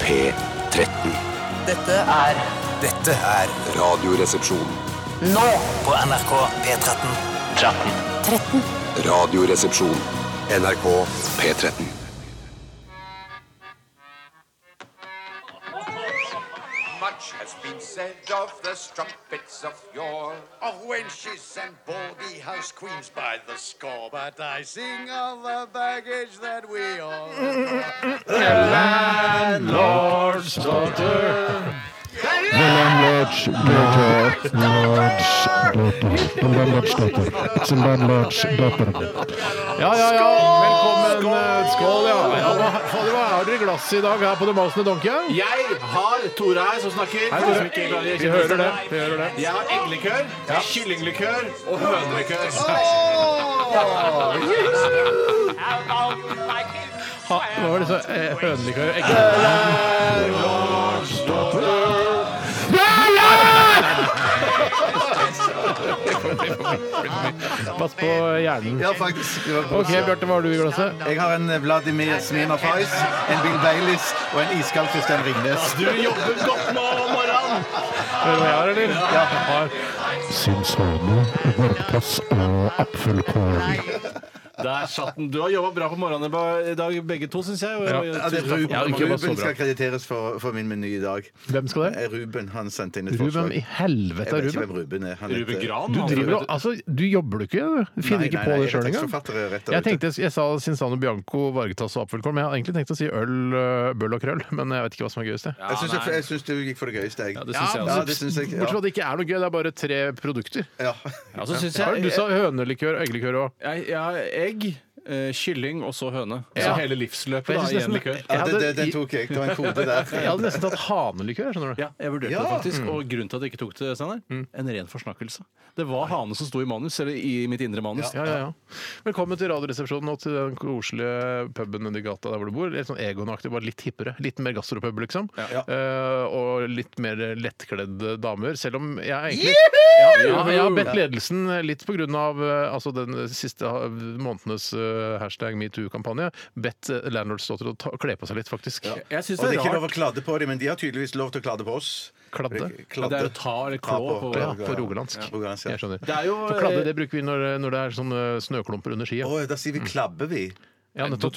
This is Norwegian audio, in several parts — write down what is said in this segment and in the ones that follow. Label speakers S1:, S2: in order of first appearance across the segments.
S1: P13.
S2: Dette er
S3: Dette er
S1: Radioresepsjon.
S2: nå
S3: på NRK P13.
S2: 13.
S1: Radioresepsjon. NRK P13.
S4: Much has been said of the strumpets of yore, of wenches and baldy house queens by the score. But I sing of the baggage that we all.
S5: Ja, ja, ja. Velkommen. Skål! Skål ja. Ja, hva, fader, hva har dere i glasset i dag her på The Mouse and Donkey?
S6: Jeg har Tore her som snakker.
S5: Tore.
S6: Som ikke klarer å
S5: Vi
S6: kjenne
S5: hører det.
S6: seg.
S5: Vi hører det.
S6: Jeg har eggelikør, kyllinglikør og hønelikør.
S5: Ha, hva var det så eh, hønelikør og egg? Pass på hjernen.
S7: Ja, faktisk.
S5: OK, Bjarte, hva har du i glasset?
S7: Jeg har en Vladimir Smirnov Ice, en Bill Baileys og en iskald Kristian Ringnes.
S6: Du jobber godt nå om morgenen.
S5: Hører du hva jeg har, eller? Ja. Har.
S6: Der satt den. Du har jobba bra på morgenen i dag, begge to, syns jeg. Og-
S5: Ja.
S6: og-
S7: Ja, det er
S6: Tusen takk.
S5: Ja,
S7: Ruben,
S5: ikke bare så
S7: Ruben
S5: bra.
S7: skal krediteres for, for min meny i dag.
S5: Hvem skal det?
S7: Eh, Ruben, han sendte inn et forslag.
S5: Ruben i helvete,
S7: Jeg vet ikke
S5: Ruben.
S7: hvem Ruben er. Han
S6: Ruben
S7: heter-
S6: Gran.
S5: Du
S6: han.
S5: driver og Altså, du jobber du ikke? Du finner
S7: Nei,
S5: ikke
S7: nei, nei,
S5: på det
S7: jeg er
S5: sjøl
S7: tekstforfatter,
S5: engang?
S7: rett og
S5: Jeg
S7: slett.
S5: tenkte jeg sa Sinsano Bianco, vargetass og apfelkorn, men jeg hadde egentlig tenkt å si øl, øh, bøll og krøll, men jeg vet ikke hva som er gøyest. jeg.
S7: Jeg syns jeg- jeg syns du gikk for det gøyeste, jeg.
S6: Ja, det syns jeg
S7: Ja,
S6: også.
S7: det syns jeg. Ja.
S5: Bortsett fra at det ikke er noe gøy, det er bare tre produkter.
S7: Ja.
S6: Ja, så syns
S5: Har
S6: jeg,
S5: Du sa hønelikør og eggelikør òg.
S6: jeg, jeg har egg, eh, kylling og så høne.
S5: Ja.
S6: Så hele livsløpet
S5: Jeg
S6: da,
S5: syns
S6: i en
S5: nesten-
S6: likør.
S7: Ja, det, det, den tok jeg. Det var en kode
S5: Jeg
S7: der.
S5: hadde nesten tatt hanelikør, skjønner du.
S6: Ja, jeg vurderte det faktisk. Og grunnen til at jeg ikke tok det, Steinar, en ren forsnakkelse. Det var hane som sto i manus, eller i mitt indre manus.
S5: Ja, ja, ja. Velkommen til Radioresepsjonen og til den koselige puben nedi gata der hvor du bor. Litt sånn Egon-aktig, bare litt hippere. Litt mer gastropub, liksom. Eh, og litt mer lettkledde damer. Selv om jeg egentlig ja, ja, Jeg har bedt ledelsen litt på grunn av eh, altså den siste ha- månedenes eh, hashtag metoo-kampanje, bedt eh, landlordsdotter å ta, kle på seg litt, faktisk.
S6: Jeg syns
S7: Og det er
S6: det er
S7: ikke lov
S6: rart.
S7: å kladde på dem, men de har tydeligvis lov til å kladde på oss.
S5: Kladde?
S7: Kladde.
S6: Det er å ta eller klå på-
S5: Ja, på rogalandsk.
S7: Rogalandsk, ja.
S5: Jeg skjønner.
S6: Det er jo,
S5: For kladde
S6: eh,
S5: det bruker vi når, når det er sånne eh, snøklumper under skia.
S7: Å, da sier vi klabbe, vi.
S5: Ja, nettopp.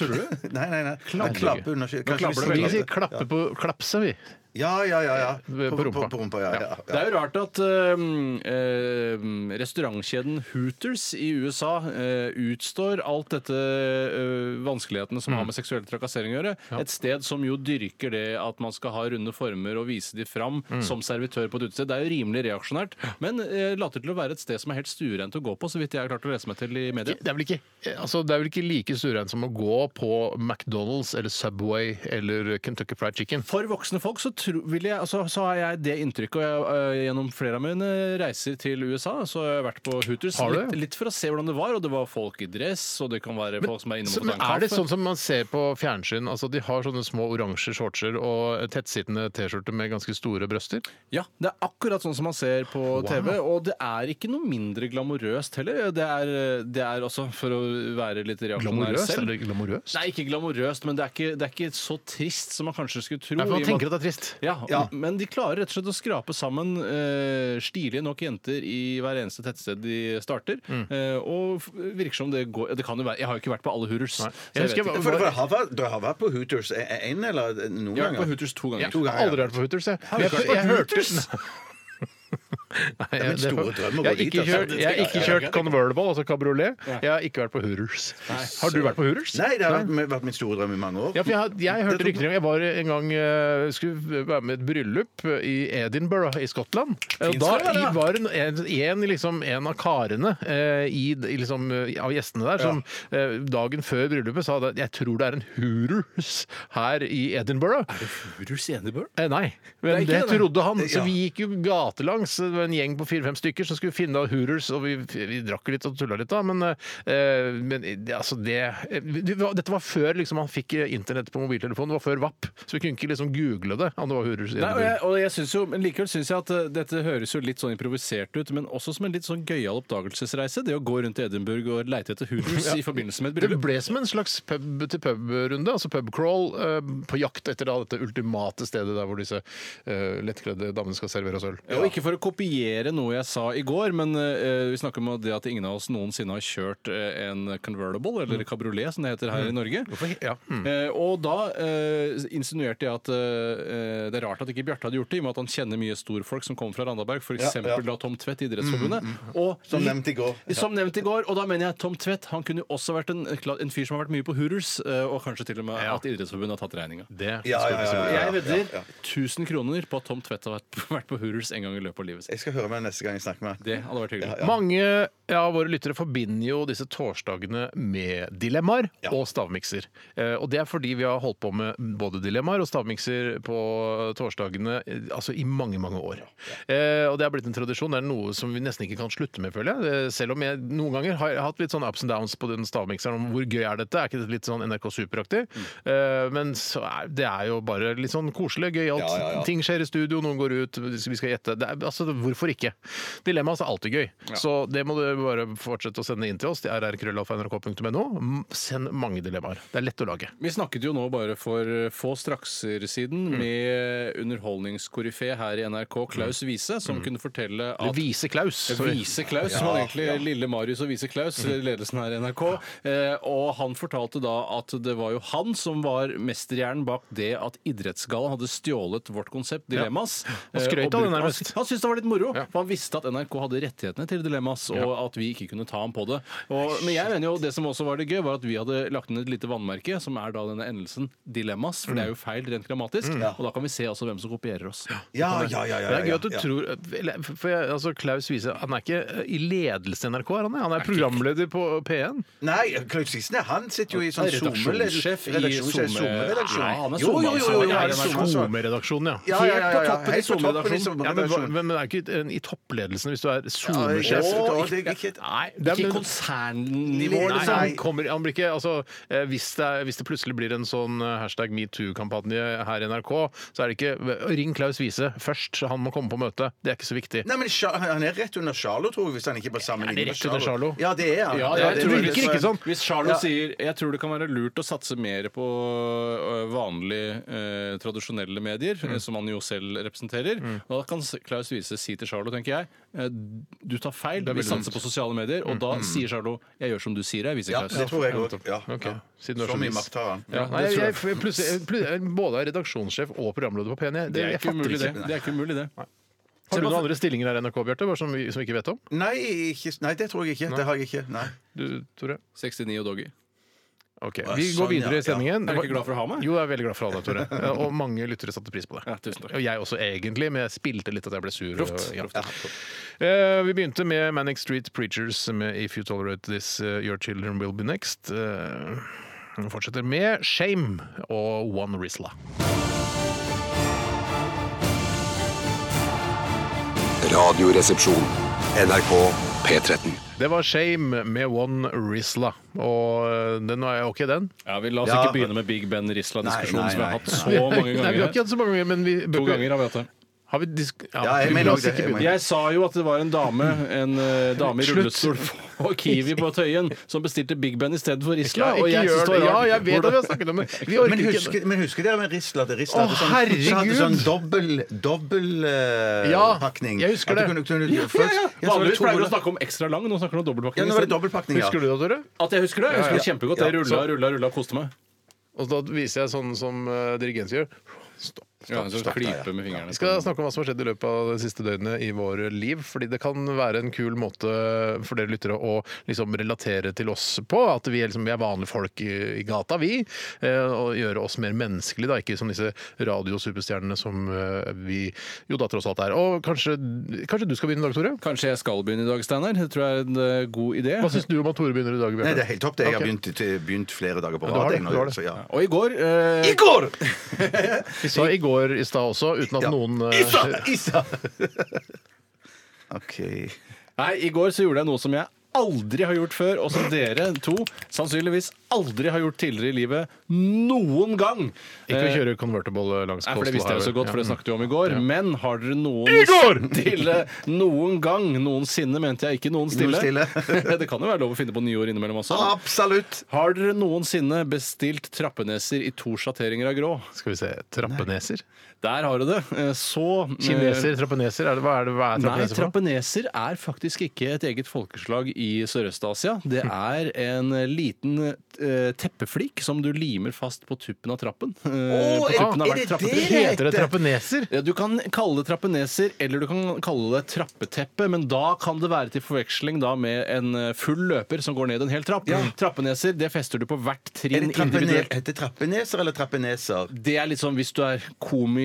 S7: Nei, nei, nei. Klabbe, klabbe under sky. Kanskje
S6: klabber det
S5: Vi
S7: vi
S5: sier
S7: sier klabbe.
S5: klappe på klapse, vi.
S7: Ja, ja, ja. ja.
S5: På rumpa.
S7: På, på rumpa ja, ja,
S6: Det
S7: ja.
S6: er jo rart at øhm, øhm, restaurantkjeden Hooters i USA øh, utstår alt dette øh, vanskelighetene som har med seksuell trakassering å gjøre. Et sted som jo dyrker det at man skal ha runde former og vise de fram som servitør på et utested. Det er jo rimelig reaksjonært, men øh, later til å være et sted som er helt stuerent å gå på, så vidt jeg har klart å lese meg til i media.
S5: Det er vel ikke, altså, det er vel ikke like stuereint som å gå på McDonald's eller Subway eller Kentucky Fried Chicken.
S6: For voksne folk så, tro, vil jeg, altså, så har jeg det inntrykket. Og jeg, øh, gjennom flere av mine reiser til USA så har jeg vært på Hooters
S5: Har du?
S6: litt, litt for å se hvordan det var. Og det var folk i dress, og det kan være folk som er inne
S5: Så,
S6: mot
S5: men
S6: en
S5: er det
S6: kaffe.
S5: sånn som man ser på fjernsyn? Altså, de har sånne små oransje shortser og tettsittende T-skjorte med ganske store brøster.
S6: Ja, det er akkurat sånn som man ser på TV. Og det er ikke noe mindre glamorøst heller. Det er, det er også, for å være litt reaksjonær
S5: Glamorøst?
S6: selv
S5: Eller glamorøst?
S6: Nei, ikke glamorøst, men det er ikke, det er ikke så trist som man kanskje skulle tro.
S5: Nei, for
S6: i
S5: man
S6: og med
S5: tenker at det er trist.
S6: Ja, mm.
S7: Ja.
S6: men de klarer rett og slett å skrape sammen eh, stilige nok jenter i hver eneste tettsted de starter. eh, og f- virker som det går Det kan jo være Jeg har jo ikke vært på alle Hooters.
S5: Nei. Jeg
S6: så jeg
S5: husker
S6: vet
S5: jeg var-
S6: ikke.
S7: For, for, har vært, du har vært på Hooters én eller noen
S6: Jeg har vært på
S7: ganger?
S6: Hooters to
S5: Jeg
S6: ganger.
S5: har aldri vært på Hooters, jeg.
S6: Har du ikke vært på Hooters?
S5: Nei, jeg,
S7: min store
S5: det er for-
S7: drøm å gå
S5: jeg har ikke
S7: dit, altså.
S5: kjørt, jeg har ikke kjørt convertible, altså kabriolet. Jeg har ikke vært på Hooters. Har du vært på Hooters?
S7: Nei, det har vært, vært min store drøm i mange år.
S5: Ja, for jeg, har- jeg hørte rykter om Jeg var en gang eh, skulle være med i et bryllup i Edinburgh i Skottland. Eh, Og da
S6: skal det være, ja.
S5: i- var en, en, en, liksom, en av karene eh, i, i liksom, eh, av gjestene der som eh, dagen før bryllupet sa at jeg tror det er en Hooters her i Edinburgh.
S6: Hooters i Edinburgh?
S5: Eh, nei, men det,
S6: Det er ikke det, nei.
S5: trodde han. Så
S7: Ja.
S5: vi gikk jo gatelangs eh, en gjeng på fire-fem stykker som skulle finne av Hooters, og vi, vi drakk litt og tulla litt da, men, eh, men det- altså det det var- Dette var før liksom man fikk eh, internett på mobiltelefonen, det var før VAP, så vi kunne ikke liksom google det om det var Hooters. i
S6: Nei, og
S5: Edinburgh.
S6: jeg, og jeg synes jo, men Likevel syns jeg at eh, dette høres jo litt sånn improvisert ut, men også som en litt sånn gøyal oppdagelsesreise. Det å gå rundt i Edinburgh og leite etter Hooters i forbindelse med et
S5: Det
S6: bryllup.
S5: ble som en slags pub-til-pub-runde, altså pub-crawl, eh, på jakt etter da, dette ultimate stedet der hvor disse eh, lettkledde damene skal servere oss øl.
S6: Ja, Og ikke for å kopiere noe jeg sa i går, men eh, vi snakker om det at ingen av oss noensinne har kjørt eh, en convertible, eller
S7: Mm.
S6: kabriolet som det heter her i Norge.
S5: Ja.
S6: Eh, og da eh, insinuerte jeg at eh, det er rart at ikke Bjarte hadde gjort det, i og med at han kjenner mye storfolk som kommer fra Randaberg, f.eks.
S7: ja. Mm,
S6: da Tom Tvedt i Idrettsforbundet. Og
S7: Som nevnt i går.
S6: Som nevnt i går, og da mener jeg Tom Tvedt. Han kunne jo også vært en, en fyr som har vært mye på Hooters, eh, og kanskje til og med
S5: Ja.
S6: at Idrettsforbundet har tatt regninga.
S5: Det
S7: Ja, ja, ja, ja,
S6: Jeg
S7: ja.
S6: vedder 1000 kroner på at Tom Tvedt har vært, vært på Hooters en gang i løpet av livet sitt.
S7: Jeg skal høre med deg neste gang jeg snakker med deg.
S6: Det hadde vært hyggelig.
S5: Mange av våre lyttere forbinder jo disse torsdagene med dilemmaer og stavmikser. Eh, Og det er fordi vi har holdt på med både dilemmaer og stavmikser på torsdagene eh, altså i mange, mange år. Eh, Og det har blitt en tradisjon. Det er noe som vi nesten ikke kan slutte med, føler jeg. Eh, Selv om jeg noen ganger har hatt litt sånn ups and downs på den stavmikseren om hvor gøy er dette, er ikke dette litt sånn NRK Superaktig? Eh, Men så er, det er jo bare litt sånn koselig, gøyalt.
S7: Ja, ja, ja.
S5: Ting skjer i studio, noen går ut, vi skal gjette. Det er, altså, hvorfor ikke? Dilemma er alltid gøy. Så det må du bare fortsette å sende inn til oss. Det er rrkrøllalfa.nrk.no. M- Send mange dilemmaer. Det er lett å lage.
S6: Vi snakket jo nå bare for få strakser siden med underholdningskoryfé her i NRK, Klaus Wiese, som kunne fortelle
S5: Eller
S6: at
S5: Vise Klaus. sorry.
S6: Vise Klaus, som var egentlig Lille Marius og Vise Klaus,
S5: Mm.
S6: ledelsen her i NRK. Eh, og han fortalte da at det var jo han som var mesterhjernen bak det at Idrettsgallaen hadde stjålet vårt konsept Dilemmas.
S5: Han
S6: Eh,
S5: skrøt
S6: og
S5: av det
S6: brukte-
S5: nærmest.
S6: Han, han syntes det var litt moro,
S5: Ja.
S6: for han visste at NRK hadde rettighetene til Dilemmas, og at vi ikke kunne ta ham på det. Og, men jeg mener jo det som også var det gøy, var at vi hadde lagt inn et lite vannmerke, som er da denne endelsen Dilemmas, for
S5: Mm.
S6: det er jo feil rent grammatisk, og da kan vi se også hvem som kopierer oss.
S7: Ja, ja, ja, ja,
S5: Det er gøy
S7: ja,
S5: at du
S7: ja.
S5: tror eller, For jeg, altså, Klaus Wiese han er ikke i ledelse i NRK, er han? Han er programleder på P1.
S7: Nei, Klaus Sisen er han sitter jo i sånn
S6: Redaksjonssjef i
S7: SoMe-redaksjon.
S6: SoMe. Ja, han er
S7: Jo, jo, jo, jo,
S6: SoMe-ansvarlig.
S7: jo,
S5: Ja,
S7: han er
S6: SoMe-ansvarlig.
S7: SoMe.
S5: SoMe-redaksjonen, ja.
S7: Ja, ja, ja, ja,
S6: Helt på toppen i
S7: Helt på toppen i
S6: SoMe-redaksjonen.
S5: Ja, men, hva-
S7: SoMe-redaksjonen.
S5: men det er ikke en- i toppledelsen hvis du er
S7: Ja, sjef,
S5: SoMe-sjef.
S7: og det er ikke-
S5: Nei, det er-
S6: Ikke konsernnivå,
S7: Nei,
S5: Nei,
S6: liksom.
S5: han kommer, han blir ikke, altså, eh, hvis, det, er- hvis det plutselig blir en sånn eh, hashtag metoo-kampanje her i NRK, så er det ikke Ring Klaus Wiese først, så han må komme på møte. Det er ikke så viktig.
S7: Nei, men Sja- Han er rett under Charlo, tror jeg, hvis han ikke er på samme
S5: Er det
S7: linje
S5: rett under Charlo?
S7: Ja, det er han.
S6: Ja,
S5: det
S7: det
S5: tror
S7: er
S5: jeg virker ikke sånn.
S6: Hvis Charlo
S7: Ja.
S6: sier jeg tror det kan være lurt å satse mer på ø, vanlige, ø, tradisjonelle medier, ø, som han jo selv representerer, da kan s- Klaus Wiese si til Charlo, tenker jeg, «Eh, du tar feil, vi satser på sosiale medier, og da sier Charlo jeg gjør som du sier, jeg, Wiese
S7: Ja,
S6: Klaus.
S7: det tror jeg òg. Ja,
S5: Ok,
S7: ja.
S5: siden du er
S7: Så
S5: så
S7: mye
S5: vis.
S7: makt har han.
S5: Ja, nei, jeg, jeg, plutselig, jeg- plutselig, jeg både er redaksjonssjef og programleder på PN. Jeg,
S6: Det
S5: E. det,
S6: er
S5: jeg
S6: ikke
S5: fatter
S6: umulig, det.
S5: ikke.
S6: Det er ikke umulig, det.
S5: Har du noen andre stillinger her i NRK, Bjarte, bare som vi som vi ikke vet om?
S7: Nei, ikke, nei, det tror jeg ikke. Det har jeg ikke. Nei.
S5: Du, Tore?
S6: 69 og Doggy.
S5: Ok,
S7: Å,
S5: Vi går
S7: sånn, ja,
S5: videre i sendingen.
S6: Er du ikke glad for å ha meg?
S5: Jo, jeg er veldig glad for å ha deg, Tore. Eh, Og mange lyttere satte pris på det.
S6: Ja, tusen takk.
S5: Og jeg også, egentlig, men jeg spilte litt at jeg ble sur.
S6: Proft.
S5: Ja. Eh, vi begynte med Manic Street Preachers med If You Tolerate This, eh, Your Children Will Be Next. Eh, vi fortsetter med Shame og One Rizla.
S1: Radioresepsjon. NRK P13.
S5: Det var Shame med One Rizla. Og eh, den var ok, den?
S6: Ja, vi La oss
S7: Ja.
S6: ikke begynne med Big Ben Risla-diskusjonen
S7: Nei, nei,
S6: som vi har
S7: nei.
S6: hatt så mange
S5: Nei, vi har ikke
S6: ganger.
S5: hatt så mange ganger, men vi
S6: To ganger har vi hatt det.
S5: Har vi disk...
S7: Ja, jeg
S5: vi
S7: mener
S5: la
S7: også
S5: oss
S7: det,
S5: ikke
S7: jeg
S5: begynne.
S7: mener.
S6: Jeg sa jo at det var en dame En eh, dame i
S5: Slutt.
S6: rullestol og Kiwi på Tøyen som bestilte Big Ben i stedet for Isla.
S5: Ja,
S6: og
S5: ikke
S6: jeg synes
S5: gjør
S6: det
S5: det.
S6: var
S5: Ja,
S6: rart.
S5: jeg vet at vi har snakket om det. Vi orker
S7: Men
S5: ikke
S7: husker, men husker dere med Risla? at Risla
S5: Å,
S7: hadde sånn, så hadde
S5: herregud!
S7: sånn dobbel, dobbel eh,
S5: Ja,
S7: pakning.
S5: jeg husker
S7: At du
S5: det.
S7: Kunne, kunne,
S6: Ja, ja, ja.
S7: så var det
S6: Vanligvis
S7: to-
S6: pleier vi å snakke om ekstra lang. Nå snakker vi om
S7: Ja, nå var
S6: dobbeltpakning.
S7: det
S6: isteden.
S7: dobbeltpakning, ja.
S5: Husker du det, Tore?
S6: At jeg husker det? Jeg husker det kjempegodt. Jeg
S7: Ja,
S6: rulla, rulla, rulla og koste meg.
S5: Og da viser jeg sånn som eh, dirigent gjør. Stopp.
S6: Ja, så klipe med
S5: Vi
S6: fingrene.
S5: skal snakke om hva som har skjedd i løpet av det siste døgnet i våre liv. Fordi det kan være en kul måte for dere lyttere å liksom relatere til oss på. At vi er, liksom, vi er vanlige folk i, i gata, vi. eh, Og gjøre oss mer menneskelige, da. Ikke som disse radiosuperstjernene som eh, vi jo da tross alt er. Og kanskje, kanskje du skal begynne i dag, Tore?
S6: Kanskje jeg skal begynne i dag, Steinar. Det tror jeg er en eh, god idé.
S5: Hva syns du om at Tore begynner i dag?
S7: Nei,
S5: Bjarte?
S7: det er helt topp. det. Jeg har
S5: Ok.
S7: begynt, begynt flere dager på
S5: du har
S7: rad.
S5: det,
S7: jeg nå,
S5: du har det.
S7: så ja.
S6: Og i går eh,
S7: I går!
S5: Vi sa i går i stad også, uten at eh,
S7: Ja.
S5: noen eh,
S7: Isa! Isa! OK.
S6: Nei, i går så gjorde jeg noe som jeg aldri har gjort før, og som dere to sannsynligvis aldri har gjort tidligere i livet noen gang.
S5: Ikke å kjøre convertible eh, langs
S6: Eh, Nei, for Det visste jeg jo så godt, for det snakket vi om i går.
S5: Ja.
S6: Men har dere noen
S5: I går!
S6: stille noen gang Noensinne mente jeg ikke noen stille.
S7: Noen stille.
S6: det kan jo være lov å finne på nye ord innimellom også.
S7: Absolutt!
S6: Har dere noensinne bestilt trappeneser i to sjatteringer av grå?
S5: Skal vi se Trappeneser?
S6: Der har du det. Eh, Så eh,
S5: Kineser? Trappeneser? Er det, hva er, det, hva er
S6: Nei,
S5: trappeneser for noe?
S6: trappeneser er faktisk ikke et eget folkeslag i Sørøst-Asia. Det er en liten eh, teppeflik som du limer fast på tuppen av trappen. Eh, på tuppen av
S7: er
S6: hvert
S7: det
S6: trappetrinn.
S7: det
S5: Heter det trappeneser?
S6: Ja, Du kan kalle det trappeneser, eller du kan kalle det trappeteppe, men da kan det være til forveksling da med en eh, full løper som går ned en hel trapp. Trappeneser det fester du på hvert
S7: Er
S6: trinn
S7: det trappene,
S6: individuelt.
S7: heter det trappeneser eller trappeneser?
S6: Det er litt sånn hvis du er komi,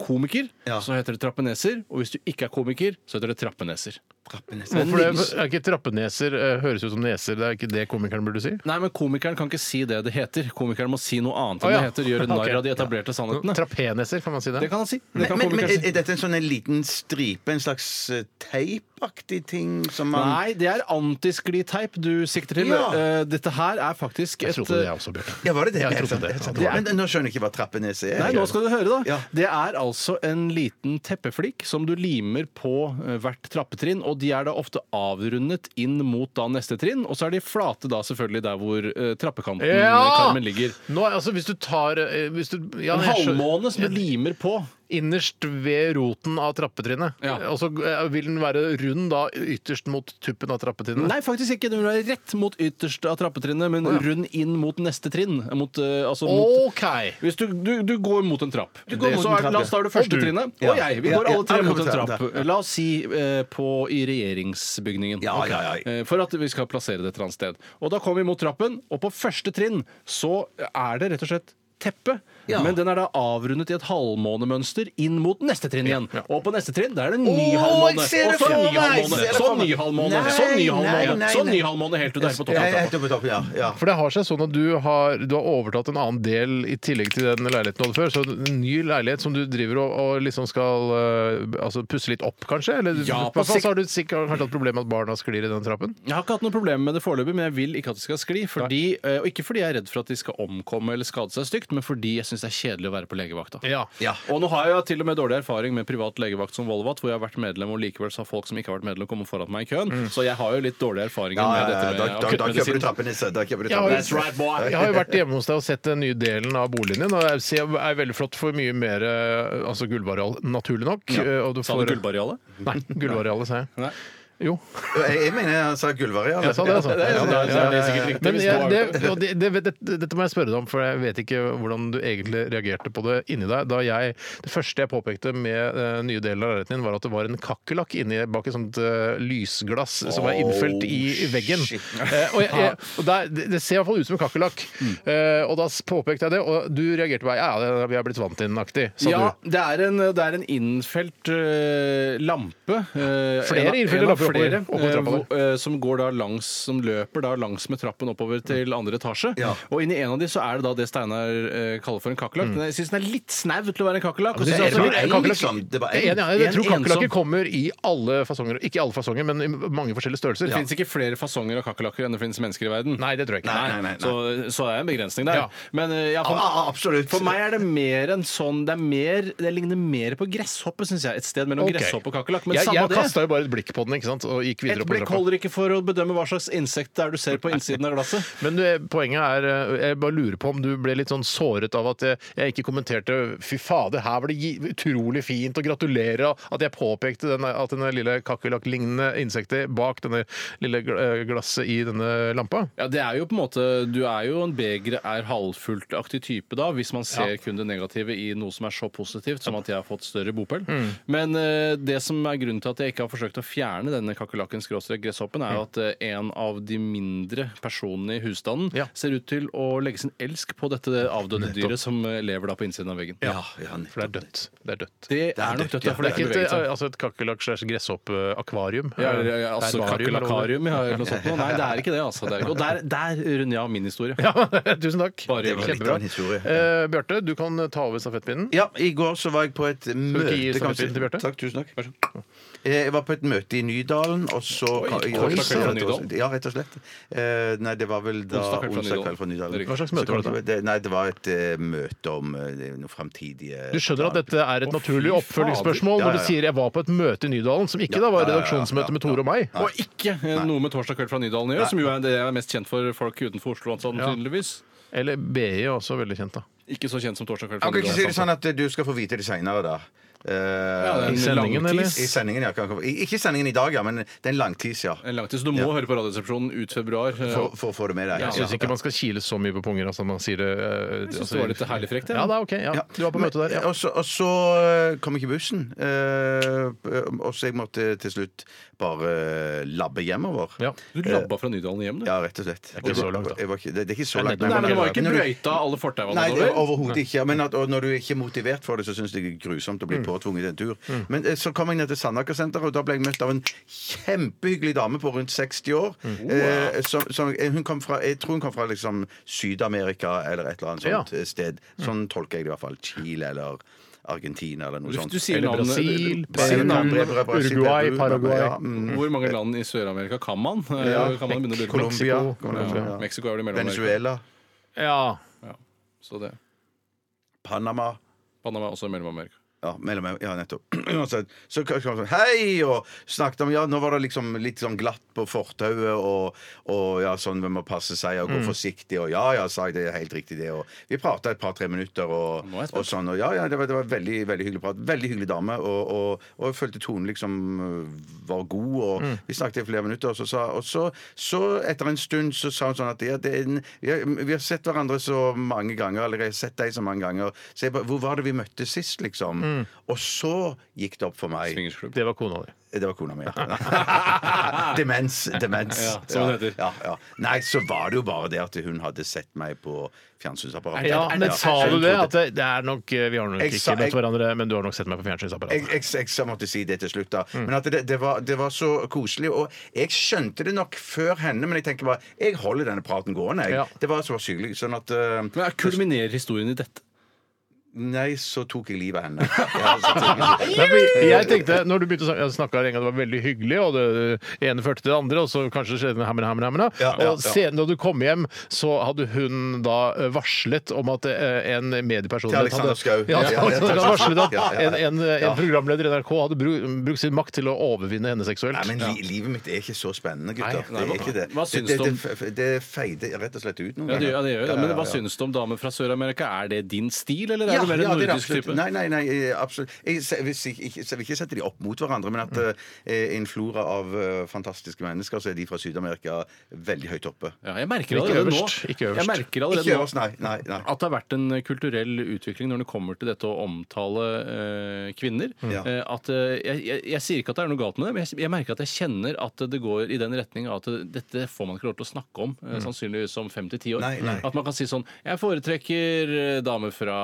S6: komiker,
S7: Ja.
S6: så heter det trappeneser. Og hvis du ikke er komiker, så heter det trappeneser.
S7: Trappeneser.
S5: Hvorfor det? Er ikke trappeneser eh, høres ut som neser? Det er ikke det komikeren burde si?
S6: Nei, men komikeren kan ikke si det det heter. Komikeren må si noe annet enn
S5: Å, ja.
S6: det heter. Gjøre narr
S5: Ok.
S6: av de etablerte sannhetene.
S5: Trapeneser, kan man si det?
S6: Det kan han si. Det
S7: Men,
S6: kan
S7: men, men
S6: komikeren si.
S7: er er dette en sånn en liten stripe, en slags eh, teipaktig ting som man
S6: Nei, det er antiskliteip du sikter til.
S7: Ja.
S6: Eh, Dette her er faktisk
S5: Jeg
S6: et
S5: trodde det, jeg også, Bjørte.
S7: Ja, var det det?
S5: Jeg
S7: Helt
S5: trodde det.
S7: sant, helt sant.
S5: Ja, det var
S7: Men nå skjønner jeg ikke hva trappenese er.
S6: Nei, nå skal du høre, da.
S7: Ja.
S6: Det er altså en liten teppeflikk som du limer på eh, hvert trappetrinn, og de er da ofte avrundet inn mot da neste trinn, og så er de flate da selvfølgelig der hvor eh, trappekanten eh,
S5: Ja!
S6: karmen ligger.
S5: Nå, er- altså, hvis du tar eh, hvis du, ja,
S6: En
S5: jeg skjø-
S6: halvmåne som du limer på.
S5: Innerst ved roten av trappetrinnet.
S6: Ja.
S5: Og så eh, vil den være rund da ytterst mot tuppen av trappetrinnet.
S6: Nei, faktisk ikke. Den vil være rett mot ytterste av trappetrinnet, men rund inn mot neste trinn. Mot, eh, altså mot
S5: OK!
S6: hvis du, du, du går mot en trapp.
S7: går
S6: Det-
S7: mot
S6: så
S7: en
S6: er-
S7: trapp,
S6: La oss ta det
S5: ja. Og
S6: første
S5: du.
S6: trinnet.
S7: Ja.
S6: Og jeg. Vi
S7: Ja,
S6: går
S7: ja,
S6: alle tre
S7: alle
S6: mot en
S7: mot en
S6: trapp.
S7: trapp, ja.
S6: La oss si eh, på, i regjeringsbygningen.
S7: Ja,
S6: Ok.
S7: ja, ja.
S6: Eh, For at vi skal plassere det et eller annet sted. Og da kommer vi mot trappen, og på første trinn så er det rett og slett teppe.
S7: Ja.
S6: Men den er da avrundet i et halvmånemønster inn mot neste trinn igjen. Og på neste trinn der er det en ny
S7: Åh,
S6: halvmåne.
S7: jeg ser
S6: Og
S7: det
S6: så
S7: for
S6: en ny
S7: meg,
S6: halvmåne.
S7: jeg ser det
S6: Så
S7: for
S6: en ny
S7: meg.
S6: halvmåne.
S7: Nei,
S6: Så en ny
S7: nei,
S6: halvmåne.
S7: nei,
S6: Så en
S7: nei.
S6: ny halvmåne helt til du er på
S7: Ja, ja,
S6: toppen.
S7: helt oppe på toppen, ja. ja.
S5: For det har seg sånn at du har, du har overtatt en annen del i tillegg til den leiligheten du hadde før. Så en ny leilighet som du driver og, og liksom skal eh, altså pusse litt opp, kanskje? Eller
S6: Ja, på
S5: på
S6: sikt.
S5: så har du sikkert kanskje hatt problemer med at barna sklir i den trappen?
S6: Jeg har ikke hatt noe problem med det foreløpig, men jeg vil ikke at det skal skli. Fordi, eh, og ikke fordi jeg er redd for at de skal omkomme eller skade seg stygt, men fordi jeg syns det er kjedelig å være på legevakta.
S7: Ja.
S6: Og nå har jeg til og med dårlig erfaring med privat legevakt som Volvat, hvor jeg har vært medlem, og likevel så har folk som ikke har vært medlem, kommet foran meg i køen.
S5: Mm.
S6: Så jeg har jo litt dårlige erfaringer
S7: Ja,
S6: med
S7: ja,
S6: dette
S7: ja,
S6: med
S7: da, da, da kjøper
S6: akuttmedisin.
S7: du trappenisse. Da kjøper du
S5: Jeg har,
S7: trappenisse.
S5: jeg har jo vært hjemme hos deg og sett den nye delen av boliglinjen. Og jeg ser det er veldig flott for mye mer eh, altså gulvareal, naturlig nok. eh, Og du
S6: Sa du
S5: får,
S6: gullbarealet?
S5: Nei, gulvarealet, sa jeg.
S6: Nei.
S5: Jo,
S7: Jeg, jeg mener jeg sa gulvareal.
S5: jeg sa det, altså.
S6: Det er- det er- det er sikkert riktig,
S5: Men
S6: hvis
S5: jeg, det,
S6: det var-
S5: og det, det, vet- det, dette må jeg spørre deg om, for jeg vet ikke hvordan du egentlig reagerte på det inni deg. Da jeg, det første jeg påpekte med uh, nye delen av leiligheten din, var at det var en kakerlakk inni bak et sånt eh, lysglass som var innfelt i veggen. Eh, og jeg, jeg, og der, det, det ser iallfall ut som en kakerlakk. Eh, og da s- påpekte jeg det, og du reagerte bare ja, ja, det- vi er blitt vant til den aktig, sa
S6: Ja,
S5: du.
S6: det er en, det er en innfelt eh, lampe. eh,
S5: Flere
S6: en av-
S5: innfelte
S6: en av
S5: lamper oppover-
S6: flere,
S5: oppover
S6: eh,
S5: trappa der.
S6: hvor- eh, som, går da langs, som løper da langs med trappen oppover til andre etasje.
S7: Ja.
S6: Og inni en av de så er det da det Steinar eh, kaller for en kakerlakk. Men Jeg syns den er litt snau til å være en kakerlakk. og
S5: Mm. det er
S6: synes også-
S5: bare
S7: en,
S5: kakerlakk.
S7: liksom. Det var
S5: Jeg er
S7: en.
S5: enig, jeg, jeg
S6: en
S5: tror kakerlakker
S6: ensom-
S5: kommer i alle fasonger. Ikke i alle fasonger, men i mange forskjellige størrelser.
S6: Det finnes ikke flere fasonger av kakerlakker enn det finnes mennesker i verden.
S5: Nei, det tror jeg ikke.
S7: Nei, nei, nei, nei.
S6: Så, så er det en begrensning der.
S5: Ja.
S6: Men eh, ja, for,
S7: Ah, ah, absolutt.
S6: for meg er det mer en sånn Det, er mer, det ligner mer på gresshoppe, syns jeg. Et sted mellom
S5: Ok.
S6: gresshoppe og kakerlakk. Men
S5: jeg
S6: samme
S5: jeg
S6: det.
S5: kasta jo bare et blikk på den ikke sant? og gikk
S6: Et
S5: videre.
S6: blikk
S5: på
S6: holder ikke for å bedømme hva slags insekt det er du ser på innsiden av glasset.
S5: Men eh, poenget er eh, Jeg bare lurer på om du ble litt sånn såret av at jeg, jeg ikke kommenterte Fy fader, her var det gi- utrolig fint, og gratulerer og at jeg påpekte denne, at denne lille kakerlakklignende insektet bak denne lille gl- eh, glasset i denne lampa.
S6: Ja, det er jo på en måte Du er jo en begeret er halvfullt-aktig type da, hvis man ser kun det negative i noe som er så positivt som at jeg har fått større bopel. Men eh, det som er grunnen til at jeg ikke har forsøkt å fjerne denne kakerlakken-gresshoppen, er jo at eh, en av de mindre personene i husstanden
S5: Ja.
S6: ser ut til å legge sin elsk på dette avdøde dyret som eh, lever da på innsiden av veggen.
S7: Ja, ja,
S5: For det er dødt. Det er dødt.
S6: Det er
S7: dødt,
S6: nok dødt, ja,
S7: ja.
S6: for
S5: Det er ikke et,
S6: bevegelse.
S5: eh, altså et kakerlakk-slash-gresshoppeakvarium.
S6: Ja, eller, ja, altså
S5: Herbarium, eller hva det
S6: kakerlakkarium, ja, eller noe sånt. noe. Nei, det er ikke det, altså. Det er ikke. Og der, der runder jeg av min historie.
S5: heter. Ja, Tusen takk.
S6: Bare
S7: Det var litt av en historie.
S5: Eh, Bjarte, du kan ta over stafettpinnen.
S7: Ja, i går så var jeg på et
S5: du ikke gi
S7: møte
S5: stafettpinnen til Bjarte?
S7: Takk, tusen takk. Eh, Jeg var på et møte i Nydalen, og så
S6: torsdag kveld fra Nydalen?
S7: Ja, rett og slett. Eh, Nei, det var vel da
S6: Onsdag kveld fra
S7: onsdag
S6: Nydalen.
S7: kveld fra Nydalen.
S6: Det er riktig.
S5: Hva slags møte
S7: Så
S5: var
S7: kom-
S5: dette?
S7: det? Nei, det var et eh, møte om eh, noe framtidige
S5: Du skjønner at dette er et naturlig oppfølgingsspørsmål
S7: Ja,
S5: når
S7: ja,
S5: du
S7: ja.
S5: sier 'jeg var på et møte i Nydalen', som ikke da var redaksjonsmøte med Tore og meg.
S6: Og ikke eh, noe med Torsdag kveld fra Nydalen å gjøre, som jo er det jeg er mest kjent for folk utenfor Oslo. Altså, tydeligvis.
S5: Eller BI er også veldig kjent, da.
S6: Ikke så kjent som Torsdag kveld
S7: Han
S6: fra
S7: kan ikke si det
S6: Nydalen.
S7: sånn at eh, du skal få vite det seinere, da. Eh,
S6: det er
S5: I
S6: en
S5: sendingen, eller?
S6: langtids-
S7: I sendingen, ja. kan- I- Ikke i sendingen i dag, ja, men det er en langtids, ja.
S6: En langtid, så du må høre på Radioresepsjonen ut februar. eh,
S7: For, for å få det med deg.
S5: Jeg syns ikke man skal kile så mye på punger altså, man sier det eh,
S6: Jeg syns
S5: altså-
S6: det var litt herlig frekt. jeg.
S5: Ja, det er OK. Ja.
S7: Ja.
S5: Du var på møte der.
S7: Men-
S5: Ja.
S7: Og så, og så eh, kom ikke bussen. eh, og så jeg måtte til slutt bare eh, labbe hjemover.
S5: Ja.
S6: Du labba fra Nydalen hjem, du?
S7: Eh. Ja, rett og slett.
S5: ikke så langt, da.
S7: Jeg var ikke, det, det er ikke så
S5: Nei,
S7: langt. altså,
S5: nettopp.
S6: Nei, men det var ikke
S7: når du-
S6: brøyta alle fortauene
S7: Nei, det er
S6: over?
S7: overhodet ikke. Men at, og når du ikke er motivert for det, så syns jeg det er grusomt å bli påtvunget en tur. Men eh, så kom jeg ned til Sandaker-senteret, og da ble jeg møtt av en kjempehyggelig dame på rundt 60 år. Eh, som, som, eh, hun kom fra, jeg tror hun kom fra liksom Syd-Amerika eller et eller annet sånt
S5: Ja.
S7: eh, sted. Sånn tolker jeg det i hvert fall. Chile eller Argentina eller noe
S6: Hvis
S7: sånt.
S6: du sier
S5: Eller
S6: navnet-
S5: Brasil,
S6: sier
S5: Peru,
S6: navnet-
S7: Peru, Brasil,
S5: Uruguay,
S7: Peru,
S5: Paraguay.
S7: ja, mm.
S6: Hvor mange land i Sør-Amerika kan man? Eh,
S7: Ja,
S6: kan man begynne å lure på?
S7: Colombia.
S5: Mexico,
S7: Colombia,
S6: Ja.
S7: ja.
S6: Mexico er vel i Mellom-Amerika.
S7: Venezuela.
S5: ja.
S6: Så det.
S7: Panama.
S6: Panama er også i Mellom-Amerika.
S7: Ja, mellom, ja nettopp. Uansett. Så kom kom sånn Hei! Og snakket om Ja, nå var det liksom litt sånn glatt på fortauet, og, og ja, sånn vi må passe seg og gå forsiktig, og ja ja, sa jeg, det er helt riktig, det, og Vi prata et par-tre minutter, og,
S6: Nå er jeg spent.
S7: og sånn, og ja ja, det var, det var veldig veldig hyggelig prat. Veldig hyggelig dame, og, og, og jeg følte tonen liksom øh, var god,
S5: Mm.
S7: og vi snakket i flere minutter, og så sa Og så, så etter en stund, så sa hun sånn at ja, det er en, ja, Vi har sett hverandre så mange ganger, eller jeg har sett deg så mange ganger, så jeg bare Hvor var det vi møttes sist, liksom?
S5: Mm.
S7: Og så gikk det opp for meg
S6: Swingersklubb.
S5: Det var kona di.
S7: det var kona mi. ja. demens. demens.
S6: Ja, som det heter.
S7: Ja, ja. Nei, så var det jo bare det at hun hadde sett meg på fjernsynsapparatet.
S5: Ja, men sa
S7: så
S5: du
S7: hun
S5: det?
S7: trodde-
S5: At det, det er nok eh, Vi har nok
S7: Jeg sa-
S5: ikke møtt
S7: jeg-
S5: hverandre, men du har nok sett meg på
S7: jeg,
S5: fjernsynsapparatet.
S7: jeg, jeg, jeg måtte si det til slutt, da.
S6: Mm.
S7: Men at det, det, var, det var så koselig. Og jeg skjønte det nok før henne, men jeg tenker bare Jeg holder denne praten gående, jeg.
S5: Ja.
S7: Det var så hyggelig. Sånn at eh,
S6: Men jeg Kulminerer historien i dette?
S7: Nei, så tok jeg livet av henne. Ja, så tok jeg livet.
S5: Nei, for jeg tenkte, når du begynte å snakke en gang, det var veldig hyggelig, og det ene førte til det andre, og så kanskje skjedde det hammer, hammer, hammer.
S7: Ja, ja,
S5: Og
S7: ja.
S5: senere da du kom hjem, så hadde hun da eh, varslet om at eh, en mediepersonlighet
S7: Til Alexander Schou.
S5: Ja,
S7: Ja, ja,
S5: Alexander Schou hadde varslet at
S7: Ja, ja, ja.
S5: en, en,
S7: Ja.
S5: en programleder i NRK hadde bru- brukt sin makt til å overvinne henne seksuelt.
S7: Nei, men li livet mitt er ikke så spennende, gutter.
S6: Nei,
S7: det
S6: nei, hva-
S7: er ikke det.
S6: hva syns
S7: det,
S6: du
S7: det,
S6: om-
S7: det, det feider rett og slett ut noen
S6: Ja, det, gjør- ja, det gjør jo det. Men
S7: Ja, ja,
S6: hva
S7: ja.
S6: syns du om damer fra Sør-Amerika? Er det din stil, eller er du mer en
S7: det er
S6: nordisk
S7: absolutt.
S6: type?
S7: Nei, nei, nei, eh, absolutt. Jeg, se- hvis jeg, ikke, så jeg vil ikke sette de opp mot hverandre, men
S6: Mm.
S7: at eh, en flora av eh, fantastiske mennesker, så er de fra Syd-Amerika veldig høyt oppe.
S6: Ja, jeg merker
S5: Ikke
S6: allerede nå
S5: øverst, ikke øverst.
S6: Jeg merker
S7: Ikke
S6: allerede nå
S7: øverst, nei. nei, nei.
S6: at det har vært en kulturell utvikling når det kommer til dette å omtale eh, kvinner.
S7: Mm. Ja.
S6: Eh, at, eh, jeg, jeg, jeg sier ikke at det er noe galt med det, men jeg, jeg merker at jeg kjenner at det går i den retning at eh, dette får man ikke lov til å snakke om, eh, sannsynligvis om fem til ti år.
S7: Mm. Nei, nei.
S6: At man kan si sånn Jeg foretrekker eh, damer fra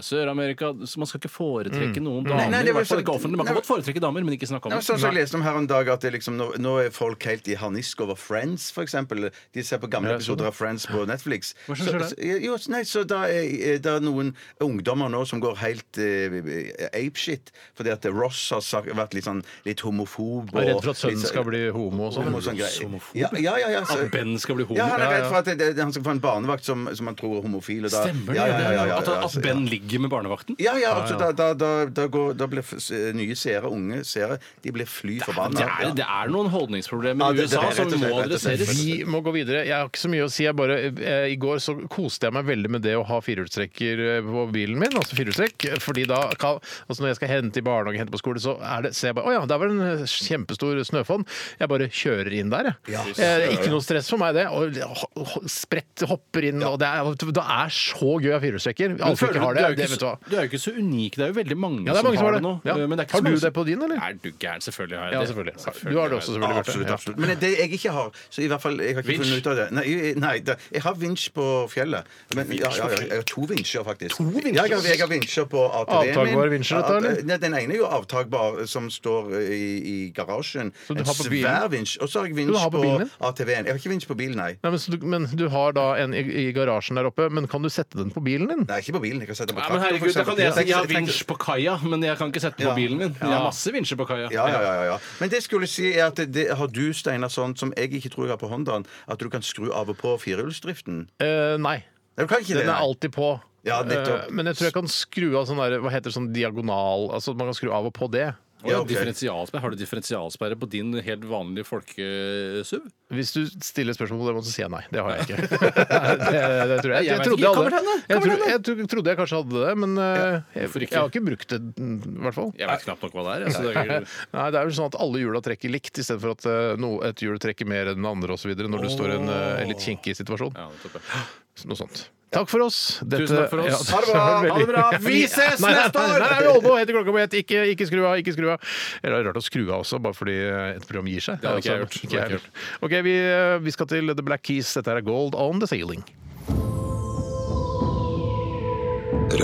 S6: Sør-Amerika Så Man skal ikke foretrekke noen damer,
S7: Mm. Nei, nei, det
S6: i
S7: var
S6: hvert fall
S7: så-
S6: ikke offentlig. Man
S7: nei,
S6: kan godt foretrekke damer, men ikke snakke om
S7: Ja, men
S6: det.
S7: sånn som jeg leste om her en dag at det liksom, nå, nå er folk helt i harnisk over Friends, for eksempel. De ser på gamle episoder av Friends på Netflix.
S6: sånn. Hva skjer
S7: så, så, jo, nei, så da er er det noen ungdommer nå som går helt eh, apeshit fordi at Ross har sagt, vært litt, sånn, litt homofob.
S5: Jeg
S7: og
S5: er redd for at sønnen
S7: litt så-
S5: skal bli homo og
S7: homo og
S5: sånn.
S7: sånn greier. Ja, ja, ja, ja, så-
S6: At Ben skal bli homo.
S7: Ja, han er
S6: Ja,
S7: redd
S6: ja.
S7: for at det, det, han skal få en barnevakt som, som han tror er homofil. Og da,
S6: Stemmer det?
S7: ja, ja, ja, ja, ja,
S6: at, at
S7: altså, ja.
S6: Ben ligger med barnevakten?
S7: Ja, ja, altså, da, da, da, da, går, da blir f- s- nye seere, unge seere, de blir fly forbanna.
S6: Det er, det er noen
S7: Ja,
S6: holdningsproblemer i
S7: det- det er
S6: USA
S7: rett og
S6: som
S7: slett,
S6: må
S7: rett og slett.
S6: adresseres.
S5: Vi må gå videre. Jeg har ikke så mye å si. Jeg bare, eh, I går så koste jeg meg veldig med det å ha firehjulstrekker eh, på bilen min. Altså firehjulstrekk. Fordi da kan, altså når jeg skal hente i barnehage, hente på skole, så er det, ser jeg bare Å ja, der var det en eh, kjempestor snøfonn. Jeg bare kjører inn der, jeg. Eh, ikke noe stress for meg, det. Og ho- ho- spredt hopper inn, og det er, det er så gøy å ha firehjulstrekker. Alle som ikke
S6: Føler du-
S5: har
S6: du
S5: det,
S6: er jo
S5: det
S6: ikke
S5: vet du
S6: så-
S5: hva.
S6: Du er jo ikke så unik. Det er jo veldig mange,
S5: Ja, det er mange som har det.
S6: nå.
S5: Ja.
S6: Men det er ikke
S5: Har
S6: så
S5: du
S6: mange som-
S5: det på din, eller?
S6: Er du gæren? Selvfølgelig har jeg
S5: Ja,
S6: det.
S5: selvfølgelig. Du har det
S7: Ja,
S5: også, selvfølgelig. Bjarte.
S7: absolutt,
S5: Ja.
S7: absolutt. Men det jeg ikke har så i hvert fall, Jeg har ikke
S6: Vinsj?
S7: funnet ut av det. Nei, jeg- nei det, jeg har vinsj på fjellet. Men, ja, ja, ja, jeg har to vinsjer, faktisk. To vinsjer? Ja, jeg, har, jeg har vinsjer på ATV-en min.
S5: Avtagbare vinsjer, dette, eller?
S7: At- Nei, den ene er jo avtagbar, som står i, i garasjen.
S5: Så du har på
S7: en
S5: bilen?
S7: svær vinsj. Og så har jeg
S5: Du
S7: vinsj
S5: har på
S7: på,
S5: bilen din?
S7: ATV-en. Jeg har ikke vinsj på bilen, nei.
S5: Nei, men, så du, men du har da en i, i garasjen der oppe, men kan du sette den på bilen din?
S7: Nei, ikke på bilen. Jeg kan sette den på
S6: Nei,
S7: traktor,
S6: men
S7: for
S6: herregud, da
S7: eksempel.
S6: kan jeg si jeg har
S7: tenker-
S6: vinsj på kaia, men jeg kan ikke sette på
S7: Ja.
S6: bilen min. Jeg har masse vinsjer på kaia.
S7: Ja, ja, ja, ja, ja. Men det jeg skulle si er at det, har du, Steinar, sånn som jeg ikke tror jeg har på Hondaen, at du kan skru av og på firehjulsdriften?
S5: Eh, nei.
S7: Nei, Du kan ikke det?
S5: Den er
S7: nei.
S5: alltid på.
S7: Ja, nettopp.
S5: Eh, men jeg tror jeg kan skru av sånn der, hva heter det, sånn diagonal Altså man kan skru av og på det.
S6: Å, ja,
S7: Ja, ok.
S6: differensialsperre. Har du differensialsperre på din helt vanlige folkesuv?
S5: Hvis du stiller spørsmål på det, må du si nei. Det har jeg ikke. Nei, det, det tror jeg. Jeg,
S6: Jeg vet
S5: trodde jeg
S6: ikke. Kommer
S5: hadde
S6: det henne?
S5: Jeg,
S6: Kommer
S5: tro, jeg tro- trodde jeg kanskje hadde det, men eh, jeg,
S6: hvorfor ikke?
S5: jeg har ikke brukt det, mm, i hvert fall.
S6: Jeg vet knapt nok hva det er. Altså, det er ikke-
S5: Nei, det er vel sånn at alle hjula trekker likt, istedenfor at eh, no, et hjul trekker mer enn det andre osv. når du står i en eh, litt kinkig situasjon.
S6: ja, nettopp, ja.
S5: Noe sånt. Takk for oss. Dette-
S6: Tusen takk for oss.
S5: Ja, det var veldig-
S6: Ha det bra. Vi ses
S5: Nei, nei,
S6: neste år!
S5: Nei, nei, nei, Olbo heter klokka mi. Ikke, ikke skru av, ikke skru av. Eller det er rart å skru av også, bare fordi eh, et program gir seg.
S6: Det hadde ikke jeg
S5: Altså,
S6: gjort. Det hadde
S5: jeg
S6: ikke
S5: gjort. Ok, vi, eh, vi skal til The Black Keys. Dette her er Gold On The Sailing.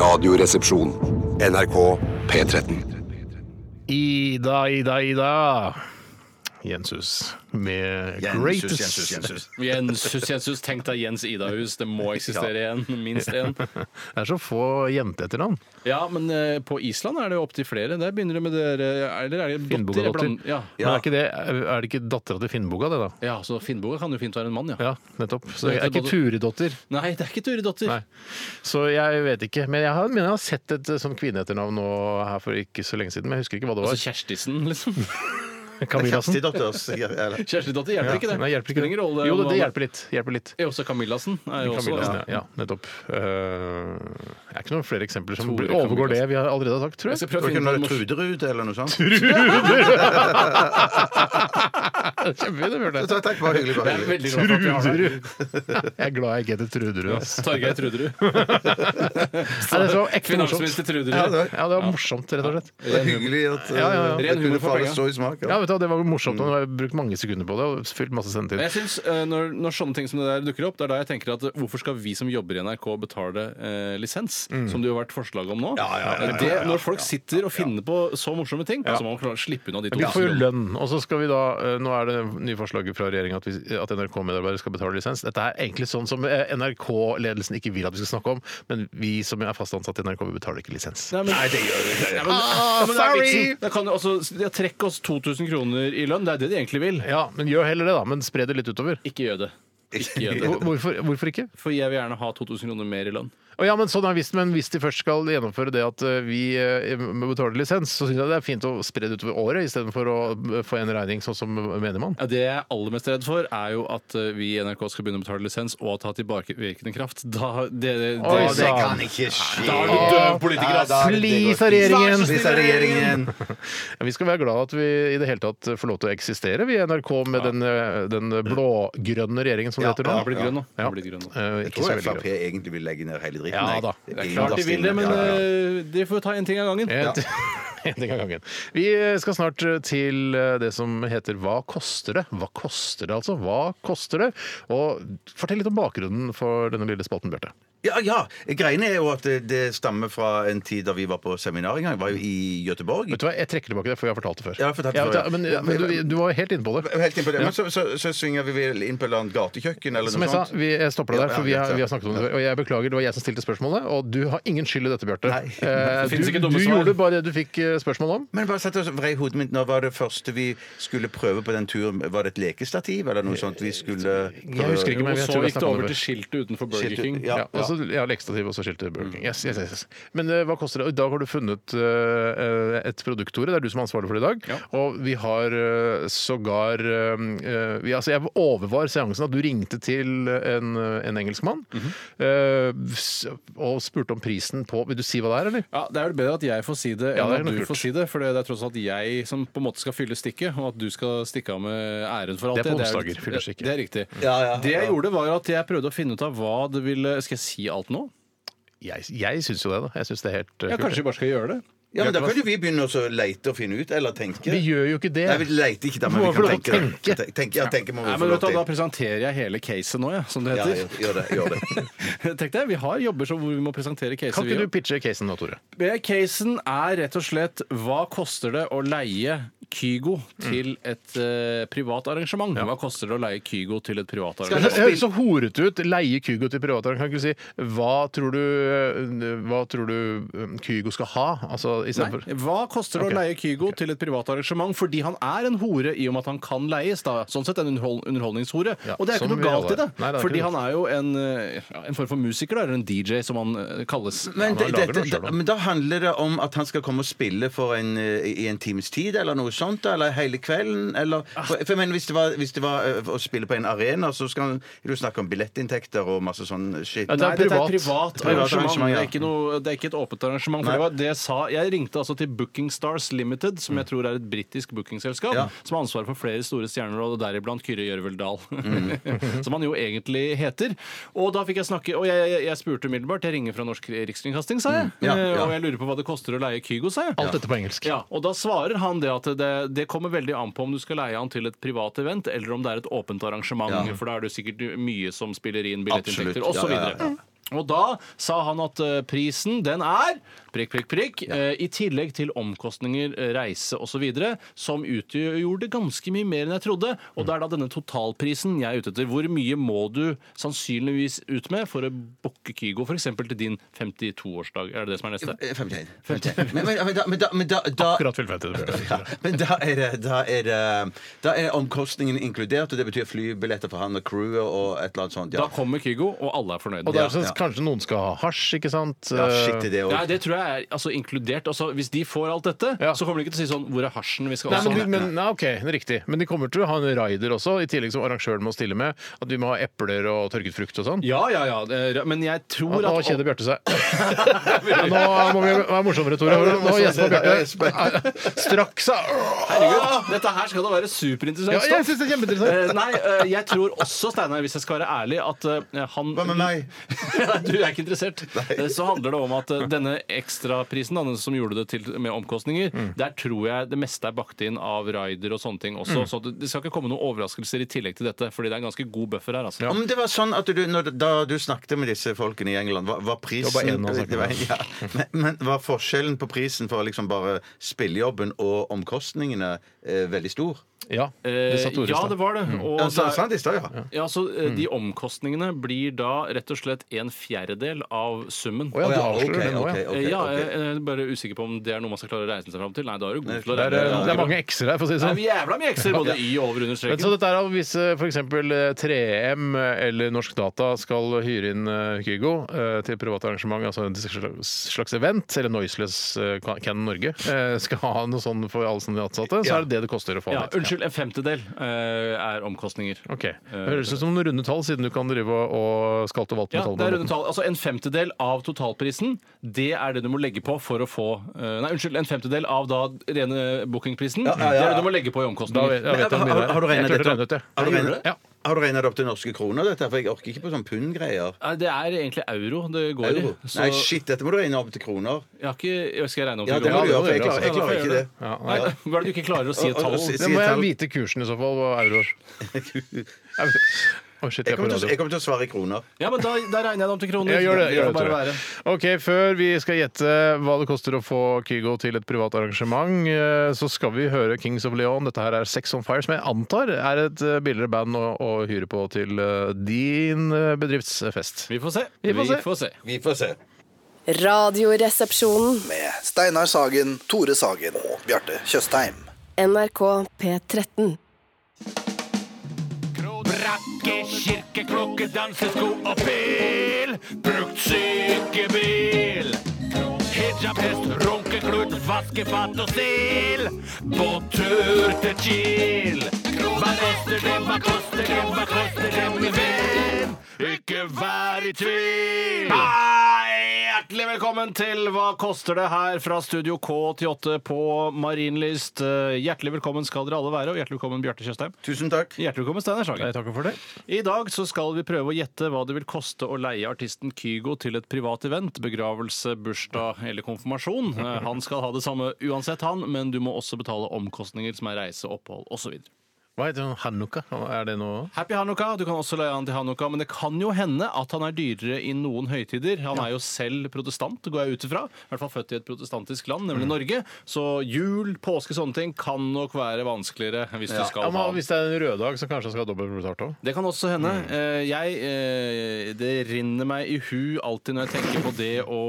S1: Radioresepsjon. NRK P13.
S5: Ida, Ida, Ida. Jensus med
S7: Jensus,
S5: Greatest.
S7: Jensus, Jensus.
S6: Jens, Jensus, tenk deg Jens Idahus. Det må eksistere igjen. Minst én.
S5: Det er så få jenteetternavn.
S6: Ja, men eh, på Island er det jo opptil flere. Der begynner det med dere Eller er det
S5: Finnboga
S6: dotter?
S5: datter.
S6: Bland- Ja.
S5: Men er, ikke det, er det ikke dattera til Finnboga, det da?
S6: ja, så Finnboga kan jo fint være en mann, ja.
S5: Ja, nettopp. Så det
S6: Det
S5: er
S6: er
S5: ikke Turidotter.
S6: Nei, det er ikke Turidotter.
S5: Nei. Så jeg vet ikke. Men jeg har, men jeg har sett et eh, sånn kvinneetternavn nå her for ikke så lenge siden. Men jeg husker ikke hva det var.
S6: Altså Kjerstisen, liksom.
S5: Kamilassen?
S7: Kjerstidotters altså. eller-
S6: Kjerstidotter hjelper ikke det.
S5: Nei, hjelper ikke det.
S6: Ingen rolle
S5: Jo, det,
S6: om
S5: det
S6: man-
S5: hjelper litt. Hjelper litt.
S6: Ja, Også Camillassen er jo også
S5: Kamilassen, ja. ja, nettopp. Eh, det er ikke noen flere eksempler som
S6: Tore
S5: blir- overgår det vi har allerede har sagt, tror
S6: Jeg
S5: jeg.
S6: skal prøve å
S7: Var ikke
S6: finne
S7: noe
S6: på noe
S7: Truderud eller noe sånt?
S5: Kjempefint å høre det.
S7: Takk, takk, bare hyggelig. Bare
S6: Det er
S7: hyggelig.
S6: veldig rart at vi har det.
S5: Truderud! Jeg er glad jeg ikke heter Truderud. ass.
S6: Torgeir Truderud.
S5: Nei, det var ekte morsomt.
S6: Finansminister
S5: Ja,
S6: Truderud.
S5: det var- Ja, det var morsomt, rett og slett.
S7: Det er hyggelig at
S5: Ja, ja, ja.
S7: eh,
S6: Ren
S7: det
S6: humor
S7: kunne
S6: for
S7: falle
S6: penger.
S7: så i smak.
S5: Ja, vet du, hva, Det var morsomt. og Nå har jeg brukt mange sekunder på det og fylt masse sendetid.
S6: Men Jeg synes, eh, når, når sånne ting som det der dukker opp, det er da jeg tenker at eh, hvorfor skal vi som jobber i NRK betale eh, lisens,
S5: Mm.
S6: som det jo har vært forslag om nå? Det, når folk sitter og finner på så morsomme ting, så må man klare å slippe unna de to.
S5: Vi får jo lønn, og så skal vi da eh, Nå er det nye forslaget fra regjeringa at, vi- at NRK-medarbeidere skal betale lisens. Dette er egentlig sånn som eh, NRK-ledelsen ikke vil at vi skal snakke om, men vi som er fast ansatt i NRK, vi betaler ikke lisens.
S6: Nei, men,
S7: det gjør vi ikke.
S6: ja, men,
S5: Ah,
S6: ja, men det er vitsen. Da kan du altså, ja, trekk oss 2000 kroner i lønn. Det er det de egentlig vil.
S5: Ja, men gjør heller det, da. Men spre det litt utover.
S6: Ikke gjør det. Ikke gjør det.
S5: Hvor- Hvorfor, hvorfor ikke?
S6: For jeg vil gjerne ha 2000 kroner mer i lønn.
S5: Å ja, men sånn er visst, men Hvis de først skal gjennomføre det at eh, vi eh, må betale lisens, så syns jeg det er fint å spre det utover året istedenfor å eh, få en regning sånn som menigmann.
S6: Ja, Det jeg er aller mest redd for, er jo at eh, vi i NRK skal begynne å betale lisens og ta tilbakevirkende kraft. Da, det, det,
S5: Oi,
S6: det-
S5: sant.
S7: ikke skje.
S6: Da er du døv politiker,
S7: Ja,
S6: ass.
S7: da er det- det går
S5: Please av
S7: ikke.
S5: regjeringen!
S7: Please av regjeringen!
S5: Ja, Vi skal være glad at vi i det hele tatt får lov til å eksistere, vi i NRK, med den, eh, den blå-grønne regjeringen som det
S7: Ja,
S5: heter
S6: Den
S5: nå.
S6: har blitt grønn nå. Den
S5: Ja.
S6: har blitt grønn nå.
S5: Eh,
S7: Jeg
S5: Ikke så
S7: tror
S5: veldig
S7: Frp
S5: grønn.
S7: egentlig vil legge ned hele dritten.
S5: Ja,
S7: jeg.
S5: da.
S7: Det
S6: Det
S7: er
S6: er klart de vil det, men
S7: Ja, ja, ja.
S6: eh, de får ta en ting av gangen.
S5: En Eh, en ting av gangen. Vi eh, skal snart til eh, det som heter Hva koster det? Hva koster det, altså? Hva koster det? Og fortell litt om bakgrunnen for denne lille spalten, Bjarte.
S7: Ja, ja. Greiene er jo at det, det stammer fra en tid da vi var på seminar en gang. Jeg var jo i Göteborg.
S5: Vet du hva, Jeg trekker tilbake det, for jeg har fortalt det før.
S7: Ja, jeg har fortalt det før, ja.
S5: men,
S7: Ja,
S5: men du, du var helt inne på det.
S7: Helt inn på det. Men så, så, så synger vi vel inn på et eller annet gatekjøkken eller
S5: Som
S7: noe
S5: jeg sa,
S7: sånt.
S5: vi jeg stopper deg
S7: Ja,
S5: der,
S7: ja,
S5: for vi har,
S7: greit, ja.
S5: vi har snakket om det før. Og jeg beklager, det var jeg som stilte spørsmålet, og du har ingen skyld i dette, Bjarte.
S7: Nei.
S5: Eh,
S6: Det
S5: Du,
S6: finnes ikke dumme
S5: du
S6: svar.
S5: gjorde bare det du fikk eh, spørsmål om.
S7: Men bare sett oss vrei hodet mitt, når var det første vi skulle prøve på den turen? Var det et lekestativ eller noe sånt vi skulle
S5: Eh, Jeg husker ikke,
S6: Og
S5: men jeg
S6: så
S5: tror jeg
S6: gikk det
S5: snakket om
S6: over
S5: det
S6: til
S5: før.
S6: skiltet utenfor Burger
S7: Skiltet,
S6: King.
S7: ja.
S5: Ja, og så ja, lekestativ og så skiltet Burger King. Yes, yes, yes, yes. Men eh, hva koster det? Og I dag har du funnet eh, et produkt, Tore. Det er du som er ansvarlig for det i dag. Og vi har eh, sågar eh, eh, vi, altså, Jeg overvar seansen at du ringte til en, en engelskmann eh, s- og spurte om prisen på Vil du si hva det er, eller?
S6: Ja, Det er vel bedre at jeg får si det
S5: Ja,
S6: enn
S5: det er
S6: at
S5: nok
S6: du
S5: lurt.
S6: får si det. For det er tross alt jeg som på en måte skal fylle stikket, og at du skal stikke av med æren for alt
S5: Det er på
S6: jo-
S5: onsdager, fyller stikket.
S6: Det er riktig.
S7: Mm. Ja, ja,
S6: Det jeg
S7: ja.
S6: gjorde, var at jeg prøvde å finne ut av hva det ville Skal jeg si alt nå?
S5: Jeg, jeg syns jo det, da. Jeg synes det er helt eh,
S6: Ja, Kanskje vi bare skal gjøre det?
S7: Ja, men Da kan jo vi begynne å så leite og finne ut, eller tenke.
S5: Vi gjør jo ikke det.
S7: Nei, vi leiter ikke da, men
S5: Du må
S7: vi
S5: få
S7: kan
S5: lov å
S7: tenke. det. Tenke. ja, tenke må vi
S6: Nei,
S7: få lov
S6: men vet du, Da
S7: til.
S6: presenterer jeg hele caset nå, ja, som det
S7: Ja,
S6: heter.
S7: gjør- gjør det. Gjør det.
S6: Tenk deg, Vi har jobber så hvor vi må presentere caset.
S5: Kan
S6: vi
S5: ikke
S6: også.
S5: du pitche casen nå, Tore?
S6: Casen er rett og slett hva koster det å leie Kygo til
S5: Mm.
S6: et eh, privat arrangement. Hva koster det å leie Kygo til et privat
S5: Det
S6: arrangement?
S5: høres eh, så horete ut. Leie Kygo til private. Kan ikke du si hva tror du, eh, hva tror du eh, Kygo skal ha? Altså istedenfor
S6: Nei. Hva koster
S5: Ok.
S6: det å leie Kygo til et privat arrangement? Fordi han er en hore i og med at han kan leies. Da. Sånn sett en underhold underholdningshore.
S5: Ja,
S6: og det er
S5: som
S6: ikke noe
S5: vi alle
S6: galt i
S5: er.
S6: det.
S5: Nei, det er ikke
S6: fordi
S5: noe
S6: han er jo en, eh, ja, en form for musiker, da, eller en DJ, som han eh, kalles.
S7: Men,
S5: da
S7: det-
S5: lager
S7: dette-
S5: du den selv, da.
S7: da, men da handler det om at han skal komme og spille for en, eh, i en times tid, eller noe sånt? Eller hele kvelden? Eller, for, for jeg mener, hvis det var, hvis det var eh, å spille på en arena, så skal han det er jo snakk om billettinntekter og masse sånn shit.
S5: Ja, det
S6: Nei, dette er
S5: privat.
S6: et privat
S7: Privat
S6: arrangement.
S7: arrangement,
S6: Det
S7: ja.
S6: er ikke, noe, det er ikke et åpent arrangement. For det var det jeg sa. Jeg ringte altså til Booking Stars Limited, som jeg tror er et britisk bookingselskap,
S7: Ja.
S6: som har ansvaret for flere store stjerner, og deriblant Kyrre Gjørvel Dahl, som han jo egentlig heter. Og da fikk jeg snakke, og jeg, jeg, jeg spurte umiddelbart. Jeg ringer fra Norsk Rikskringkasting, sa jeg.
S7: Ja, ja.
S6: Eh, Og jeg lurer på hva det koster å leie Kygo, sa jeg.
S5: Alt dette på engelsk.
S6: Ja, og da svarer han det at det, det kommer veldig an på om du skal leie han til et privat event, eller om det er et åpent arrangement,
S7: Ja.
S6: for da er det sikkert mye som spiller inn billettinntekter,
S7: Absolutt.
S6: osv.
S7: Ja, ja, ja.
S6: Og da sa han at eh, prisen, den er prikk, prikk, prikk, eh, i tillegg til omkostninger, eh, reise osv., som utgjorde ganske mye mer enn jeg trodde. Og det er da denne totalprisen jeg er ute etter. Hvor mye må du sannsynligvis ut med for å booke Kygo f.eks. til din 52-årsdag? Er det det som er neste?
S7: Eh, 51. 51. Men, men, men, da, men, da, men da, da
S5: Akkurat fylt 50.
S7: ja, men da er, det, da, er det, da er omkostningen inkludert, og det betyr flybilletter for han og crewet og et eller annet sånt. Ja,
S6: Da kommer Kygo, og alle er fornøyde.
S5: Og det er
S7: Ja,
S5: sånn,
S7: ja.
S5: Kanskje noen skal ha hasj, ikke sant?
S7: ja shit i det
S6: Nei,
S7: òg.
S6: det tror jeg er altså, inkludert. Altså, hvis de får alt dette,
S5: Ja.
S6: så kommer de ikke til å si sånn Hvor er hasjen? Vi skal
S5: Eh, Nei,
S6: også
S5: men,
S6: ha
S5: de, men, nei, ok, det er riktig. Men de kommer til å ha en raider også, i tillegg som arrangøren må stille med. At vi må ha epler og tørket frukt og sånn.
S6: Ja, ja, ja. det er- Men jeg
S5: Nå
S6: tror
S5: nå
S6: at
S5: kjeder Bjarte seg. Ja, nå må vi være morsommere, Tore. Nå gjesper Bjarte. Straks, sa
S6: Herregud, dette her skal da være superinteressant.
S5: Ja, jeg
S6: stoff.
S5: syns det er kjempeinteressant.
S6: Eh, Nei, eh, jeg tror også, Steinar, hvis jeg skal være ærlig, at eh, han
S7: Hva med meg?
S6: du er ikke interessert. Eh, Så handler det om at eh, denne ekstraprisen da, den som gjorde det til med omkostninger,
S5: Mm.
S6: der tror jeg det meste er bakt inn av rider og sånne ting
S5: Mm.
S6: også. Så det det skal ikke komme noen overraskelser i tillegg til dette, fordi det er en ganske god buffer her. altså.
S7: Om det var sånn at du, når, da du snakket med disse folkene i England, var, var prisen
S5: Det var bare en han snakket
S7: det var- ja. men, men var forskjellen på prisen for liksom bare spillejobben og omkostningene eh, veldig stor?
S5: Ja, det sa
S6: Eh,
S5: Tore i
S6: ja,
S5: stad.
S6: det var det. Og
S7: Ja,
S6: det
S7: sa-
S6: er-
S7: sa han det i stad, ja.
S6: ja, så eh, De omkostningene blir da rett og slett en fjerdedel av summen.
S5: Å ja,
S7: Å
S5: du
S7: ja,
S5: avslører det nå,
S7: ok,
S5: ja.
S7: ok,
S6: Eh,
S7: ok,
S6: ja,
S7: ok.
S6: jeg, jeg er bare usikker på om det er noe man skal klare å reise seg fram til. Nei, da er du god til å
S5: Det er,
S6: regne.
S5: eh, det er mange x-er her, for å si det
S6: Det
S5: sånn.
S6: er jævla mye ekser, både i og over under
S5: Men så
S6: streken.
S5: dette er å Hvis eh, f.eks. 3M eh, eller Norsk Data skal hyre inn eh, Kygo eh, til private arrangement, altså en slags- slags event, eller Noiseless eh, Can Norge, eh, skal ha noe sånn for alle sine ansatte, så er det det det koster å få
S6: Ja,
S5: han hit.
S6: unnskyld, Eh, en femtedel eh, er omkostninger.
S5: Ok. Det høres ut som noen runde tall, siden du kan drive og, og skalte og valte
S6: Ja,
S5: med tall.
S6: det er runde tall. Altså En femtedel av totalprisen, det er det du må legge på for å få eh, Nei, unnskyld, en femtedel av da rene bookingprisen,
S7: ja, ja,
S6: det er
S7: ja.
S6: det du må legge på i
S5: Da
S6: omkostninger.
S5: vet, da vet
S7: Men,
S5: jeg hvor mye det
S7: har- har du
S5: er.
S7: regnet
S5: Jeg klarte å
S7: dette
S5: regne ut det.
S7: Har du regnet-
S5: Ja.
S7: Har du regna det opp til norske kroner, dette? For jeg orker ikke på sånn pund-greier.
S6: Nei, Eh, Det er egentlig euro det går
S7: Euro.
S6: i. Så
S7: Nei, shit, dette må du regne opp til kroner.
S6: jeg har ikke, jeg skal jeg regne opp
S7: Ja,
S6: til
S7: det må
S6: kroner?
S7: du gjøre, for
S5: det
S7: jeg
S5: må du
S7: klarer, jeg
S6: gjøre,
S7: klarer ikke det.
S5: Ja,
S6: Nei, hva er det du ikke klarer å si et
S7: Og- og-
S6: tall?
S7: og si-
S5: Det
S7: si
S5: må
S7: et
S5: jeg
S7: tall.
S5: vite kursen i så fall, og euroer. Å, shit,
S7: Jeg
S5: jeg er på
S7: kommer, til, å-
S5: radio.
S7: jeg kommer til å svare i kroner.
S6: Ja, men da, da regner jeg det om til kroner.
S5: Ja, gjør det,
S6: Det
S5: gjør
S6: får
S5: det
S6: bare
S5: Tore.
S6: være.
S5: Ok, Før vi skal gjette hva det koster å få Kygo til et privat arrangement, eh, så skal vi høre Kings of Leon. Dette her er Sex on Fire, som jeg antar er et eh, billigere band å, å hyre på til eh, din eh, bedriftsfest.
S6: Vi får se.
S5: Vi får se.
S7: Vi får se.
S8: Radioresepsjonen.
S9: med Steinar Sagen, Tore Sagen og Bjarte Tjøstheim.
S8: NRK P13.
S10: Brakke, kirke, klokke, dansesko og pil. Brukt sykebil. Hijabhest, runkeklut, vaskefat og stil. På tur til Kiel. Hva koster det, hva koster det, hva koster det, min venn? Ikke vær i tvil.
S6: Hei, hjertelig velkommen til Hva koster det her fra Studio K88 på Marienlyst. Eh, Hjertelig velkommen skal dere alle være, og hjertelig velkommen Bjarte Tjøstheim.
S7: Tusen takk.
S6: Hjertelig velkommen, Steinar Sagen.
S5: takker for det.
S6: I dag så skal vi prøve å gjette hva det vil koste å leie artisten Kygo til et privat event, begravelse, bursdag eller konfirmasjon. Eh, Han skal ha det samme uansett, han, men du må også betale omkostninger som er reise, opphold osv.
S5: Hva heter hun? Hanukka? Er det noe
S6: Happy Hanukka. Du kan også leie han til Hanukka, men det kan jo hende at han er dyrere i noen høytider. Han er jo selv protestant, går jeg ut ifra. I hvert fall født i et protestantisk land,
S5: Mm.
S6: nemlig Norge. Så jul, påske, sånne ting kan nok være vanskeligere hvis du
S5: Ja,
S6: skal ha
S5: men Hvis det er en røddag, så kanskje han skal ha dobbelt betalt òg.
S6: det kan også hende. Eh, Jeg, eh, det rinner meg i hu alltid når jeg tenker på det å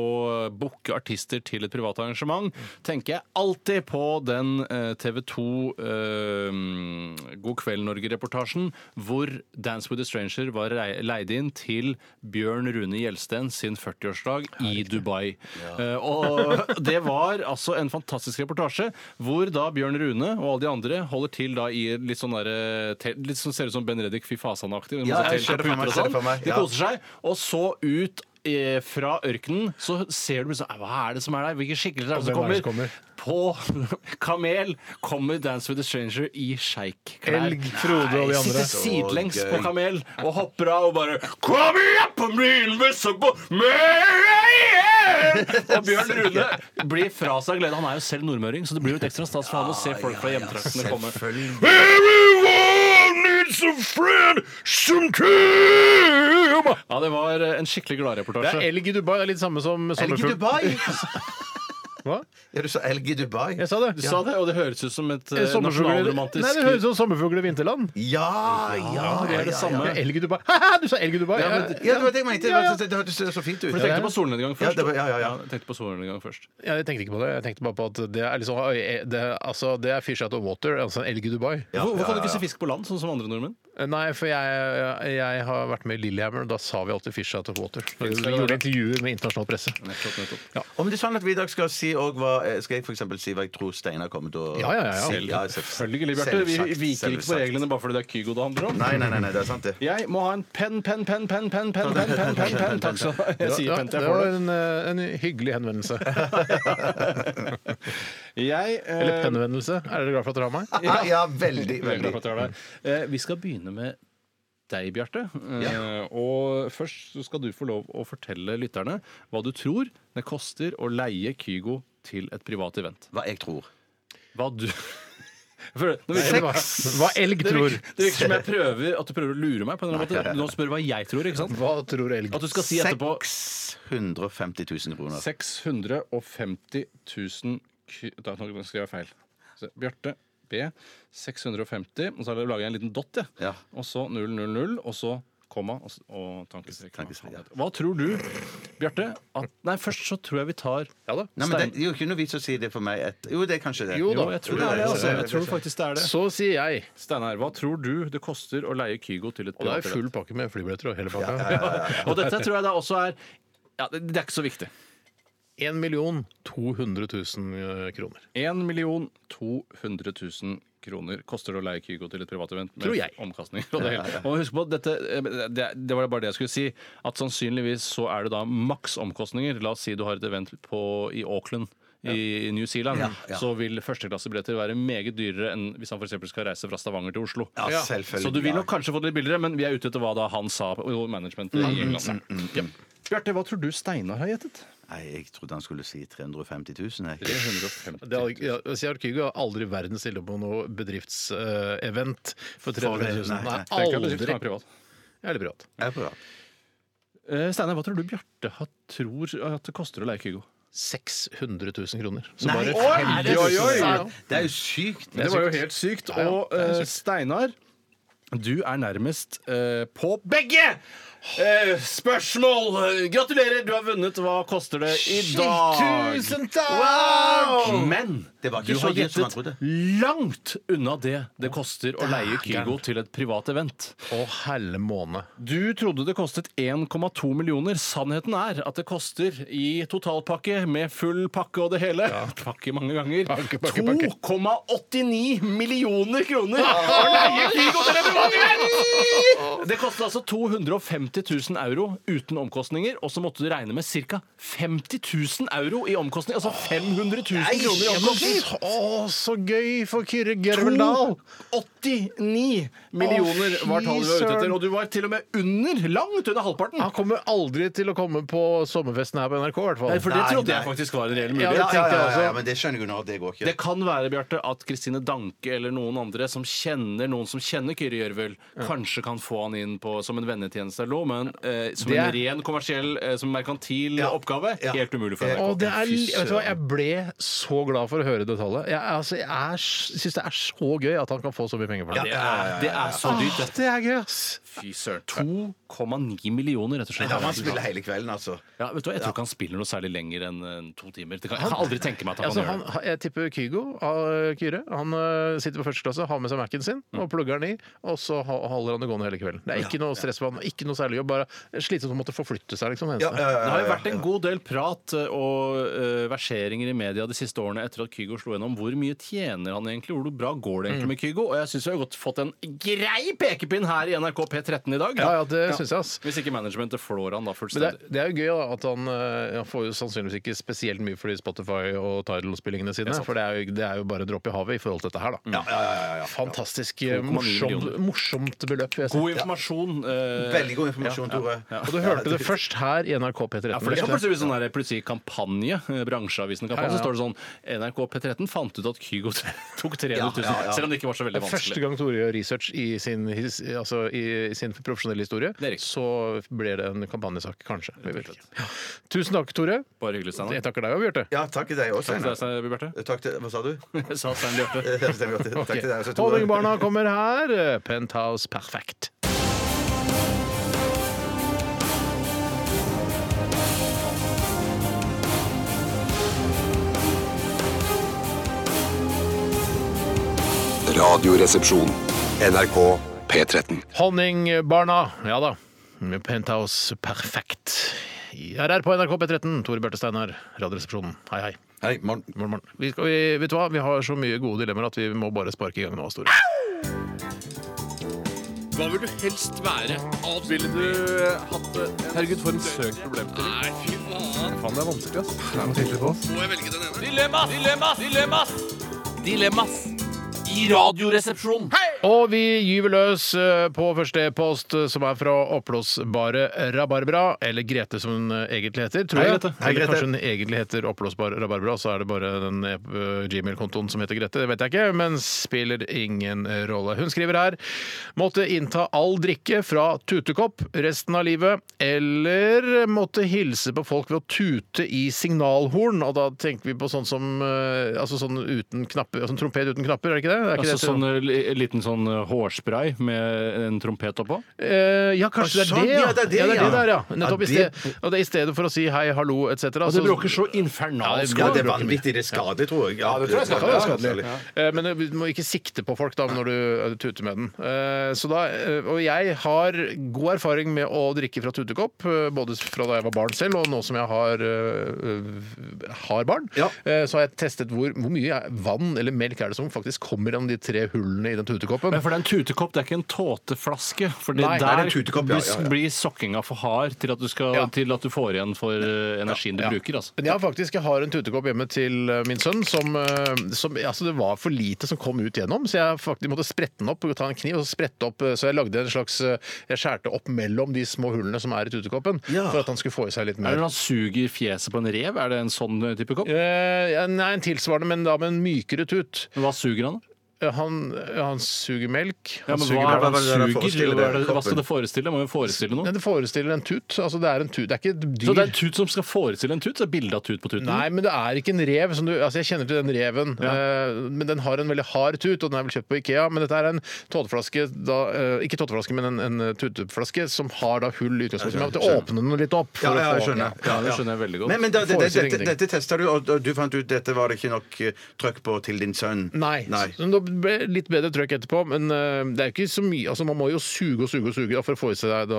S6: booke artister til et privat arrangement. Tenker jeg alltid på den eh, TV 2 eh, mm, God kveld Norge-reportasjen hvor Dance with a Stranger var rei- leid inn til Bjørn Rune Gjelsten sin 40-årsdag i Dubai. Eh, Og det var altså en fantastisk reportasje hvor da Bjørn Rune og alle de andre holder til da i litt sånn derre tel- Litt sånn ser ut som Benedict Fifasan-aktig. med
S7: Ja,
S6: masse
S7: jeg
S6: telt
S7: ser
S6: og
S7: det for meg,
S6: puter og
S7: ser det
S6: sånn.
S7: for meg,
S6: De
S7: ja.
S6: koser seg. Og så ut eh, fra ørkenen så ser du liksom Hva er det som er der? Hvilke skikkelser er det
S5: hvem er det
S6: som
S5: som
S6: kommer?
S5: kommer?
S6: På kamel kommer Dance with a Stranger i sjeikklær.
S5: Elg, Frode og de andre.
S6: Sitter sidelengs på kamel og hopper av og bare Kom igjen på min visse på meg!» Og Bjørn Rune blir fra seg av glede. Han er jo selv nordmøring, så det blir jo et ekstra stas for han å
S5: Ah,
S6: se folk fra hjemtraktene komme. Everyone needs a friend sometime! Ja, det var eh, en skikkelig
S5: Det er
S6: gladreportasje.
S5: elg i Dubai. Det er litt samme som
S7: Elg i
S5: sommerfugl.
S7: Dubai!
S5: Hva?
S7: Ja, du sa elg i Dubai.
S5: Jeg sa det.
S6: Du sa det, og det høres ut som et eh,
S5: Sommerfugler- Nei, det høres
S6: nasjonalromantisk
S5: ut som sommerfugler i vinterland.
S7: Ja, ja,
S6: det er det samme.
S5: Ja, elg i Dubai. Haha, du sa elg i Dubai!
S6: Ja, men-
S7: Ja, det var det jeg mente. Det
S5: Ja, ja.
S7: var- Det hørtes så fint ut.
S6: For du tenkte på solnedgang først?
S7: det var- ja, ja, ja.
S6: du tenkte på solnedgang først.
S5: Ja, jeg tenkte ikke på det. Jeg tenkte bare på at det er liksom Det, er- altså, det er fish out of water, altså en elg i Dubai.
S6: Hvor- Hvorfor kan du ikke se fisk på land, sånn som andre nordmenn?
S5: Nei, for jeg, jeg har vært med i Lillehammer, og da sa vi alltid fish out of water. Vi gjorde intervjuer med internasjonal presse.
S7: Om det er sånn at vi i dag skal si og hva eh, Skal jeg for eksempel si hva jeg tror Steinar kommer til å
S5: Ja, ja, ja, ja.
S7: si? Ja, selv-
S6: Selvfølgelig, Bjarte. Vi
S7: selvsagt,
S6: viker ikke på
S7: selvsagt.
S6: reglene bare fordi det er Kygo det handler om.
S7: Nei, nei, nei, nei, det er sant, det.
S6: Jeg må ha en penn, penn, penn, penn, penn, penn, penn, penn, penn, penn. Takk skal du ha. Jeg sier
S5: Ja,
S6: penn til
S5: det
S6: jeg
S5: var
S6: får det.
S5: en, eh, en hyggelig henvendelse.
S6: Jeg, eh,
S5: Eller pennevendelse. Er dere glad for at dere har meg?
S7: Ja, Ah, ja veldig,
S6: Veldig glad
S7: veldig.
S6: for at du er der. Eh, Vi skal begynne med deg, Bjarte. Eh, Og først så skal du få lov å fortelle lytterne hva du tror det koster å leie Kygo til et privat event.
S7: Hva jeg tror.
S6: Hva du For det- det virker-
S5: Eller hva, hva elg
S6: det
S5: tror.
S6: virker, det virker som jeg prøver at du prøver å lure meg. på en eller annen måte. Du nå spør hva jeg tror. ikke sant?
S5: Hva tror elg?
S6: At du skal si etterpå
S7: 150 000 kroner.
S6: 650 000 kr- Da nå skrev jeg feil. Så, Bjarte B. 650. Og så har jeg laget en liten dott, jeg.
S7: Ja.
S6: Og så 000, og så komma og, s- og tankestrekk.
S7: Tankestrekk, ja.
S6: Hva tror du, Bjarte? At, nei, først så tror jeg vi tar
S7: Nei, men det
S6: Stein.
S7: det er jo ikke noe vits å si det for meg. Et, jo, det er kanskje det.
S5: Jo da.
S6: Jo, jeg tror det er det. Altså. Jeg tror faktisk det er det.
S5: Så sier jeg.
S6: Steinar, hva tror du det koster å leie Kygo til et
S5: Og det er
S6: privat
S5: jo full pakke med flybilletter og hele pakka.
S6: event? Og dette tror jeg da også er ja, det, det er ikke så viktig.
S5: 1 200 000 eh, kroner.
S6: 1 200 000 kroner koster det å leie Kygo til et privat event. Med
S5: Tror jeg.
S6: Omkastninger og det hele. Og husk på, dette, eh, det, det var bare det jeg skulle si, at sannsynligvis så er det da maks omkostninger. La oss si du har et event på, i Auckland. I New Zealand så vil førsteklassebilletter være meget dyrere enn hvis han for eksempel skal reise fra Stavanger til Oslo.
S7: Ja, selvfølgelig.
S6: Så du vil nok kanskje få det litt billigere, men vi er ute etter hva da han sa på jo, managementet i England. Ja. mm, Bjarte, hva tror du Steinar har gjettet?
S7: Nei, jeg trodde han skulle si 350 000. Jeg.
S6: 350
S5: Det hadde, ja, Siar Kygo har aldri i verden stilt opp på noe bedriftsevent for 300 000. Nei, aldri. Jeg er litt privat.
S7: Jeg er på rad.
S6: Eh, Steinar, hva tror du Bjarte har- tror at det koster å leie Kygo?
S5: 600 000 kroner. Så
S7: Nei,
S5: bare
S7: oi,
S5: 50
S6: oi, oi.
S5: 000. Ja.
S7: Det er jo sykt.
S6: Det var jo helt sykt. Og eh, Steinar, du er nærmest eh, på begge! eh, spørsmål! Gratulerer, du har vunnet. Hva koster det i dag? Wow! Men
S7: Det var ikke
S6: du
S7: så
S6: har
S7: dyrt som man
S6: gjettet
S7: trodde.
S6: langt unna det det koster å leie Kygo til et privat event.
S5: Å, helle måne.
S6: Du trodde det kostet 1,2 millioner. Sannheten er at det koster i totalpakke med full pakke og det hele Pakke mange ganger.
S5: Pakke, pakke, pakke.
S6: 2,89 millioner kroner! å leie Kygo til en privat event! Det koster altså 250 50 000 euro uten omkostninger, og så måtte du regne med ca. 50 000 euro i omkostning. Altså 500 000 kroner i omkostning!
S5: Å, så gøy for Kyrre Gerveldal!
S6: 289 millioner
S5: Å, fy
S6: var tallet vi var ute etter,
S5: søren.
S6: og du var til og med under, langt under halvparten.
S5: Han kommer aldri til å komme på sommerfesten her på NRK, i hvert fall.
S6: Nei, for det
S7: Nei,
S6: trodde
S7: nei.
S6: jeg faktisk var en reell
S5: Ja,
S6: mulighet.
S5: det tenkte jeg også.
S7: men det skjønner jeg jo nå. Det går
S6: Det
S7: ikke.
S6: kan være Bjarte, at Kristine Danke eller noen andre som kjenner noen som kjenner Kyrre Gjørvel, kanskje kan få han inn på, som en vennetjeneste eller noe, men eh, som en
S5: Det-
S6: ren kommersiell, eh, som merkantil oppgave,
S7: Ja.
S6: helt umulig for
S5: Å,
S6: NRK.
S5: det er,
S7: Fy
S5: vet du hva, jeg ble så glad for å høre det tallet. Jeg, altså, jeg er s- syns det er så gøy at han kan få så mye penger for det.
S6: Det er, det er så dyrt,
S5: Åh,
S6: dette.
S5: det er gøy, ass!
S6: Fy søren. 2,9 millioner, rett og
S7: Da må han spille
S6: slett.
S7: hele kvelden, altså.
S6: Ja, vet du hva, Jeg tror ikke han spiller noe særlig lenger enn eh, to timer. Det kan, jeg kan aldri tenke meg at han
S5: Altså,
S6: kan gjøre
S5: han,
S6: det.
S5: jeg tipper Kygo, ah, Kyrre, han eh, sitter på første klasse, har med seg Mac-en sin og plugger den i, og så ha- holder han det gående hele kvelden. Det er ikke noe stress for han, ikke noe særlig jobb, bare slitsomt å måtte forflytte seg, liksom. det eneste.
S6: Det har jo vært en god del prat eh, og eh, verseringer i media de siste årene etter at Kygo slo gjennom. Hvor mye tjener han egentlig? Hvor bra går det
S5: Mm.
S6: egentlig med Kygo? Og jeg syns vi har godt fått en grei pekepinn her i NRK P13 i dag.
S5: Ja, ja, det synes jeg, ass.
S6: Hvis ikke managementet flår han
S5: Men
S6: da
S5: det, er-
S6: fullstendig.
S5: det er jo gøy da, at han, eh, han får jo sannsynligvis ikke spesielt mye for de Spotify og Tidal-spillingene sine. for det er, jo, det er jo bare en dråpe i havet i forhold til dette her, da. Fantastisk eh,
S6: 2,9
S5: morsomt,
S6: millioner.
S5: morsomt beløp. vil Jeg si.
S6: God informasjon. eh,
S7: Veldig god informasjon, Tore.
S5: Og du hørte det først her i NRK P13.
S6: Ja, for det kan plutselig bli sånn her, plutselig kampanje, eh, bransjeavisen-kampanje,
S5: Ja, ja, ja.
S6: så står det sånn NRK P13 fant ut at Kygo tok 300 000, selv om det ikke var så veldig
S5: Det er første
S6: vanskelig.
S5: gang Tore gjør research i sin, his, altså i sin profesjonelle historie.
S6: Det er riktig.
S5: Så blir det en kampanjesak, kanskje. Vi vet ikke. Ja. Tusen takk, Tore.
S6: Bare hyggelig,
S5: Jeg
S6: Steinar.
S5: takker deg òg, Bjarte.
S7: Ja, takk til deg òg,
S6: Takk til deg,
S7: Steinar.
S6: Steinar Bjarte.
S7: Takk til Hva sa du?
S6: Jeg sa Stein Bjarte.
S7: Ja, det stemmer godt. Takk
S5: Ok.
S7: til deg også, Tore.
S5: Honningbarna kommer her. Penthouse Perfect.
S1: Radioresepsjon. NRK P13.
S5: Honningbarna. Ja da. Penthouse Perfect. Jeg er her på NRK P13. Tore Bjarte Steinar, Radioresepsjonen. Hei, hei.
S7: Hei, morgen.
S5: Morgen, morgen. Vi, skal, vi, vet du hva? vi har så mye gode dilemmaer at vi må bare sparke i gang nå, Store.
S6: Hva vil du helst være? Ville du hatt det? Herregud, for en søk problemstilling. Nei, fy faen. Faen, det er vanskelig, ass. Det er noe tydelig på oss. Må jeg velge den ene? Dilemmas, dilemmas, dilemmas! Dilemmas i Radioresepsjonen.
S5: Og vi gyver løs eh, på første e-post, eh, som er fra oppblåsbare Rabarbra. Eller Grete, som hun eh, egentlig heter. Tror
S6: Hei,
S5: jeg.
S6: Grete.
S5: Eller kanskje hun egentlig heter oppblåsbar Rabarbra, så er det bare den eh, Gmail-kontoen som heter Grete. Det vet jeg ikke, men spiller ingen rolle. Hun skriver her Måtte innta all drikke fra tutekopp resten av livet, eller måtte hilse på folk ved å tute i signalhorn. Og da tenker vi på sånn som eh, Altså sånn uten knapper, sånn trompet uten knapper, er det ikke det? Er ikke
S6: Altså
S5: det
S6: sånn eh, li- liten sånn eh, hårspray med en trompet oppå?
S5: Eh, ja, kanskje
S7: Sånn,
S5: det er det, ja.
S7: ja, det er det,
S5: ja, det, er det
S7: ja.
S5: der, ja. Nettopp,
S7: Ja,
S5: i sted, og det er i stedet for å si hei, hallo, etc.
S6: Og det bråker så infernalsk.
S7: Ja,
S5: Ja, det
S7: det er vanvittig. Det skader, tror jeg. Ja, det tror jeg
S5: Eh, Men du må ikke sikte på folk da når du eh, tuter med den. Eh, Så da, eh, og jeg har god erfaring med å drikke fra tutekopp, eh, både fra da jeg var barn selv og nå som jeg har, eh, har barn.
S7: Ja.
S5: Eh, Så har jeg testet hvor, hvor mye er- vann eller melk er det som faktisk kommer gjennom de tre hullene i den tutekoppen.
S6: Men for det er en tutekopp, det er ikke en tåteflaske. For det
S5: Nei, det er
S6: der
S7: en tutekopp, ja, ja, ja.
S6: blir sokkinga for hard til at du, skal,
S5: Ja.
S6: til at du får igjen for eh, energien du bruker. Altså.
S5: Men jeg har faktisk jeg har en tutekopp hjemme til eh, min sønn som, eh, som altså Det var for lite som kom ut gjennom, så jeg faktisk måtte sprette den opp. Ta en kniv og så sprette opp eh, Så jeg lagde en slags eh, Jeg skjærte opp mellom de små hullene som er i tutekoppen,
S7: Ja.
S5: for at han skulle få i seg litt
S6: Er det
S5: mer.
S6: når han suger fjeset på en rev? Er det en sånn type kopp?
S5: Eh, ja, nei, en tilsvarende, men da med en mykere tut.
S6: Hva suger han?
S5: Eh, Han, eh, han suger melk.
S6: Ja,
S5: Han
S6: men
S5: suger
S6: hva er det
S7: hva er det
S5: vann.
S6: han
S7: han
S6: suger?
S7: forestiller
S6: Hva, er det,
S7: koppen?
S6: hva skal det forestille? Må jo forestille
S5: Nei,
S6: noe.
S5: det forestiller en tut. Altså, det er en tut. Det er ikke et dyr.
S6: Så det er en tut som skal forestille en tut? Så det er bilde av tut på tuten?
S5: Nei, men det er ikke en rev. Som du, altså jeg kjenner til den reven, eh, men den har en veldig hard tut, og den er vel kjøpt på Ikea. Men dette er en tåteflaske, da, eh, ikke tåteflaske, men en, en tuteflaske som har da hull i utgangspunktet. Men jeg måtte åpne den litt opp.
S7: Ja,
S5: å
S7: ja, jeg
S5: få-
S7: skjønner.
S6: Ja, det skjønner jeg veldig godt.
S7: Men, men da, det, det,
S5: Forestiller
S7: dette,
S5: ingenting.
S7: dette testa du, og og du fant ut dette var det ikke nok eh, trøkk på til din sønn?
S5: Nei. Så det ble litt bedre trøkk etterpå, men eh, det er jo ikke så mye. Altså, man må jo suge og suge og suge da, for å få i seg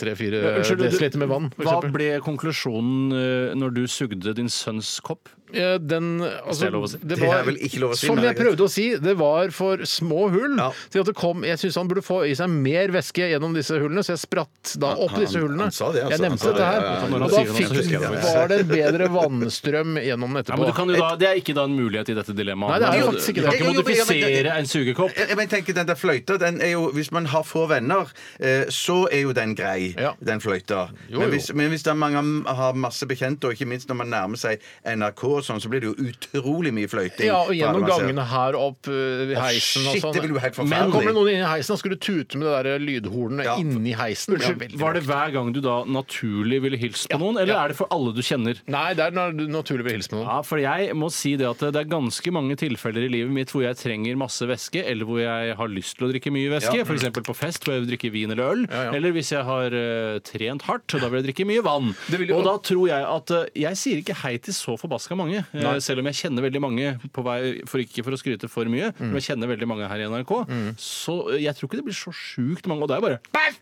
S5: tre-fire
S6: Unnskyld, du-
S5: desiliter med vann. for
S6: Hva
S5: eksempel.
S6: ble konklusjonen eh, når du sugde din sønns kopp?
S5: eh, den altså,
S6: det lov å si?
S5: det
S7: Det
S5: var-
S7: er vel ikke lov å si,
S5: Som
S7: men
S5: jeg
S7: det er greit.
S5: prøvde å si, det var for små hull
S7: Ja.
S5: til at det kom Jeg syns han burde få i seg mer væske gjennom disse hullene, så jeg spratt da opp
S7: han-
S5: disse hullene.
S7: han sa det, altså.
S5: Jeg
S7: Han
S5: nevnte
S7: sa
S5: dette
S7: det, ja,
S5: her.
S6: ja. Når han
S5: Og da
S6: sier det,
S5: fikk,
S6: så husker jeg det.
S5: var det bedre vannstrøm gjennom den
S6: Ja, men du
S5: etterpå.
S6: kan jo da, Det er ikke da en mulighet i dette dilemmaet.
S5: Nei, det er jo
S6: Du-
S5: faktisk ikke
S6: Du kan
S7: Jo,
S5: det.
S6: ikke
S7: jo, men- ja, men-
S6: modifisere en sugekopp.
S7: Jeg, jeg men tenker Den der fløyta, den er jo Hvis man har få venner, eh, så er jo den grei,
S5: Ja.
S7: den fløyta.
S5: Jo,
S7: Men
S5: jo.
S7: hvis, men hvis det er mange am- har masse bekjente, og ikke minst når man nærmer seg NRK og sånn, så blir det jo utrolig mye fløyting.
S5: Ja,
S7: på
S5: og
S7: alle
S5: gjennom
S7: man ser.
S5: gangene her opp eh, i
S7: Å,
S5: heisen og
S7: altså- shit,
S5: sånn.
S7: det blir jo helt
S5: Men
S7: forferdelig.
S5: kommer det noen inn i heisen og skulle tute med det der lydhornet
S7: Ja.
S5: inni heisen? Ja, veldig
S6: Var det hver gang du da naturlig ville hilse på noen, eller
S5: ja.
S6: er det for alle du kjenner?
S5: Nei, det er når du naturlig vil hilse på noen.
S6: Ja, for jeg må si det at det er ganske mange tilfeller i livet mitt hvor jeg trenger masse væske, eller hvor jeg har lyst til å drikke mye væske. For F.eks. på fest hvor jeg vil drikke vin eller øl.
S5: Ja, ja.
S6: Eller hvis jeg har eh, trent hardt, da vil jeg drikke mye vann.
S5: Det vil jo-
S6: Og da tror jeg at eh, Jeg sier ikke hei til så forbaska mange, eh,
S5: Nei.
S6: selv om jeg kjenner veldig mange på vei for Ikke for å skryte for mye,
S5: Mm.
S6: men jeg kjenner veldig mange her i NRK. Så eh, jeg tror ikke det blir så sjukt mange. Og det er bare Bæff!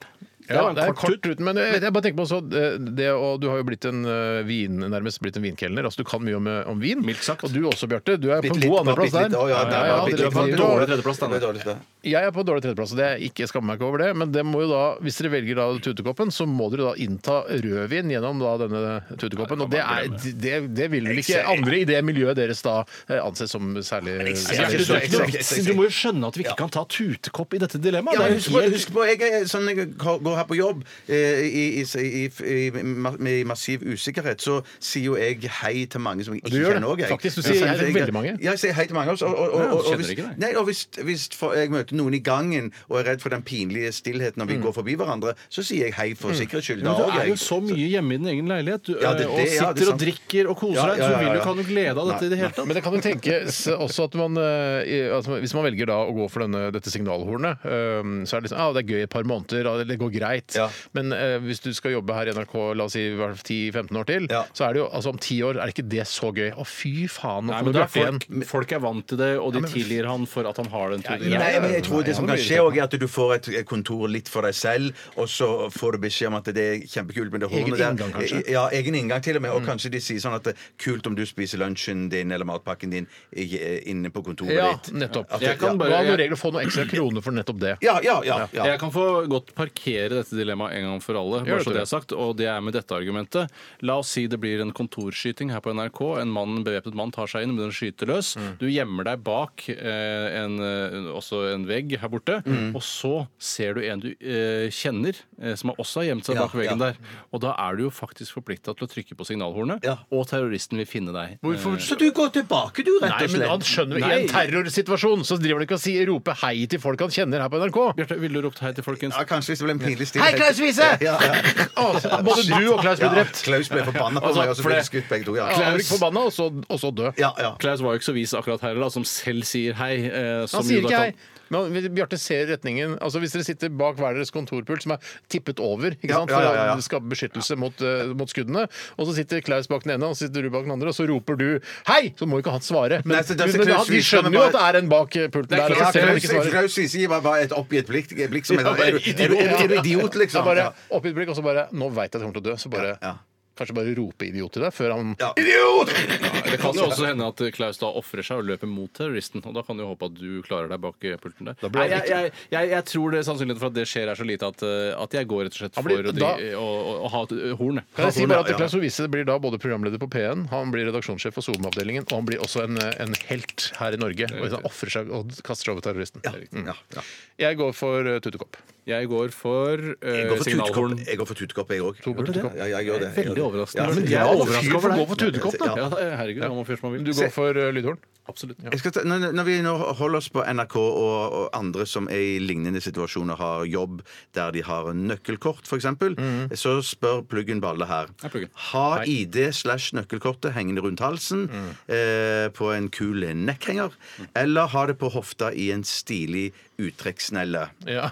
S6: Det
S5: Ja,
S6: var en
S5: det er
S6: kort
S5: kort ruten, men jeg, jeg bare tenker på også eh, det, og Du har jo blitt en eh, vin, nærmest blitt en vinkelner. altså Du kan mye om, eh, om vin.
S6: Mildt sagt.
S5: Og du også, Bjarte. Du er på
S7: Bitte
S5: en
S7: litt,
S5: god
S7: bare
S5: andreplass
S7: bitte litt.
S5: der.
S7: Å, ja,
S5: Ja,
S7: der,
S5: ja,
S7: ja, bitte
S5: dere-
S7: litt. Det var
S5: dere-
S6: dårlig
S7: dårlig
S6: tredjeplass, da.
S7: Det var dårlig tredjeplass.
S5: Jeg er på dårlig tredjeplass, og det er ikke skammer meg ikke over det. Men det må jo da, hvis dere velger da tutekoppen, så må dere da innta rødvin gjennom da denne tutekoppen. Og det, er, det, det vil vel ikke andre i det miljøet deres da eh, anses som særlig
S7: Jeg er
S6: Bjarte,
S7: ikke
S6: du,
S7: så-
S6: er ikke noe
S7: jeg- jeg-
S6: vits i-
S7: jeg-
S6: du må jo skjønne at vi ikke kan ta tutekopp i dette dilemmaet.
S7: Ja,
S6: Det er
S7: men
S6: jo
S7: husk på,
S6: helt-
S7: husk på jeg, er sånn, jeg går går her på jobb eh, i, i, i, i, ma- med massiv usikkerhet, så sier jo jeg hei til mange som jeg ikke
S5: gjør det.
S7: kjenner òg.
S5: Faktisk, du sier hei til veldig mange.
S7: Ja, jeg sier hei til mange. Også, og, og, og,
S6: Ja,
S7: og,
S6: kjenner
S7: hvis,
S6: ikke deg.
S7: nei, og hvis, hvis for, jeg møter noen i gangen og er redd for den pinlige stillheten når
S5: Mm.
S7: vi går forbi hverandre, så sier jeg hei for sikkerhets skyld.
S6: Men
S7: da
S6: du
S7: også,
S6: er jo
S7: jeg.
S6: så mye hjemme i din egen leilighet du,
S7: Ja, det-
S6: øh,
S7: det- ja,
S6: og
S7: det er
S6: sitter
S7: sant.
S6: og drikker og koser
S7: Ja,
S6: deg,
S7: ja,
S6: så
S7: ja,
S6: vil du
S7: ja.
S6: kan jo glede av dette i det hele
S5: Men
S6: tatt.
S5: det kan jo tenkes også at man eh, i- altså, Hvis man velger da å gå for denne, dette signalhornet, eh, så er det liksom ah, det er gøy i et par måneder, ah, det går greit.
S7: Ja.
S5: Men eh, hvis du skal jobbe her i NRK la oss si i hvert fall 10-15 år til,
S7: Ja.
S5: så er det jo altså om ti år er ikke det så gøy. Å, fy faen, nå
S6: Nei,
S5: kommer
S6: men det er
S5: Bjarte igjen.
S6: folk, folk er vant til det, og de tilgir han for at han har den turen.
S7: Nei, men jeg tror det som kan skje også er at du får et et kontor litt for deg selv, og så får du beskjed om at det er kjempekult med det
S5: Egen
S7: hornet der.
S5: inngang, kanskje?
S7: Ja, egen inngang til og med. Og kanskje de sier sånn at det er kult om du spiser lunsjen din eller matpakken din i- inne på kontoret
S5: Ja,
S7: ditt.
S5: nettopp.
S7: At-
S6: Jeg kan
S5: Hva
S6: bare-
S5: er noen regler å få noen ekstra kroner for nettopp det?
S7: Ja, ja, ja. ja.
S6: Jeg kan få godt parkere dette dilemmaet en gang for alle.
S5: Gjør
S6: bare så
S5: det.
S6: det er sagt, Og det er med dette argumentet. La oss si det blir en kontorskyting her på NRK. En mann, en bevæpnet mann tar seg inn, men den skyter løs.
S7: Mm.
S6: Du gjemmer deg bak eh, en, eh, også en vegg her borte,
S7: Mm.
S6: og så ser du en du eh, kjenner, eh, som også har gjemt seg
S7: Ja,
S6: bak veggen
S7: ja.
S6: der. Og da er du jo faktisk forplikta til å trykke på signalhornet,
S7: Ja.
S6: og terroristen vil finne deg.
S5: Hvorfor
S7: Så du går tilbake, du, rett
S5: Nei,
S7: og
S5: men han
S7: slett?
S5: skjønner jo I en
S6: Nei.
S5: terrorsituasjon så driver han ikke og sier, roper hei til folk han kjenner her på NRK.
S6: Eh, Bjarte, ville du ropt hei til folkens?
S7: Ja, kanskje hvis det ble en pinlig stillhet.
S5: Hei, Klaus Wiese!
S7: Ja, ja.
S5: Å, Både du og Klaus
S7: Ja,
S5: blir drept.
S7: Klaus ble forbanna på
S6: Altså,
S7: meg, og så
S6: for
S7: ble
S6: det-
S7: vi skutt begge to. Ja.
S5: Ja, han blir forbanna, og så- og så dø.
S7: Ja, ja.
S6: Klaus var jo ikke så vis akkurat her, da, som selv sier hei. Eh, som
S5: Han sier
S6: jo da
S5: ikke
S6: kan-
S5: hei. Men hvis Bjarte ser retningen. Altså Hvis dere sitter bak hver deres kontorpult, som er tippet over ikke
S7: Ja,
S5: sant?
S7: ja, ja, ja.
S5: for å skape beskyttelse mot, eh, mot skuddene, og så sitter Klaus bak den ene, og så sitter du bak den andre, og så roper du 'hei!' Så må jo ikke han svare. Men,
S7: Nei, så det er så
S5: men
S7: Klaus
S5: vi
S7: Wiese,
S5: skjønner
S7: men
S5: jo at det
S7: bare-
S5: er en bak eh, pulten der.
S7: Ja,
S5: og så ser han
S7: Klaus
S5: ikke svarer.
S7: Klaus Wiese gir meg bare et oppgitt blikk, blikk som
S5: Ja,
S7: er,
S5: bare
S7: er, du- er, du- er du idiot,
S5: Ja,
S7: liksom?
S5: bare
S7: Ja.
S5: opp i et blikk, og så bare 'Nå veit jeg at jeg kommer til å dø', så bare
S7: Ja, ja.
S5: Kanskje bare rope 'idiot til deg før han
S7: Ja. Idiot!
S6: Det kan jo også hende at Klaus da ofrer seg og løper mot terroristen. Og da kan du jo håpe at du klarer deg bak eh, pulten der. Nei, jeg, jeg, jeg, jeg tror det sannsynligheten for at det skjer, er så lite at, eh, at jeg går rett og slett
S5: Han
S6: for
S5: blir-
S6: å,
S5: da-
S6: dri- å, å, å ha et eh, horn. jeg.
S5: Kan jeg si bare at
S7: Ja, ja.
S5: Klaus Ovise blir da både programleder på P1, han blir redaksjonssjef for SoMe-avdelingen, og han blir også en, en helt her i Norge. Og han ofrer seg og kaster seg over terroristen. Mm.
S7: Ja, ja.
S5: Jeg går for uh, tutekopp.
S6: Jeg går for eh,
S7: Jeg går for
S6: signalhorn.
S7: tutekopp, jeg går for tutekopp, jeg òg.
S5: på tutekopp?
S7: Ja, jeg gjør det. Jeg gjør
S6: Veldig
S7: det.
S6: overraskende.
S7: Ja, men
S6: Jeg er
S7: ja,
S6: overrasket
S7: fyr
S6: over
S7: for å
S6: deg.
S7: gå for tutekopp, da.
S6: Ja, herregud, han må fyre som han
S5: Du
S6: vil.
S5: går for uh, lydhorn?
S6: Absolutt.
S7: Jeg skal ta, når, når vi nå holder oss på NRK og, og andre som er i lignende situasjoner, har jobb der de har nøkkelkort, f.eks., eksempel så spør Pluggen Balle her
S6: Hei, Pluggen.
S7: Ha ID slash nøkkelkortet hengende rundt halsen eh, på en kul nekkhenger, eller ha det på hofta i en stilig uttrekksnelle.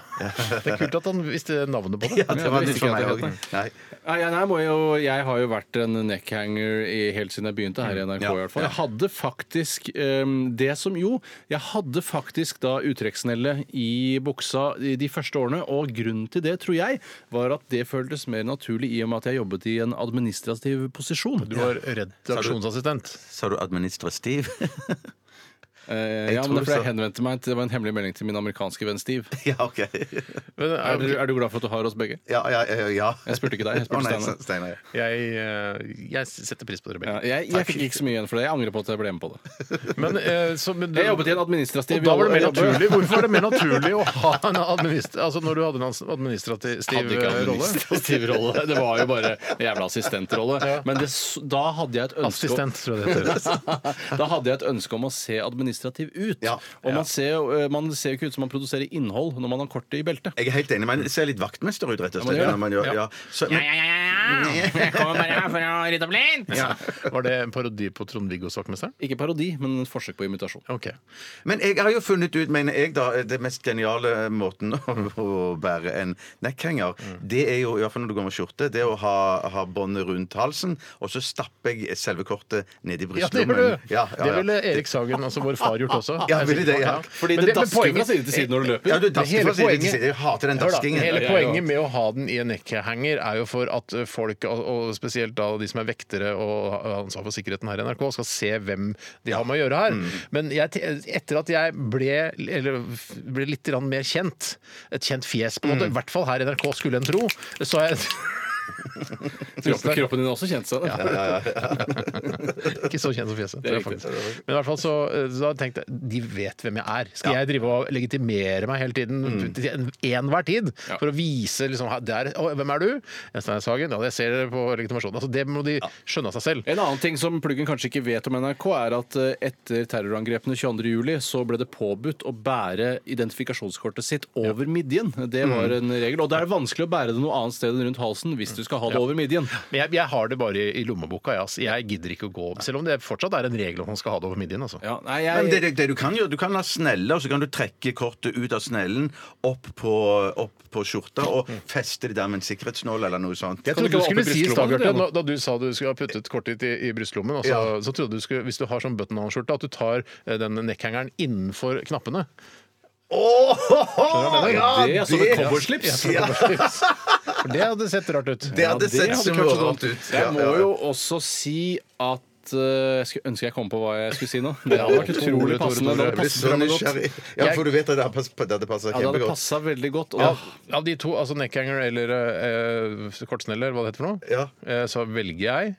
S5: Ja. Det er kult at han visste navnet på det.
S7: Ja, det var nytt for meg òg.
S6: Nei, jeg, nei, må jo, jeg har jo vært en neckhanger i, helt siden jeg begynte her i
S5: Mm,
S6: NRK. i hvert fall. Jeg hadde faktisk ehm, det som jo Jeg hadde faktisk da uttrekksnelle i buksa i de første årene, og grunnen til det, tror jeg, var at det føltes mer naturlig i og med at jeg jobbet i en administrativ posisjon.
S5: Du var redaksjonsassistent.
S7: Sa du administrativ?
S6: Eh, ja, men
S7: tror
S6: derfor jeg
S7: så.
S6: henvendte meg til, Det var en hemmelig melding til min amerikanske venn Steve.
S7: ja, OK.
S5: Men eh,
S6: Er du,
S5: er,
S6: er du glad for at du har oss begge?
S7: Ja, ja, ja, ja.
S6: Jeg spurte ikke deg.
S7: Å,
S6: jeg spurte
S7: nei,
S6: Steinar.
S7: Steinar. ja.
S5: jeg, eh, jeg setter pris på dere
S6: Ja,
S5: begge.
S6: jeg, jeg fikk ikke så mye igjen for det. Jeg angrer på at jeg ble med på det.
S5: Men, eh, så, men du,
S6: Jeg jobbet i en administrativ
S5: Og da var det mer
S6: jobb- jobb-
S5: naturlig. Hvorfor var det mer naturlig å ha en administrativ Altså når du hadde en administrativ
S6: hadde ikke
S5: rolle?
S6: administrativ rolle. eh, Det var jo bare en jævla assistentrolle. Men det, s- da hadde jeg et ønske om-
S5: Assistent, tror jeg det heter.
S6: da hadde jeg et ønske om å se administrativ ut.
S7: Ja.
S6: Og man ser, jo- eh, man ser jo ikke ut som man produserer innhold når man har kortet i beltet.
S7: Jeg er helt enig. Man ser litt vaktmester ut, rett og slett.
S6: Ja,
S7: når man gjør, ja. Så, men,
S6: Jeg kommer bare her for å rydde opp litt!
S5: Var det en parodi på Trond-Viggo Sakmesteren?
S6: Ikke parodi, men et forsøk på imitasjon.
S5: Ok.
S7: men jeg har jo funnet ut, mener jeg, da, det mest geniale måten å, å bære en neckhanger
S5: Mm.
S7: Det er jo, i hvert fall når du går med skjorte, det er å ha, ha båndet rundt halsen, og så stapper jeg selve kortet ned i
S5: Ja, det
S7: brystlommen.
S5: gjorde du!
S7: Ja, ja,
S5: Det
S7: ja.
S5: ville Erik Sagen, altså vår far, gjort også.
S7: Ja, ville det, ja.
S6: Fordi
S5: Men
S6: det,
S5: men
S6: dasker fra
S5: poenget-
S6: side til side når du løper.
S7: Ja, du
S5: Men hele
S7: dasker fra side til
S5: poenget-
S7: side. Jeg hater den
S5: Hør da,
S7: daskingen.
S5: Hele
S6: Ja, ja, ja.
S5: poenget med å ha den i en neckhanger er jo for at folk, og og spesielt da de som er vektere og ansvar for sikkerheten her i NRK, skal se hvem de har med å gjøre
S7: Mm.
S5: her. Men jeg, te- etter at jeg ble, eller, f- ble litt grann mer kjent, et kjent fjes på en
S7: Mm.
S5: måte, i hvert fall her i NRK skulle en tro, så har jeg
S6: Kroppen, kroppen din har også kjente seg det.
S5: ikke så kjent som fjeset. tror jeg
S6: riktig.
S5: faktisk. Men i hvert fall så, eh, så har jeg tenkt de vet hvem jeg er. Skal jeg drive og legitimere meg hele tiden, til en- enhver tid,
S6: Mm. Ja.
S5: for å vise liksom, her- der, å, hvem er du? Jeg er Steinar Sagen. Ja, jeg ser dere på legitimasjonen. Altså, det må de skjønne av seg selv.
S6: En annen ting som pluggen kanskje ikke vet om NRK, er at eh, etter terrorangrepene 22.07 så ble det påbudt å bære identifikasjonskortet sitt over midjen. Det var en regel. Og det er vanskelig å bære det noe annet sted enn rundt halsen hvis du skal ha det over midjen.
S5: Men jeg, jeg har det bare i- i lommeboka. Jeg, altså. jeg gidder ikke å gå Selv om det fortsatt er en regel om man skal ha det over midjen. Altså.
S6: Ja, nei,
S7: Men det,
S6: jeg,
S7: det, det du kan gjøre, du kan ha snelle, og så kan du trekke kortet ut av snellen opp på, opp på skjorta og feste det der med en sikkerhetsnål eller noe sånt.
S5: Jeg trodde du
S6: Mm. ikke ha
S5: skulle
S6: opp i
S5: si i stad,
S6: brystlommen,
S5: Bjarte,
S6: det,
S5: nå- da du sa du skulle ha puttet kortet ditt i, i brystlommen, altså, så trodde du skulle, hvis du har sånn button-on-skjorte, at du tar eh, den neckhangeren innenfor knappene.
S7: Åh, ja,
S6: det er som et coverslips.
S7: Ja,
S5: For det hadde sett rart ut.
S7: det hadde
S6: det
S7: sett
S6: hadde
S7: så
S6: kanskje
S7: rart
S6: sånn.
S7: ut.
S6: Jeg
S7: Ja,
S6: må
S7: ja, ja.
S6: jo også si at eh, jeg skulle ønske jeg kom på hva jeg skulle si nå. Det hadde vært
S5: Tore,
S6: utrolig
S5: Tore,
S6: passende.
S7: Jeg
S5: Tore,
S6: Det hadde
S7: blir
S6: passet
S7: så
S6: frem godt.
S7: nysgjerrig. Ja, for du vet at det hadde passa
S6: Ja, det hadde
S7: kjempegodt.
S6: passa veldig godt. Og
S5: Ja,
S6: da-
S5: av de to, altså neckhanger eller eh, kortsnelle, eller hva det heter for noe,
S7: Ja.
S5: eh, så velger jeg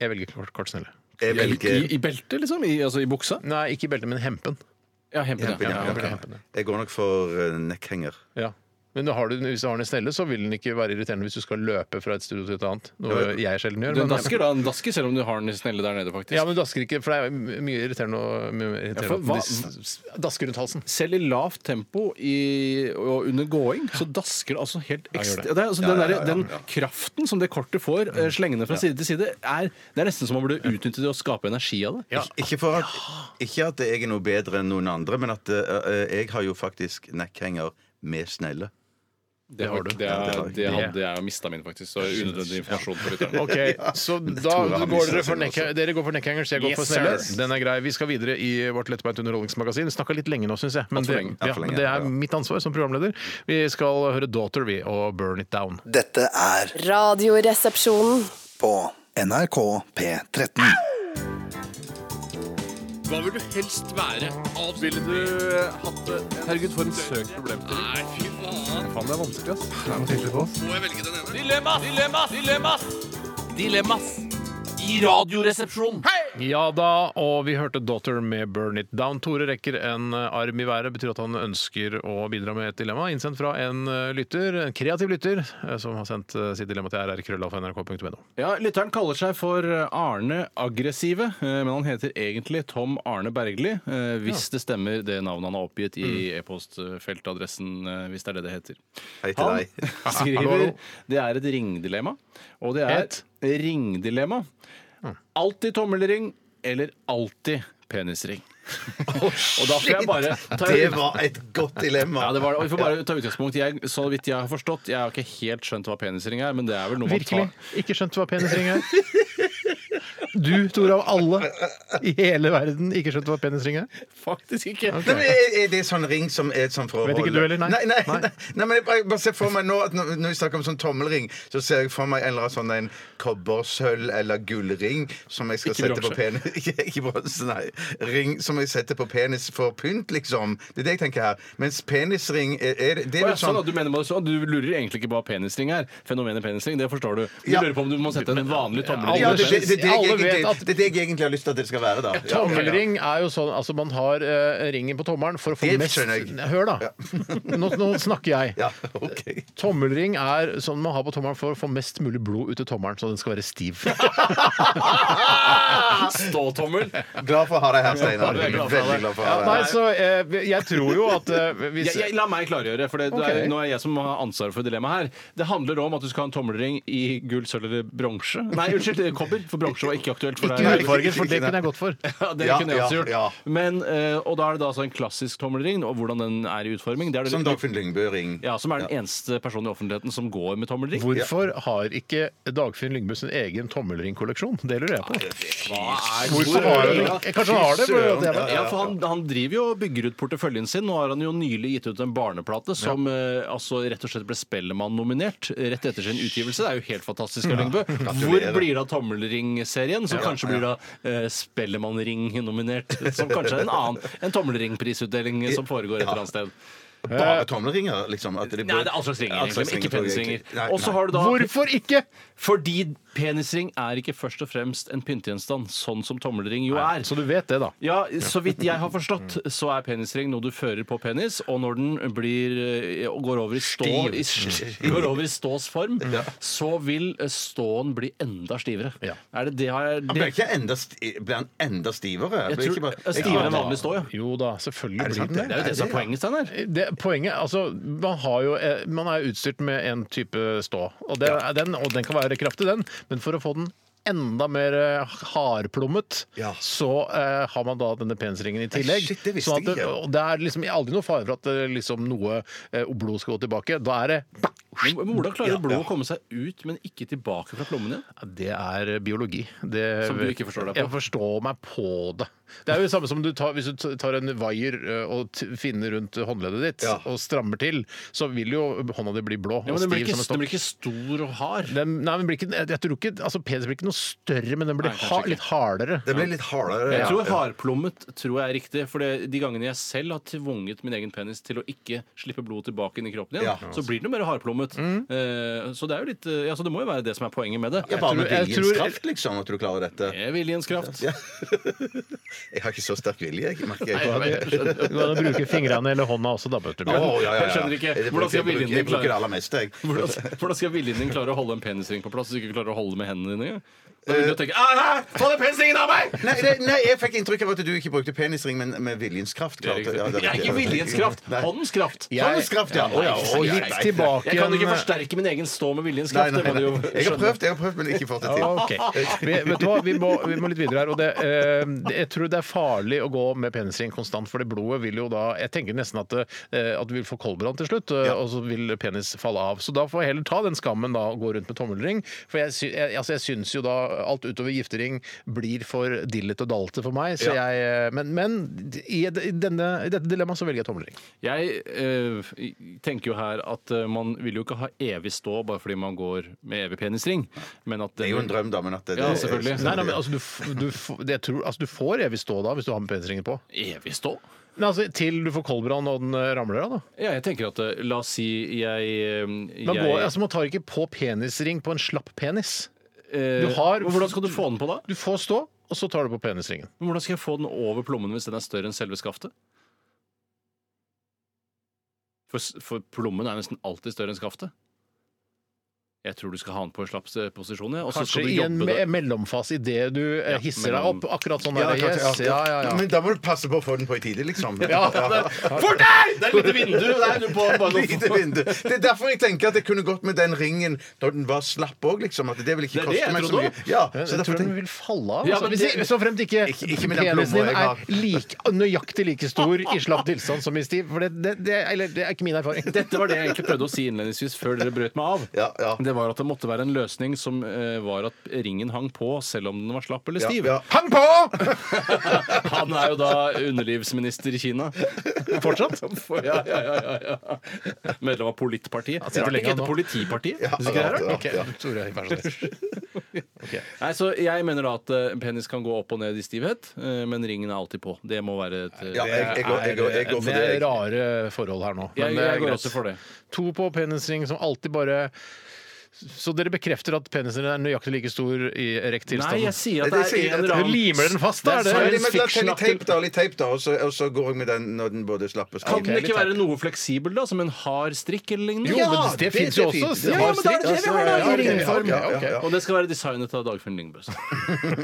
S5: Jeg velger kort, kortsnelle.
S7: Jeg
S6: I,
S7: velger
S6: I beltet, liksom? I, altså i buksa?
S5: Nei, ikke i beltet, men hempen.
S6: Ja, hempen.
S7: Hempen, ja,
S6: Ja,
S7: ja,
S6: ok.
S7: ja. Jeg går nok for eh, neckhanger.
S5: Ja. Men du har du, den- hvis du har den i snelle, så vil den ikke være irriterende hvis du skal løpe fra et studio til et annet. Noe jeg sjelden gjør.
S6: Den
S5: men-
S6: dasker, da. Den dasker selv om du har den snelle der nede, faktisk.
S5: Ja, men du dasker ikke, for det er my- mye irriterende å mye mer irriterende
S6: Ja, for
S5: at
S6: hva-
S5: de s- s- dasker rundt halsen.
S6: selv i lavt tempo i, og under gåing, så dasker det altså helt ekstra...
S5: gjør
S6: det. er altså den, der, den kraften som det kortet får eh, slengende fra side til side, er, det er nesten som om man burde utnytte det og skape energi av det.
S7: Ikke, for at, ikke at jeg er noe bedre enn noen andre, men at eh, eh, jeg har jo faktisk neckhanger med snelle.
S6: Det, har du. Det, er,
S7: det
S6: det
S5: har jeg.
S6: hadde jeg mista min, faktisk. Så unødvendig informasjon for lytterne.
S5: Ok, Så
S7: tror jeg
S5: da
S7: han
S5: går
S7: mister
S5: dere for
S7: sin
S5: neck,
S7: også.
S5: dere går for neckhangers, jeg går
S6: Yes,
S5: for snelle.
S6: sir.
S5: Den er grei. Vi skal videre i vårt lettbeint underholdningsmagasin. Snakka litt lenge nå, syns jeg. Men
S6: Alt for
S5: det,
S6: lenge.
S5: ja,
S7: Alt for lenge,
S5: men det er
S7: ja.
S5: mitt ansvar som programleder. Vi skal høre Daughter, vi, og Burn It Down.
S9: Dette er
S8: Radioresepsjonen.
S9: på NRK P13.
S6: Hva vil du helst være? Ville du eh, hatt det? Herregud, for en søk problem til. Nei, fy faen. det er vanskelig, ass. Må jeg velge den ene? Dilemmas! Dilemmas! Dilemmas! Dilemmas! I radioresepsjonen.
S5: Ja da, og vi hørte Daughter med Burn It Down. Tore rekker en eh, arm i været, betyr at han ønsker å bidra med et dilemma. Innsendt fra en eh, lytter, en kreativ lytter, eh, som har sendt eh, sitt dilemma til rrkrøllalfa.nrk.no.
S6: Ja, Lytteren kaller seg for eh, Arne Aggressive, eh, men han heter egentlig Tom Arne Bergli. eh, Hvis det stemmer det navnet han har oppgitt i e-postfeltadressen, eh, hvis det er det det heter.
S7: Hei til deg.
S6: Han skriver Det er et ringdilemma, og det er et
S7: Mm.
S6: ringdilemma. Alltid tommelring eller alltid penisring? Og da får jeg bare ta
S7: Oh, Det var et godt dilemma.
S6: ja, det var det. Og vi får bare ta utgangspunkt. Jeg, så vidt jeg har forstått, jeg har ikke helt skjønt hva penisring er, men det er vel noe man
S5: Virkelig.
S6: tar
S5: Ikke skjønt hva penisring er. Du, Tore, av alle i hele verden, ikke skjønt hva penisring er.
S6: Faktisk ikke.
S7: Nei, men er, er det sånn ring som er sånn for å
S5: Vet ikke
S7: holde-
S5: du heller, nei.
S7: Nei, nei,
S5: Nei.
S7: nei. nei men jeg bare, bare ser for meg nå at når, når vi snakker om sånn tommelring, så ser jeg for meg en eller annen sånn en kobbersølv- eller gullring som jeg skal
S6: Ikke
S7: sette på penis. Ikke, ikke bronse, nei. Ring som jeg setter på penis for pynt, liksom. Det er det jeg tenker her. Mens penisring er, er det, det
S6: Å,
S7: er
S6: ja,
S7: jo
S6: sånn,
S7: sånn
S6: at du, mener, bare så- du lurer egentlig ikke på hva penisring er. Fenomenet penisring, det forstår du. Du
S7: Ja.
S6: lurer på om du må sette en vanlig tommelring.
S7: ja, det, det, det, det, er det,
S5: Alle
S7: jeg
S5: vet
S7: egentlig-
S5: at-
S7: det er det jeg egentlig har lyst til at det skal være, da. Ja, ja, ja.
S5: Tommelring er jo sånn altså man har eh, ringen på tommelen for å få
S7: Det
S5: mest
S7: skjønner jeg.
S5: Hør, da. Nå, nå snakker jeg.
S7: Ja, ok.
S5: Tommelring er sånn man har på tommelen for å få mest mulig blod ut i tommelen, så den skal være stiv.
S6: Ståtommel.
S7: Glad for å ha deg her, Steinar.
S6: Ja, jeg er glad for å ha
S7: Veldig
S6: deg.
S7: glad for å
S5: Ja,
S7: ha deg
S5: nei,
S7: her.
S5: så eh, jeg tror jo at eh, hvis
S6: Jeg, jeg, la meg klargjøre, for det, det
S5: Ok.
S6: er, nå er jeg som har ansvaret for dilemmaet her. Det handler om at du skal ha en tommelring i gull, sølv eller bronse. Nei, unnskyld, eh, kobber, for bronse var ikke aktuelt for
S5: Ikke
S6: deg.
S5: hudfarger, for det kunne jeg gått for.
S6: Ja, det
S7: Ja,
S6: kunne jeg også
S7: ja,
S6: gjort.
S7: ja.
S6: Men, eh, og da er det da altså en klassisk tommelring, og hvordan den er i utforming. Det er det
S7: Som Dagfinn Lyngbø-ring.
S6: ja, som er den eneste personen i offentligheten som går med tommelring.
S5: Hvorfor har ikke Dagfinn Lyngbø sin egen tommelringkolleksjon? Det lurer jeg på.
S6: Hvor
S5: Hvorfor har han
S6: Ja,
S5: ikke? Kanskje han har det? for at jeg-
S6: ja, for han, han driver jo og bygger ut porteføljen sin. Nå har han jo nylig gitt ut en barneplate som eh, altså rett og slett ble Spellemann-nominert rett etter sin utgivelse. Det er jo helt fantastisk. Ellingbø. Hvor blir det av Tommelring-serien, som kanskje blir da eh, Spellemann-ring-nominert? Som kanskje er en annen en tommelringprisutdeling som foregår et eller annet sted.
S7: Bare tommelringer, liksom? At det
S6: Nei, det er all slags ringer,
S7: All slags
S6: egentlig, men ikke
S7: ringer,
S6: penisringer.
S7: Nei,
S6: Og så
S7: nei.
S6: har du da
S5: Hvorfor ikke?
S6: Fordi penisring er ikke først og fremst en pyntegjenstand, sånn som tommelring jo er.
S5: Så du vet det, da.
S6: Ja, så vidt jeg har forstått, så er penisring noe du fører på penis, og når den blir, eh, og går over i, stå, i, går over i stås form, så vil eh, ståen bli enda stivere.
S5: Ja.
S6: Er det det har
S7: Han
S6: det,
S7: ble, ikke enda sti ble han enda stivere?
S6: Jeg
S7: Ble
S6: tror
S7: ikke bare-
S6: eh, stivere enn vanlig stå, ja.
S5: Jo da, selvfølgelig
S7: det
S5: blir
S7: sant,
S5: den
S6: Det er
S5: det.
S6: jo det som er poenget, Steinar.
S5: Det, poenget, altså, man, har jo, eh, man er jo utstyrt med en type stå, og, det, er den, og den kan være kraftig, den, men for å få den enda mer eh, hardplommet,
S7: Ja.
S5: så eh, har man da denne penisringen i tillegg.
S7: shit, det visste
S5: Sånn at
S7: jeg ikke.
S5: og det er liksom aldri noe fare for at eh, liksom, noe eh, blod skal gå tilbake. Da er det
S6: Men Hvordan klarer blodet å komme seg ut, men ikke tilbake fra plommen din?
S5: Det er biologi. Det,
S6: Som du ikke forstår deg på?
S5: Jeg forstår meg på det. Det er jo det samme som du tar, hvis du tar en vaier ø, og t- finner rundt håndleddet ditt
S7: Ja.
S5: og strammer til, så vil jo hånda di bli blå
S6: Ja,
S5: og
S6: men den, blir
S5: stiv
S6: ikke,
S5: som en
S6: den
S5: stokk.
S6: blir ikke stor og hard.
S5: Den, nei, men blir ikke, jeg tror ikke, altså Penis blir ikke noe større, men den blir
S6: Nei, kanskje
S5: ha,
S6: ikke.
S5: litt hardere.
S7: Det ble litt hardere.
S6: Jeg
S7: ja.
S6: tror hardplommet tror jeg er riktig. For det, de gangene jeg selv har tvunget min egen penis til å ikke slippe blodet tilbake inn i kroppen igjen,
S7: Ja. Mm.
S6: så blir den jo mer hardplommet. Eh, så det er jo litt eh, ja, så det må jo være det som er poenget med det.
S7: Ja, bare med
S5: Jeg tror- jeg
S7: viljens
S5: tror-
S7: kraft, liksom, at du klarer dette.
S6: Det er viljens kraft.
S7: Jeg har ikke så sterk vilje, jeg, merker jeg.
S5: Du kan bruke fingrene eller hånda også, da. Bjarte.
S7: Å, ja, ja, ja.
S6: Jeg skjønner ikke.
S7: Jeg
S6: Hvordan skal
S7: bruker-
S6: viljen din
S7: Jeg bruker det
S6: klare-
S7: aller meste, jeg.
S6: Hvordan, hvordan skal viljen din klare å holde en penisring på plass hvis du ikke klarer å holde med hendene dine? Da vil du jo tenke «Ah, ah, Ta den penisringen av meg!
S7: Eh, Nei, det, nei, jeg fikk inntrykk av at du ikke brukte penisring, men med viljens kraft.
S6: Det er
S7: klarte-
S6: riktig.
S7: ja, det
S6: Jeg er ikke viljens kraft.
S7: Nei.
S6: Håndens kraft.
S7: Håndens kraft, ja. Å, ja, å, ja,
S5: Litt
S7: nei.
S5: tilbake
S6: Jeg kan ikke
S5: igjen, ø,
S6: forsterke min egen stå med viljens
S7: Nei,
S6: kraft.
S7: nei,
S6: Det må
S7: nei.
S6: du jo
S7: Jeg har
S6: skjønne.
S7: prøvd, jeg har prøvd, men ikke fått det til.
S5: Ok. Vi, vet du hva, vi må, vi må litt videre her. Og det, eh, det- jeg tror det er farlig å gå med penisring konstant, for det blodet vil jo da Jeg tenker nesten at, eh, at du vil få koldbrann til slutt, eh, og så vil penis falle av. Så da får jeg heller ta den skammen da og gå rundt med tommelring. For jeg, sy- jeg, altså jeg syns jo da alt utover giftering blir for dillet og dalte for meg, så jeg eh, Men, men i, i, denne, i dette dilemmaet så velger jeg tommelring.
S6: Jeg eh, tenker jo her at eh, man vil jo ikke ha evig stå bare fordi man går med evig penisring. Men at
S7: Det er jo en drøm, da, men at det,
S6: Ja,
S7: det-
S6: selvfølgelig.
S5: Nei, nei, men altså, du, f- du, f- det tror, altså, du får evig stå da, hvis du har med penisringen på.
S6: Evig stå?
S5: Nei, altså, til du får koldbrann og den eh, ramler av, da.
S6: Ja, jeg tenker at eh, La oss si jeg, eh,
S5: Man,
S6: jeg
S5: går, altså, man tar ikke på penisring på en slapp penis.
S6: eh,
S5: du har-
S6: Hvordan skal du få den på, da?
S5: Du får stå, og så tar du på penisringen.
S6: Men Hvordan skal jeg få den over plommen hvis den er større enn selve skaftet? For, s- for plommen er nesten alltid større enn skaftet. Jeg tror du skal ha den på en slapp eh, posisjon, ja. Og så
S5: Kanskje
S6: skal du
S5: i en
S6: jobbe
S5: me
S6: det.
S5: mellomfase idet du eh, hisser deg
S6: mellom-
S5: opp. Akkurat sånn
S7: Ja,
S5: er det.
S7: kanskje,
S5: Yes. Ja, ja, ja.
S7: Men da må du passe på å få den på i tide, liksom.
S6: For deg! Det er et lite vindu der! Du på, bare noe-
S7: Lite vindu. Det er derfor jeg tenker at jeg kunne gått med den ringen når den var slapp òg, liksom. At det vil
S6: Det
S7: ikke
S6: er det jeg
S7: koste meg så
S6: trodde
S7: mye.
S6: også.
S7: Ja,
S5: Jeg
S7: så
S5: tror
S7: derfor
S5: den
S7: tenker
S5: vil falle av.
S6: Ja,
S5: altså,
S6: men
S5: hvis,
S6: det-
S5: i- så fremt ikke,
S7: Ikke- ikke med den
S5: penisen
S7: plomma
S5: din
S7: jeg
S5: er
S7: har.
S5: like, nøyaktig like stor i slapp tilstand som i stiv. For det, det, det, eller, det er ikke min erfaring.
S6: Dette var det jeg egentlig prøvde å si innledningsvis før dere brøt meg av.
S7: Ja, ja.
S6: Det var at det måtte være en løsning som eh, var at ringen hang på selv om den var slapp eller
S7: Ja,
S6: stiv.
S7: ja.
S5: Hang på!
S6: Han er jo da underlivsminister i Kina.
S5: Fortsatt?
S6: Ja, ja, ja, ja, ja. Medlem av politpartiet.
S5: sitter
S6: Rart det
S5: lenge
S6: ikke
S5: nå.
S6: heter politipartiet. Syns du ikke det er rart?
S5: Ok, Tore, vær så snill.
S6: Nei, så Jeg mener da at eh, penis kan gå opp og ned i stivhet, eh, men ringen er alltid på. Det må være et eh,
S7: Ja, jeg, jeg, går, jeg, går, jeg går for
S5: Det
S7: det.
S5: er
S7: jeg.
S5: rare forhold her nå. men
S6: Jeg-
S5: det er
S6: jeg går
S5: greit.
S6: også for det.
S5: To på penisring som alltid bare Så dere bekrefter at penisen er nøyaktig like stor i erekt
S6: Nei,
S5: tilstand?
S6: jeg sier at
S7: Det
S6: det er
S7: sier-
S6: en eller annen
S5: Du limer den fast, da, er
S6: Det
S5: det?
S7: Ja,
S6: er sånn
S7: men da
S6: science
S7: tar jeg Litt
S6: fiction-aktig.
S7: teip, da. Litt teip, da. Og så, og så går jeg med den når den både slapp og
S6: Kan
S7: stiv.
S6: den ikke
S5: litt
S6: være noe fleksibel, da? Som en hard strikk eller lignende?
S5: Jo,
S6: Ja,
S5: men det
S7: det-
S5: fins
S7: det
S5: jo
S7: er fint.
S5: også.
S7: Det
S5: Ja,
S7: har
S5: men da er det det vi har da,
S7: Ja,
S5: i
S7: ok,
S5: ringform.
S7: ja, ok, ja.
S6: Og det skal være designet av Dagfinn Lyngbø.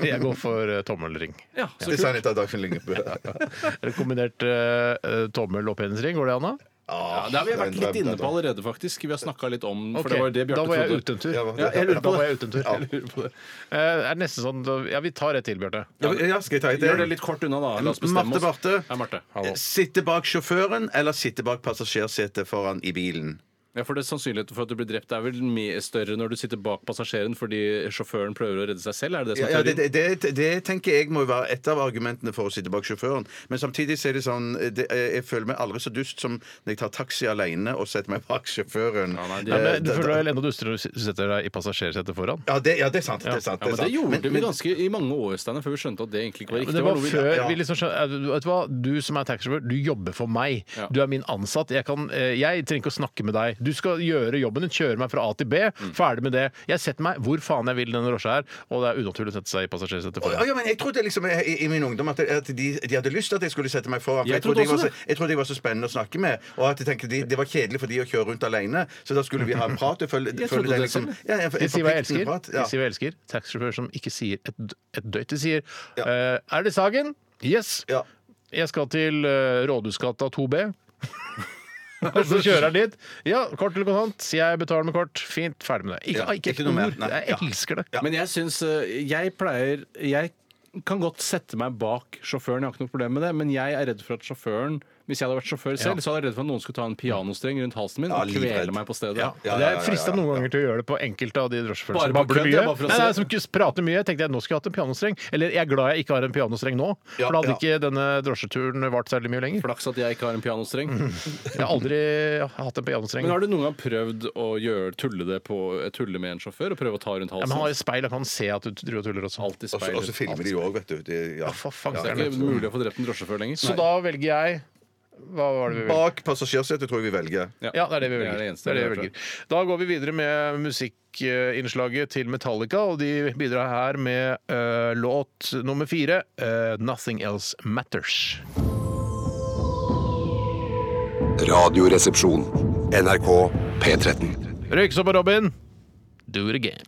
S5: Jeg går for eh, tommelring.
S6: Ja, så kult.
S7: Designet av Dagfinn Lyngbø.
S5: Eller Kombinert eh, eh, tommel og penisring, går det an da?
S6: Ja, det har vi vært litt inne på allerede, faktisk. Vi har snakka litt om den, for det var det
S5: da var
S6: Bjarte
S5: jeg
S6: trodde.
S5: ute en tur.
S7: Ja,
S6: Ja, jeg lurer
S5: Da
S6: på
S5: var
S6: det.
S5: jeg ute en tur. Jeg lurer på det. Eh, er det nesten sånn, da- ja, vi tar et til,
S6: Eh,
S5: Bjarte.
S7: Ja, ja, skal jeg ta et
S6: Gjør det
S7: til?
S6: litt kort unna, da. La oss bestemme
S7: Marte
S6: oss.
S7: Barthe.
S6: Ja, Marte.
S7: Sitte bak sjåføren eller sitte bak passasjersetet foran i bilen?
S6: Ja, for det Sannsynligheten for at du blir drept er vel mer større når du sitter bak passasjeren fordi sjåføren prøver å redde seg selv? Er det det
S7: Ja,
S6: som er
S7: ja, det,
S6: teorien?
S7: det, det, det tenker jeg må jo være et av argumentene for å sitte bak sjåføren. Men samtidig så er det sånn det, Jeg føler meg aldri så dust som når jeg tar taxi alene og setter meg bak sjåføren.
S6: Ja, nei, det-
S5: Ja, men, du
S7: Eh,
S5: føler
S7: da-
S5: deg vel enda dustere når du setter deg i passasjersetet foran?
S7: ja, det, ja, det er sant. Det er sant,
S6: Ja, men det
S7: sant.
S6: gjorde
S7: Men-
S6: vi
S7: men-
S6: ganske i mange år, Steiner, før vi skjønte at det egentlig ikke var
S5: Men
S6: riktig.
S5: det var
S6: noe vi-
S5: før
S7: ja.
S5: vi liksom skjønte eh, Vet du hva, du som er taxisjåfør, du jobber for meg.
S6: Ja.
S5: Du er min ansatt. Jeg, kan, eh, jeg trenger ikke å snakke med deg. Du skal gjøre jobben din. Kjøre meg fra A til B. Ferdig med det. Jeg setter meg hvor faen jeg vil i denne drosja her, og det er unaturlig å sette seg i
S7: Å,
S5: passasjersetet foran.
S7: Ja, men jeg trodde liksom i, i- i min ungdom at, at de, de hadde lyst til at jeg skulle sette meg foran. For
S6: Jeg
S7: jeg, trodde
S6: trodde
S7: jeg, var
S6: også
S7: så, jeg trodde jeg var så spennende å snakke med. Og at jeg tenkte de, det var kjedelig for de å kjøre rundt alene. Så da skulle vi ha en prat. og følge-
S6: Jeg
S7: følge
S6: trodde
S7: den
S6: det
S7: liksom-
S6: selv.
S7: Ja, en- en
S5: De sier hva jeg elsker.
S7: forpliktende prat,
S5: De
S7: ja.
S5: sier hva jeg elsker. Taxisjåfører som ikke sier et, d- et døyt. De sier
S7: Ja.
S5: eh, Er det Sagen? Yes.
S7: Ja.
S5: Jeg skal til eh, Rådhusgata 2B. Og så kjører han dit. Ja, kort eller kontant. Jeg betaler med kort. Fint, ferdig med det. Ikke, ah,
S7: Ja,
S5: ikke
S7: ikke
S5: et
S7: noe mer.
S5: ord.
S7: Nei, ja.
S5: Jeg elsker det.
S6: Men jeg syns eh, Jeg pleier Jeg kan godt sette meg bak sjåføren, jeg har ikke noe problem med det, men jeg er redd for at sjåføren Hvis jeg hadde vært sjåfør selv, så hadde jeg redd for at noen skulle ta en pianostreng rundt halsen min
S7: Ja,
S6: og
S7: livredd.
S6: kvele meg på stedet.
S5: Ja,
S7: ja,
S5: det
S7: ja,
S5: er frista
S7: ja, ja,
S5: noen ganger til å gjøre det på enkelte av de drosjeførene
S6: Bare
S5: som
S6: på
S5: babler
S6: kødd, ja,
S5: mye.
S6: bare for å
S5: Nei, nei,
S6: se.
S5: som ikke prater mye. Jeg tenkte jeg nå skulle jeg hatt en pianostreng. Eller jeg er glad jeg ikke har en pianostreng nå,
S7: Ja,
S5: for da hadde
S7: ja.
S5: ikke denne drosjeturen vart særlig mye lenger.
S6: Flaks at jeg ikke har en pianostreng.
S5: Mhm. Jeg har aldri hatt en pianostreng.
S6: Men har du noen gang prøvd å gjøre, tulle, det på, eh, tulle med en sjåfør og prøve å ta rundt
S5: Ja,
S6: halsen?
S5: men han har jo speil, han kan se at du driver og tuller også.
S6: Alltid
S7: Og så-
S6: speil.
S7: Og så filmer de jo òg, vet du. Det- ja.
S5: for faen,
S6: Det
S5: så
S7: ja.
S5: er
S6: er ikke mulig å få drept en drosjesjåfør lenger.
S5: Så da velger jeg Hva var det vi velger?
S7: Bak passasjersetet tror jeg vi velger.
S5: Ja, det er det vi velger.
S6: Det er det eneste
S5: Det er det
S6: jeg
S5: vi velger. Da går vi videre med musikkinnslaget til Metallica, og de bidrar her med eh, låt nummer fire, eh, 'Nothing Else Matters'.
S1: Radioresepsjon. NRK P13.
S5: Røyksopp og Robin, do it again.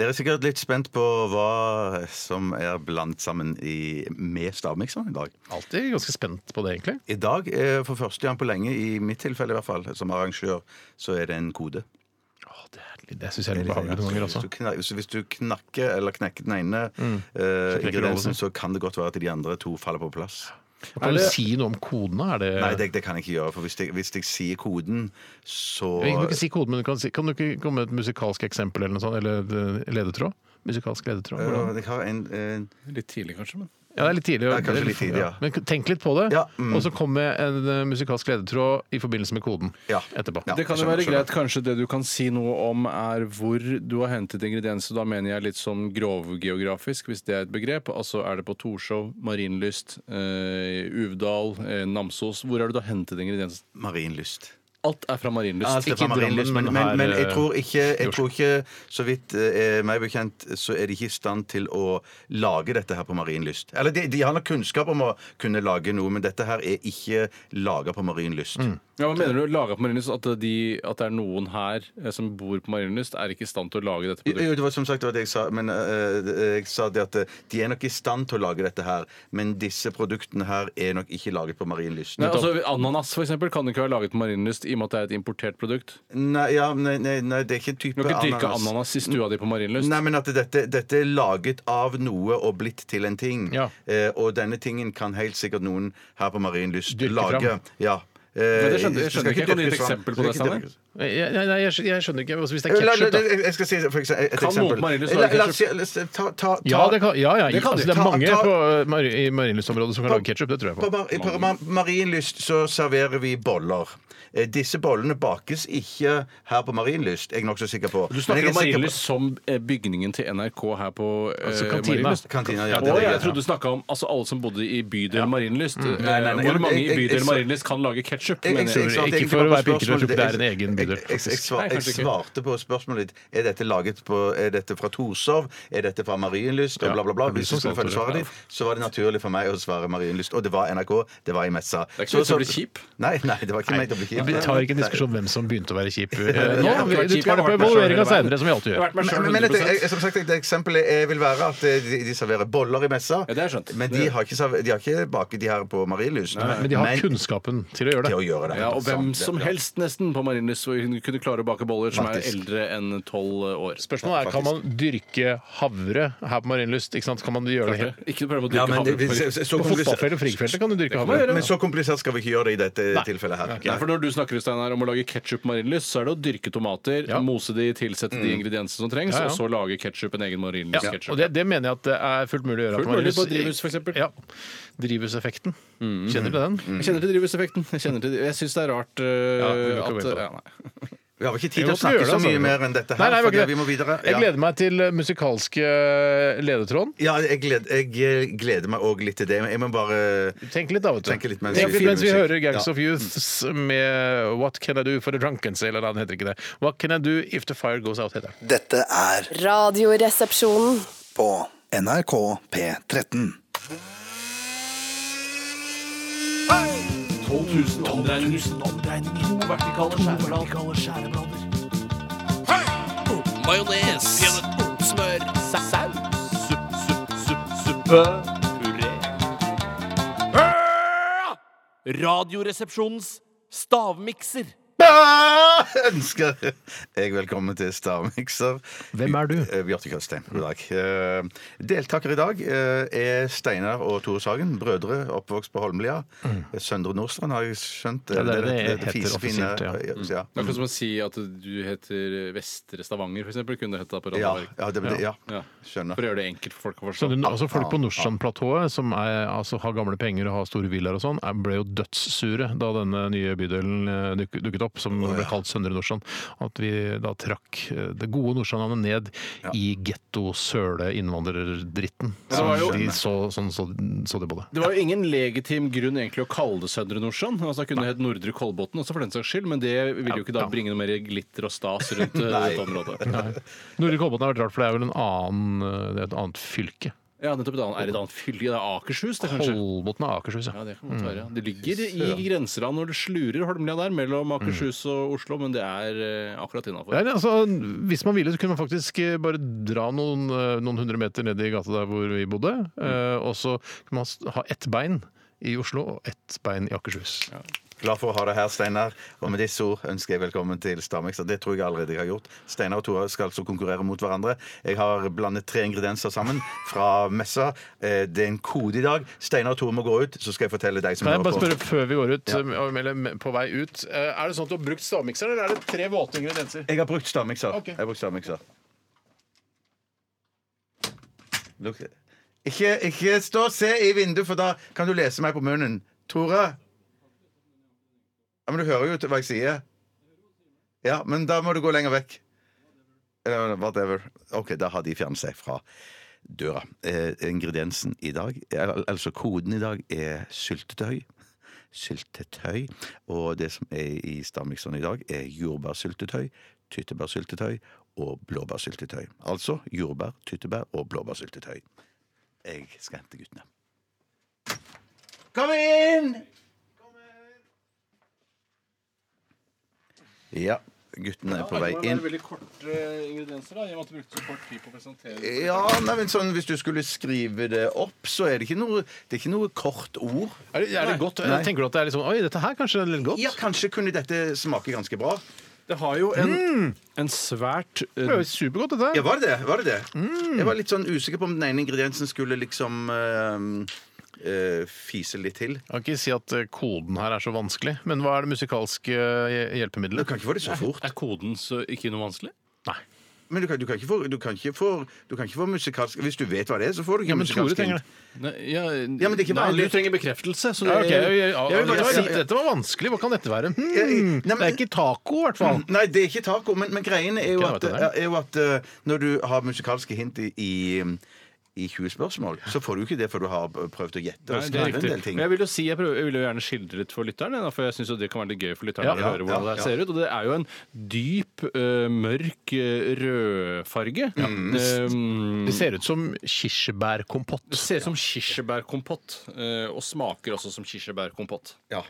S7: Dere er sikkert litt spent på hva som er blandt sammen i, med stavmikseren i dag.
S5: Alltid ganske spent på det, egentlig.
S7: I dag, eh, for første gang på lenge, i mitt tilfelle i hvert fall, som arrangør, så er det en kode.
S5: Å, det er litt- det syns jeg er litt behagelig noen ganger
S7: Hvis
S5: også. Mm.
S7: du, kna- så hvis du knakker eller knekker den ene eh,
S5: knekker
S7: ingrediensen,
S5: alle.
S7: så kan det godt være at de andre to faller på plass.
S5: Kan du si noe om kodene? Er det
S7: Nei, det, det kan jeg ikke gjøre, for hvis jeg, hvis jeg sier koden, så eh,
S5: Vi kan ikke si koden, men du kan, si, kan du ikke komme med et musikalsk eksempel eller noe sånt? Eller eh, ledetråd? Musikalsk ledetråd? hvordan-
S7: Ja, jeg har en, en
S6: Litt tidlig, kanskje, men
S5: Ja, det er litt tidlig.
S7: Det
S5: å-
S7: er kanskje litt tidlig, ja.
S5: Men tenk litt på det,
S7: Ja, mm.
S5: og så kom med en eh, musikalsk ledetråd i forbindelse med koden
S7: Ja.
S5: etterpå.
S7: Ja.
S6: Det kan jo
S7: skjønner,
S6: være
S7: skjønner.
S6: greit, kanskje det du kan si noe om, er hvor du har hentet ingredienser. Da mener jeg litt sånn grovgeografisk, hvis det er et begrep. Altså er det på Torshov, Marienlyst, eh, Uvdal, eh, Namsos? Hvor er det du har hentet ingredienser?
S7: marinlyst.
S6: Alt er fra Marienlyst.
S7: Alt er
S6: Ikke
S7: fra
S6: i Drammen,
S7: Marienlyst, men,
S6: men
S7: men,
S6: her.
S7: men jeg
S6: eh,
S7: tror ikke,
S6: i
S7: jeg
S6: Oslo.
S7: tror ikke Så vidt eh, meg bekjent, så er de ikke i stand til å lage dette her på Marienlyst. Eller de, de har nok kunnskap om å kunne lage noe, men dette her er ikke laga på Marienlyst.
S6: Ja, hva mener du? Laget på Marienlyst? At, de, at det er noen her eh, som bor på Marienlyst, er ikke i stand til å lage dette
S7: Jo,
S6: produktet?
S7: eh, jo, det var som sagt det var det jeg sa, men eh, jeg sa det at eh, de er nok i stand til å lage dette her, men disse produktene her er nok ikke laget på Marienlyst.
S6: Nei, altså, ananas for eksempel, kan ikke være laget på Marienlyst i og med at det er et importert produkt.
S7: nei, ja, nei, nei, nei, det er ikke en type
S6: Du kan
S7: ananas.
S6: ikke dyrke ananas i stua di på Marienlyst.
S7: Nei, men at dette, dette er laget av noe og blitt til en ting.
S5: Ja.
S7: Eh, og denne tingen kan helt sikkert noen her på Marienlyst
S5: Dyrke
S7: lage.
S5: fram.
S7: Ja. Eh,
S6: Men det skjønner-
S7: skal
S6: jeg skjønner ikke. Kan du gi et
S7: dyrkes fram.
S6: eksempel på
S7: Skal
S6: det,
S7: ikke
S6: Steinar?
S7: dyrkes-
S5: Nei, nei, jeg, skj- jeg skjønner ikke. Altså, hvis det er
S7: La- la-
S5: ketchup, da.
S7: Jeg skal si for eksempel, et
S6: Kan noen
S7: eksempel.
S6: på Marienlyst
S7: La-
S6: lage
S7: la oss si- la oss si- ta, ta, ta,
S5: Ja, det kan, ja, ja.
S7: Det kan
S5: altså,
S7: de.
S5: det er
S7: Ta-
S5: mange
S7: ta-
S5: på, eh, Mar- i Marienlyst-området som kan lage ketsjup. Det tror jeg
S7: På,
S5: på.
S7: Mar- på Mar- Marienlyst så serverer vi boller. Eh, Disse bollene bakes ikke her på Marienlyst, er jeg nokså sikker på. Men
S6: Du
S7: jeg
S6: snakker
S7: er
S6: om
S7: sikker på-
S6: Marienlyst som eh, bygningen til NRK her på eh,
S5: Altså, kantina.
S6: Marienlyst.
S7: Kantina, ja.
S6: Å,
S7: det er det,
S6: jeg trodde du snakka om altså, alle som bodde i bydel Marienlyst. Eh,
S7: Nei, nei, nei,
S6: Hvor
S7: men
S6: mange
S7: jeg- jeg-
S6: i
S7: jeg-
S6: bydel Marienlyst kan lage ketsjup?
S7: Jeg- jeg- jeg- jeg- jeg-
S5: ikke
S7: jeg-
S5: for å
S7: jeg-
S5: være
S7: spørsmålet-
S5: pirkete, jeg tror ikke det er en egen bydel,
S7: Jeg, jeg, jeg,
S5: faktisk.
S7: svar,
S6: Nei,
S7: jeg
S6: kanskje ikke.
S7: svarte på spørsmålet ditt Er dette laget på, er dette fra Torshov, er dette fra Marienlyst og bla, bla, bla.
S5: det blir
S7: Hvis du
S5: sånn
S7: skulle følge
S5: svar,
S7: svaret ditt, så var det naturlig for meg å svare Marienlyst. Og det var NRK, det var i messa.
S6: er ikke ment til å bli kip.
S7: Nei, nei, det var ikke ment til å bli kjip.
S5: Vi tar ikke en diskusjon om hvem som begynte å være kjip. eh,
S6: Jeg
S5: Nå,
S6: har ikke vært
S5: vi
S6: kjip, jeg
S5: tar det på
S6: har vært meg selv hele
S5: evalueringa
S6: veien.
S5: seinere, som vi alltid
S6: Jeg har
S5: gjør.
S6: vært meg selv
S7: Men, men et,
S6: 100%.
S7: jeg, som sagt, et eksempel jeg vil være at eh, de, de serverer boller i messa.
S6: Ja, det har jeg skjønt.
S7: Men de har ikke, server- de har ikke baket de her på Marienlyst.
S5: Men de har Sånn. kunnskapen til å gjøre
S7: til å
S5: det.
S7: gjøre det.
S6: Ja, og hvem som
S7: Sånn, Ja.
S6: helst nesten på Marienlyst hvor hun kunne klare å bake boller som er
S7: Faktisk.
S6: eldre enn tolv år.
S5: Spørsmålet er, Kan man dyrke havre her på Marienlyst? ikke sant? Kan man gjøre det helt?
S6: Ikke prøve å
S7: Ja,
S6: dyrke
S7: men det-
S6: havre. på-
S7: så- så- så
S5: På
S7: komplisert-
S5: fotballfeltet og frikfeltet kan du dyrke
S6: man
S5: havre.
S6: gjøre.
S7: Men så komplisert skal vi ikke gjøre det i dette tilfellet her.
S6: Nei, for Når du snakker Steinar, om å lage ketsjup marinlyst, så er det å dyrke tomater,
S5: Ja. Mm.
S6: mose de, tilsette de ingrediensene som trengs,
S5: Ja, ja.
S6: og så lage ketsjup en
S5: Ja,
S6: egen marinlyst-ketsjup.
S5: og det, det mener jeg at det er fullt mulig å gjøre. her
S6: Fullt
S5: på
S6: mulig på
S5: Marienlyst.
S6: drivhus, for eksempel. Mm.
S5: Ja. Drivhuseffekten. Kjenner du den?
S6: Jeg kjenner til drivhuseffekten. Jeg, kjenner til, jeg syns det er rart øh,
S5: Ja, vi kan ikke gå
S6: at
S5: inn på det.
S6: ja, nei.
S7: Vi har vel ikke
S5: Vi
S7: tid til å
S5: må
S7: snakke
S5: gjøre det,
S7: så
S5: altså.
S7: mye mer enn dette her.
S5: Nei, nei,
S7: fordi
S5: ikke det.
S7: vi må videre. Ja.
S5: Jeg gleder meg til eh, musikalske eh, ledetråden.
S7: Ja, jeg gleder, jeg gleder meg òg litt til det. Men jeg må bare
S5: Tenk litt, da. vet du.
S7: Tenk litt mens
S5: Tenk
S7: vi-
S5: litt mens vi
S7: musikk.
S5: hører Gangs
S7: Ja. Mm.
S5: of Youths med What Can I Do for the Drunkens? Eller han heter ikke det. What Can I Do If The Fire Goes Out? heter den.
S9: Dette er
S8: Radioresepsjonen.
S9: på NRK P13.
S10: 12 000 omdreininger. To vertikale skjæreblader. Majones. Smør. Saus. Supp, supp, supp, suppe. Puré. Radioresepsjonens stavmikser.
S7: Ah! ønsker jeg velkommen til Stavmikser.
S5: Hvem er du?
S7: Eh, Bjarte Kjølstein. God dag. Eh, Deltaker i dag eh, er Steinar og Tore Sagen. Brødre oppvokst på Holmlia. Søndre Nordstrand, har jeg skjønt.
S5: Mm. Ja, det er det det heter
S7: fisefine-
S5: offisielt, Mm.
S7: ja.
S6: Det er akkurat som å si at du heter Vestre Stavanger, f.eks. Kunne det hett da på
S7: Ja,
S6: Randaberg.
S7: ja, det, det, ja.
S6: Ja. For
S7: Skjønner.
S6: å gjøre det enkelt for folk å
S5: Så
S6: forstå.
S5: det, altså Folk på Nordstrandplatået som er, altså, har gamle penger og har store villaer og sånn, er- ble jo dødssure da denne nye bydelen eh, duk, dukket opp, som ble kalt Søndre Nordstrand. At vi da trakk eh, det gode Nordstrandlandet ned i getto-søle-innvandrerdritten.
S6: det var jo-
S5: Som de så, sånn så, så de på det.
S6: Det var jo ingen legitim grunn egentlig å kalle det Søndre Nordstrand. Altså, det kunne hett Nordre Kolbotn også, for den saks skyld, men det ville jo ikke da
S5: Ja.
S6: bringe noe mer glitter og stas rundt eh, dette området.
S5: Nordre Kolbotn har vært rart, for det er vel en annen, eh, det er et annet fylke.
S6: Ja, nettopp et annet, Er det et annet fylke? Det er Akershus, det, kanskje?
S5: Kolbotn er Akershus, ja.
S6: Ja, Det kan godt være. ja. Det ligger i grenseland når det slurer Holmlia der, mellom Akershus og Oslo, men det er eh, akkurat
S5: Mm. Ja,
S6: innafor.
S5: nei, altså, hvis man ville, så kunne man faktisk eh, bare dra noen, eh, noen hundre meter ned i gata der hvor vi bodde. eh, Og så kunne man s- ha ett bein i Oslo og ett bein i Akershus.
S7: Glad for å ha deg her, Steinar. Og med disse ord ønsker jeg velkommen til Stavmikser. Det tror jeg allerede jeg har gjort. Steinar og Tore skal altså konkurrere mot hverandre. Jeg har blandet tre ingredienser sammen fra messa. Eh, Det er en kode i dag. Steinar og Tore må gå ut, så skal jeg fortelle deg som
S5: Kan jeg bare
S7: hører
S5: spørre
S7: på.
S5: før vi går ut, eh, eller me- på vei ut, eh, er det sånn at du har brukt stavmikseren, eller er det tre våte ingredienser?
S7: Jeg har brukt stavmikser.
S5: Ok.
S7: Jeg har brukt stavmikser. Lukt- Ikke, ikke stå og se i vinduet, for da kan du lese meg på munnen. Tore? Ja, men du hører jo til hva jeg sier. Ja, men da må du gå lenger vekk. Eller whatever. OK, da har de fjernet seg fra døra. Eh, ingrediensen i dag, eller, altså koden i dag, er syltetøy. syltetøy. Og det som er i stavmikseren i dag, er jordbærsyltetøy, tyttebærsyltetøy og blåbærsyltetøy. Altså jordbær, tyttebær og blåbærsyltetøy. Jeg skal hente guttene. Kom inn! Ja, guttene er på vei inn.
S6: veldig korte eh, ingredienser, da, i og med at du brukte så kort tid på å presentere.
S7: Ja, nei, men sånn, Hvis du skulle skrive det opp, så er det ikke noe, det er ikke noe kort ord.
S5: Er det, er det godt?
S7: Nei.
S5: Tenker du at det er liksom Oi, dette her kanskje er litt godt?
S7: Ja, Kanskje kunne dette smake ganske bra.
S6: Det har jo en, en svært eh,
S5: Mm. Det er jo supergodt, dette.
S7: Ja, Var det det? Var det, det? Jeg var litt sånn usikker på om den ene ingrediensen skulle liksom eh, eh, fise litt til.
S5: Jeg kan ikke si at eh, koden her er så vanskelig, men hva er det musikalske eh,
S7: Du
S5: hjelpemiddelet?
S7: kan ikke få det så fort.
S6: Er koden så ikke noe vanskelig?
S5: Nei.
S7: Men du kan, du kan, ikke, få, du kan, ikke, få, du kan ikke få musikalsk Hvis du vet hva det er, så får du ikke
S5: Ja, men Tore
S7: musikalsk
S5: trenger det.
S6: Nei, ja,
S7: men det er ikke
S6: nei,
S7: vanlig.
S6: du trenger bekreftelse. Så
S5: Ja, ok, jeg, jeg,
S6: jeg,
S5: jeg,
S7: vil bare si-
S5: dette var vanskelig, hva kan dette være? Hmm,
S7: Jeg- nei, men-
S5: det er ikke taco, i hvert fall.
S7: Nei, det er ikke taco, men, men greien er jo
S5: Ikke
S7: at,
S5: noe av
S7: er jo at eh, når du har musikalske hint i, i, i 20 spørsmål, så får du ikke det før du har prøvd å gjette og
S6: Nei, det er
S7: skrive en del
S6: riktig.
S7: ting.
S6: Men jeg vil jo si, jeg, prøver, jeg vil jo gjerne skildre litt for lytteren, jeg, da, for jeg syns det kan være litt gøy for lytteren
S5: Ja,
S6: å
S5: ja,
S6: høre hvordan
S7: ja,
S6: det ser ut. Og det er jo en dyp, eh, mørk eh, rødfarge. Eh,
S5: Det ser ut som kirsebærkompott.
S6: det ser ut som kirsebærkompott, eh, og smaker også som kirsebærkompott.
S7: Ja.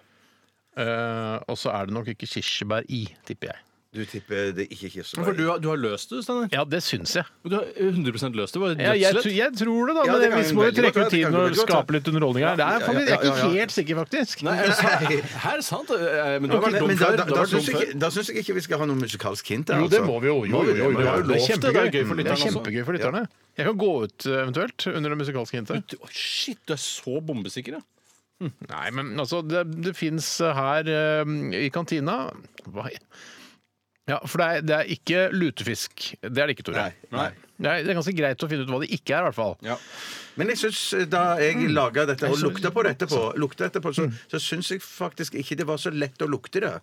S5: Eh, og så er det nok ikke kirsebær i, tipper jeg.
S7: Du tipper det ikke er kirsebær?
S6: For du, har- du har løst det, Steinar.
S5: Ja, det syns jeg.
S6: Du har 100 løst det. Bare
S5: Ja, jeg,
S6: dødslett.
S5: tr- jeg tror det, da.
S7: Ja,
S5: Men
S7: det kan
S5: vi
S7: jo
S5: må jo
S7: veldig godt
S5: trekke
S7: være, det
S5: ut tiden
S7: kan jo
S5: og
S7: veldig godt
S5: skape litt underholdning her. Det er,
S7: ja, ja,
S5: faktisk, jeg er
S7: ja, ja,
S5: ikke
S7: ja.
S5: helt sikker, faktisk.
S6: Nei, er det sant? Her er det sant. Eh, Men du
S7: Ja,
S6: har
S7: men,
S6: vært dum
S7: men da, da,
S6: før.
S7: da,
S6: Du har vært dum
S7: syns jeg,
S6: før.
S7: ikke- da syns jeg ikke vi skal ha noe musikalsk hint. der,
S5: Jo, det
S7: altså.
S5: må vi jo. jo, jo, jo,
S7: Må vi det?
S5: jo, jo. Det er
S6: lov til, det er gøy for
S5: kjempegøy. Det er
S6: lytterne også.
S5: kjempegøy for lytterne. Jeg kan gå ut eh, eventuelt under det musikalske
S7: Mm.
S5: hintet.
S6: Å, Shit, du er så bombesikker, ja.
S5: Nei, men altså, det, det fins her eh, i kantina Hva ja, for det er, det er ikke lutefisk. Det er det ikke, Tore.
S7: Nei, nei.
S5: Det er, det er ganske greit å finne ut hva det ikke er, i hvert fall.
S7: Men jeg syns eh, da jeg laga dette og
S5: Mm. Jeg synes- Mm.
S7: lukta på det etterpå, lukta etterpå så, så syns jeg faktisk ikke det var så lett å lukte det.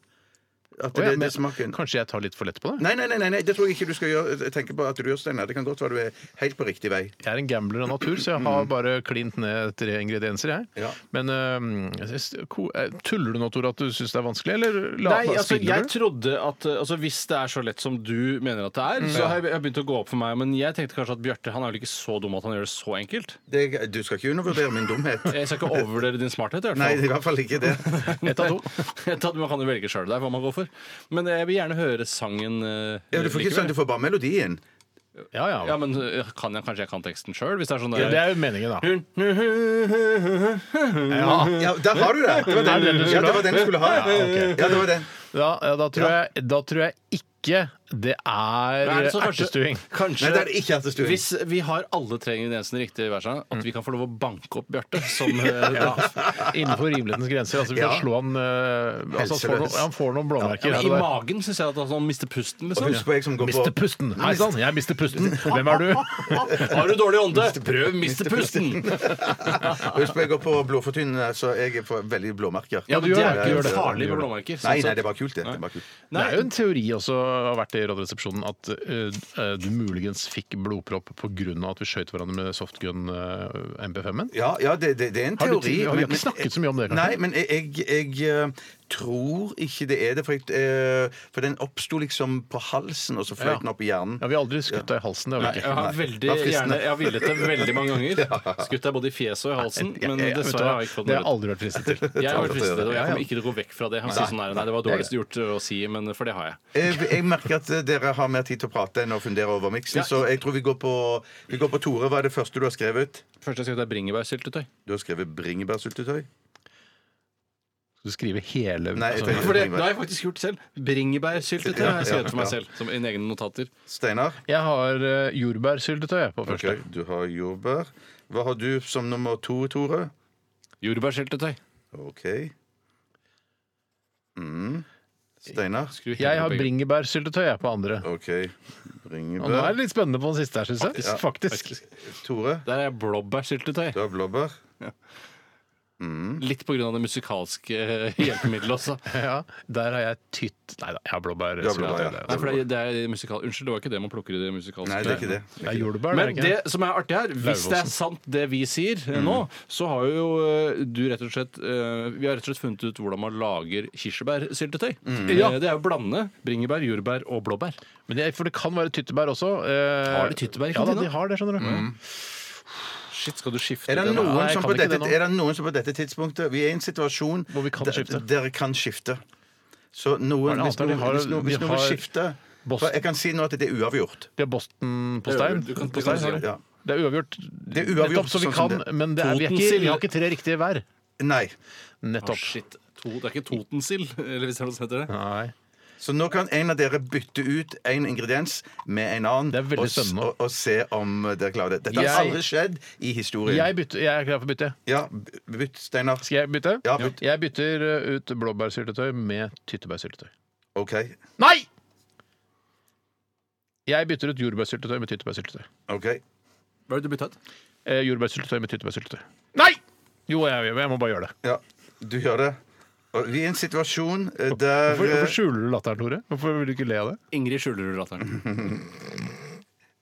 S7: At
S5: Å,
S7: det,
S5: ja,
S7: det
S5: men
S7: smaken
S5: Kanskje jeg tar litt for lett på det?
S7: Nei, nei, nei, nei, nei, det tror jeg ikke du skal gjøre, tenke på at du gjør, Steinar. Det kan godt være du er helt på riktig vei.
S5: Jeg er en gambler av natur, så jeg har bare klint ned tre ingredienser. Jeg.
S7: Ja.
S5: Men øhm, jeg synes, ko- eh, tuller du nå, Tore, at du syns det er vanskelig? Eller la,
S6: Nei, altså,
S5: spiller
S6: jeg
S5: du?
S6: trodde at eh, altså, Hvis det er så lett som du mener at det er,
S7: Mm.
S6: så har jeg jeg har begynt å gå opp for meg. Men jeg tenkte kanskje at Bjarte han er vel ikke så dum at han gjør det så enkelt?
S7: Det, du skal ikke undervurdere min dumhet.
S6: Jeg skal ikke overvurdere din smarthet. i hvert
S7: Nei,
S6: fall.
S7: i hvert fall ikke det.
S5: Ett av to.
S6: Jeg tar- Man kan jo velge sjøl hva man går for. Men eh, jeg vil gjerne høre sangen. eh,
S7: Ja, du får ikke
S6: likevel.
S7: sånn, du får bare melodien.
S5: Ja, ja.
S6: Ja, men eh, kan jeg, Kanskje jeg kan teksten sjøl? Hvis det er sånn
S5: Ja, det er jo meningen, da. Ja,
S7: Ja, der har du det! Det var
S5: Er
S7: den,
S5: det den
S7: ja, det
S5: du skulle
S7: var den du skulle ha.
S5: Ja, ok.
S7: Ja, det var den.
S5: da, ja, da, tror jeg, da tror jeg ikke det er
S6: Nei, så kanskje-
S5: ertestuing.
S7: Nei,
S6: Kanskje
S7: det er ikke Ertestuing.
S6: Hvis vi har alle tre ingrediensene riktig, i hver sang, at vi kan få lov å banke opp Bjarte som eh,
S5: Ja. Innenfor rimelighetens grenser. Altså, vi kan
S7: Ja.
S5: slå han øh, altså, han får
S7: Helseløs.
S5: noen, Han får noen blåmerker.
S6: I
S5: her og der.
S6: magen syns jeg at han mister pusten.
S7: Og
S6: liksom
S7: husk på jeg som går på
S5: Mister pusten! Hei sann, jeg mister pusten! Hvem er du?
S6: Ah, Har du dårlig ånde? Prøv miste pusten!
S7: Og Husk på, jeg går på blodfortynnende, så jeg får veldig blåmerker.
S6: Ja, men
S5: du
S6: det
S5: gjør
S6: er
S5: det,
S6: ikke
S5: gjør det. Sånn
S6: farlig
S5: Du gjør
S6: med
S5: det.
S6: blåmerker.
S7: Nei, nei, det er bare kult, det. det er bare kult.
S5: Det er jo en teori også har vært i Radioresepsjonen at eh, du muligens fikk blodpropp pga. at vi skøyt hverandre med softgun eh, MP5-en.
S7: Ja, ja det, det, det er en
S5: Har du
S7: teori.
S5: tid- har vi
S7: men-
S5: ikke snakket så mye om det, kanskje?
S7: Nei, men jeg, jeg, jeg eh, tror ikke det er det. For, jeg, eh, for den oppsto liksom på halsen, og så fløy
S5: Ja.
S7: den opp i hjernen.
S5: Ja, vi har aldri skutt deg i halsen. det har vi
S6: Jeg
S5: ikke.
S6: har veldig
S7: det var fristende.
S6: gjerne Jeg har villet det veldig mange ganger. Skutt deg både i fjeset og i halsen, men
S5: Jeg- jeg- vet du
S6: dessverre
S5: hva?
S6: har jeg ikke fått
S5: det har jeg
S6: noe ut.
S5: aldri vært fristet til.
S6: Jeg har vært fristet,
S5: Ja,
S6: og jeg
S5: ja.
S6: kommer ikke til å gå vekk fra det. Han sier sånn nei, nei, det var dårligst gjort å si, men for det har jeg.
S7: Jeg, jeg merker at eh, dere har mer tid til å prate enn å fundere over miksen,
S6: Ja.
S7: så jeg tror vi går på, vi går på Tore. Hva er det første du har skrevet?
S6: Først jeg skal ta bringebærsyltetøy.
S7: Du har skrevet bringebærsyltetøy?
S5: Du skriver hele
S7: Nei, jeg
S5: altså,
S7: tenker-
S6: For det, det har jeg faktisk gjort selv. Bringebærsyltetøy har jeg skrevet for meg
S7: Ja, ja.
S6: selv. Som en egne notater.
S7: Steinar?
S5: Jeg har eh, jordbærsyltetøy jeg, på
S7: Ok,
S5: første.
S7: Du har jordbær. Hva har du som nummer to, Tore?
S6: Jordbærsyltetøy.
S7: OK. Mm. Steinar?
S6: Skru hele
S5: Jeg har
S6: begge.
S5: bringebærsyltetøy jeg, på andre.
S7: OK.
S5: Og nå er
S7: Bringebær.
S5: det litt spennende på den siste her, syns jeg. Faktisk.
S7: Tore?
S6: Der er jeg blåbærsyltetøy.
S7: Du har blåbær.
S6: Litt på grunn av det musikalske eh, hjelpemiddelet også.
S5: Ja, der har jeg tytt Nei da, jeg har blåbær.
S7: har blåbær, ja.
S5: Det er-
S6: Nei, for det er, det er musikal... Unnskyld, det var ikke det man plukker i det musikalske.
S7: Nei, det er ikke det. det, er
S5: Det er
S7: ikke det.
S5: jordbær, det er
S6: Men
S5: ikke
S6: det som er artig her, hvis
S5: Lauvåsen.
S6: det er sant det vi sier eh, nå,
S7: Mm.
S6: så har jo eh, du rett og slett eh, Vi har rett og slett funnet ut hvordan man lager kirsebærsyltetøy.
S7: Mm.
S5: Ja.
S6: Eh, Det er jo å blande bringebær, jordbær og blåbær.
S5: Men det, for det kan være tyttebær også. Eh,
S6: Har de tyttebær i
S5: Ja, da, de
S6: kantina?
S5: har det, skjønner du.
S6: Shit, skal du skifte
S7: Er det,
S6: den?
S7: noen
S5: Nei, jeg
S7: som
S5: kan
S7: på
S5: ikke
S7: dette,
S5: det nå.
S7: er det noen som på dette tidspunktet Vi er i en situasjon
S5: Hvor vi kan
S7: der-
S5: skifte.
S7: Dere kan skifte. Så
S5: Hva er
S7: noen,
S5: det
S7: hvis
S5: annet? De
S7: noen,
S5: har-
S7: hvis noen, hvis
S5: de
S7: noen vil
S5: har
S7: skifte
S5: Boston.
S7: for Jeg kan si nå at det er uavgjort.
S5: Det er Boston på
S6: Det er
S5: stein.
S6: uavgjort. Du kan-
S5: På
S6: du kan
S5: stein,
S6: si
S5: har
S6: det.
S5: de.
S7: Ja.
S5: Det er uavgjort.
S7: Det er uavgjort,
S5: Nettopp, så vi
S7: sånn som
S5: kan,
S7: det.
S5: men det er, vi, er ikke,
S6: Totensild.
S5: vi har ikke tre riktige hver.
S7: Nei.
S6: Ah,
S5: Nettopp.
S6: shit. To, det er ikke Totensild, eller hvis det er noe som heter det.
S5: Nei.
S7: Så nå kan en av dere bytte ut en ingrediens med en annen.
S5: Det er veldig
S7: og, s-
S5: spennende.
S7: og, og se om dere klarer det. Dette har
S5: Jeg-
S7: aldri skjedd i historien.
S5: Jeg, bytter, jeg er klar for å bytte.
S7: Ja, b- bytt, Steinar.
S5: Skal jeg bytte?
S7: Ja, bytt.
S5: Jeg bytter eh, ut blåbærsyltetøy med tyttebærsyltetøy.
S7: OK.
S5: Nei! Jeg bytter ut jordbærsyltetøy med tyttebærsyltetøy.
S7: ok
S6: Hva er det du bytta ut?
S5: Eh, jordbærsyltetøy med tyttebærsyltetøy. Nei! Jo, jeg, jeg må bare gjøre det.
S7: Ja, du gjør det. Og vi er i en situasjon eh, der
S5: Hvorfor, hvorfor
S7: eh,
S5: skjuler du latteren, Tore? Hvorfor vil du ikke le av det?
S6: Ingrid skjuler rateren.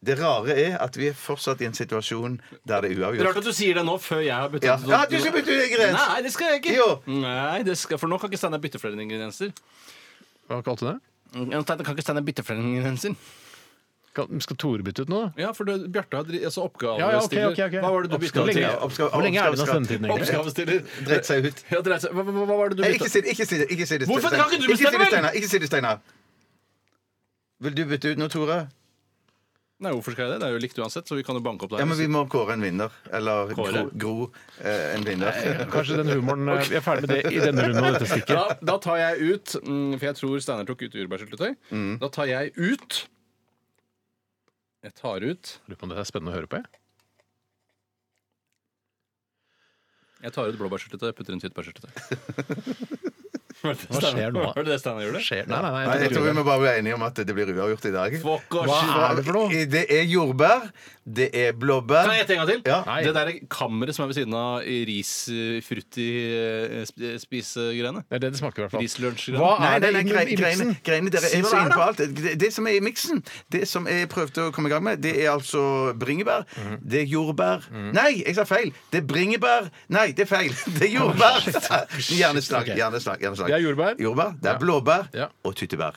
S7: Det rare er at vi er fortsatt i en situasjon der det er
S6: Rart
S7: uavgjort.
S6: at du sier det nå, før jeg har bytta
S7: Ja. ja, du skal bytte ut ingrediens!
S6: Nei, det skal jeg ikke.
S7: Jo.
S6: Nei, det skal, for nå kan ikke Steinar bytte flere ingredienser.
S5: Hva kalte du det?
S6: Steinar kan ikke Steinar bytte flere ingredienser.
S5: Kan, skal Tore bytte ut noe, da?
S6: Ja, for det- Bjarte har dri- altså
S5: Ja, ja, ok,
S6: oppgavestiller.
S5: ok, ok.
S6: Hva var det du bytta
S5: Hvor lenge-
S6: til?
S7: Oppskrift-
S5: Hvor lenge er det nå
S7: oppskrift-
S5: sendetiden, egentlig?
S6: Oppgavestiller.
S7: Dreit seg ut.
S6: Ja, dreit seg. Hva, hva, hva var det du
S7: Nei, ikke
S6: bytta
S7: si det, ikke si det. ikke si det
S6: Hvorfor kan ikke du
S7: Ikke si det,
S6: bestemme?
S7: Steinar. Ikke si det, Steinar. Vil du bytte ut nå, Tore?
S6: Nei, hvorfor skal jeg det? Det er jo likt uansett, så vi kan jo banke opp der.
S7: Ja, men Vi må kåre en vinner. Eller Gro,
S6: Kåre.
S7: gro eh, en vinner.
S5: Kanskje den humoren eh, Vi er ferdig med det i denne runden av dette stikket.
S6: da, da tar jeg ut mm, For jeg tror Steinar tok ut jordbærsyltetøy.
S5: Mm.
S6: Da tar jeg ut Jeg tar ut
S5: Lurer på om det er spennende å høre på. Jeg.
S6: Jeg tar ut blåbærsyltetøy og putter inn tyttebærsyltetøy.
S5: Hva skjer nå?
S6: Var det det Steinar gjorde?
S5: Skjer? Nei, nei,
S7: Nei,
S5: nei.
S7: jeg
S5: jeg tror
S7: tror vi
S5: det.
S7: må bare bli enige om at det blir uavgjort i dag.
S6: Fuck off.
S5: Hva er det for noe?
S7: Det er jordbær, det er blåbær
S6: Kan jeg gjette en gang til?
S7: Ja.
S5: Nei.
S6: Det der kammeret som er ved siden av eh, risfrutti-spisegreiene.
S5: Det er det det smaker, i hvert fall.
S6: Rislunsjgreiene.
S5: Hva
S7: Nei,
S5: er det
S7: nei, nei,
S5: i-
S7: grei-
S5: i miksen?
S7: greiene, greiene dere
S5: Si
S7: er
S5: hva
S7: så
S5: det er,
S7: inne på
S5: da.
S7: alt. Det, det som er i miksen, det som jeg prøvde å komme i gang med, det er altså bringebær.
S5: Mhm.
S7: Det er jordbær. Nei, jeg sa feil! Det er bringebær. Nei, det er feil. Det er jordbær. Hjerneslag.
S5: Ok.
S7: hjerneslag, hjerneslag.
S5: Det er jordbær.
S7: det er blåbær
S5: Ja.
S7: og tyttebær.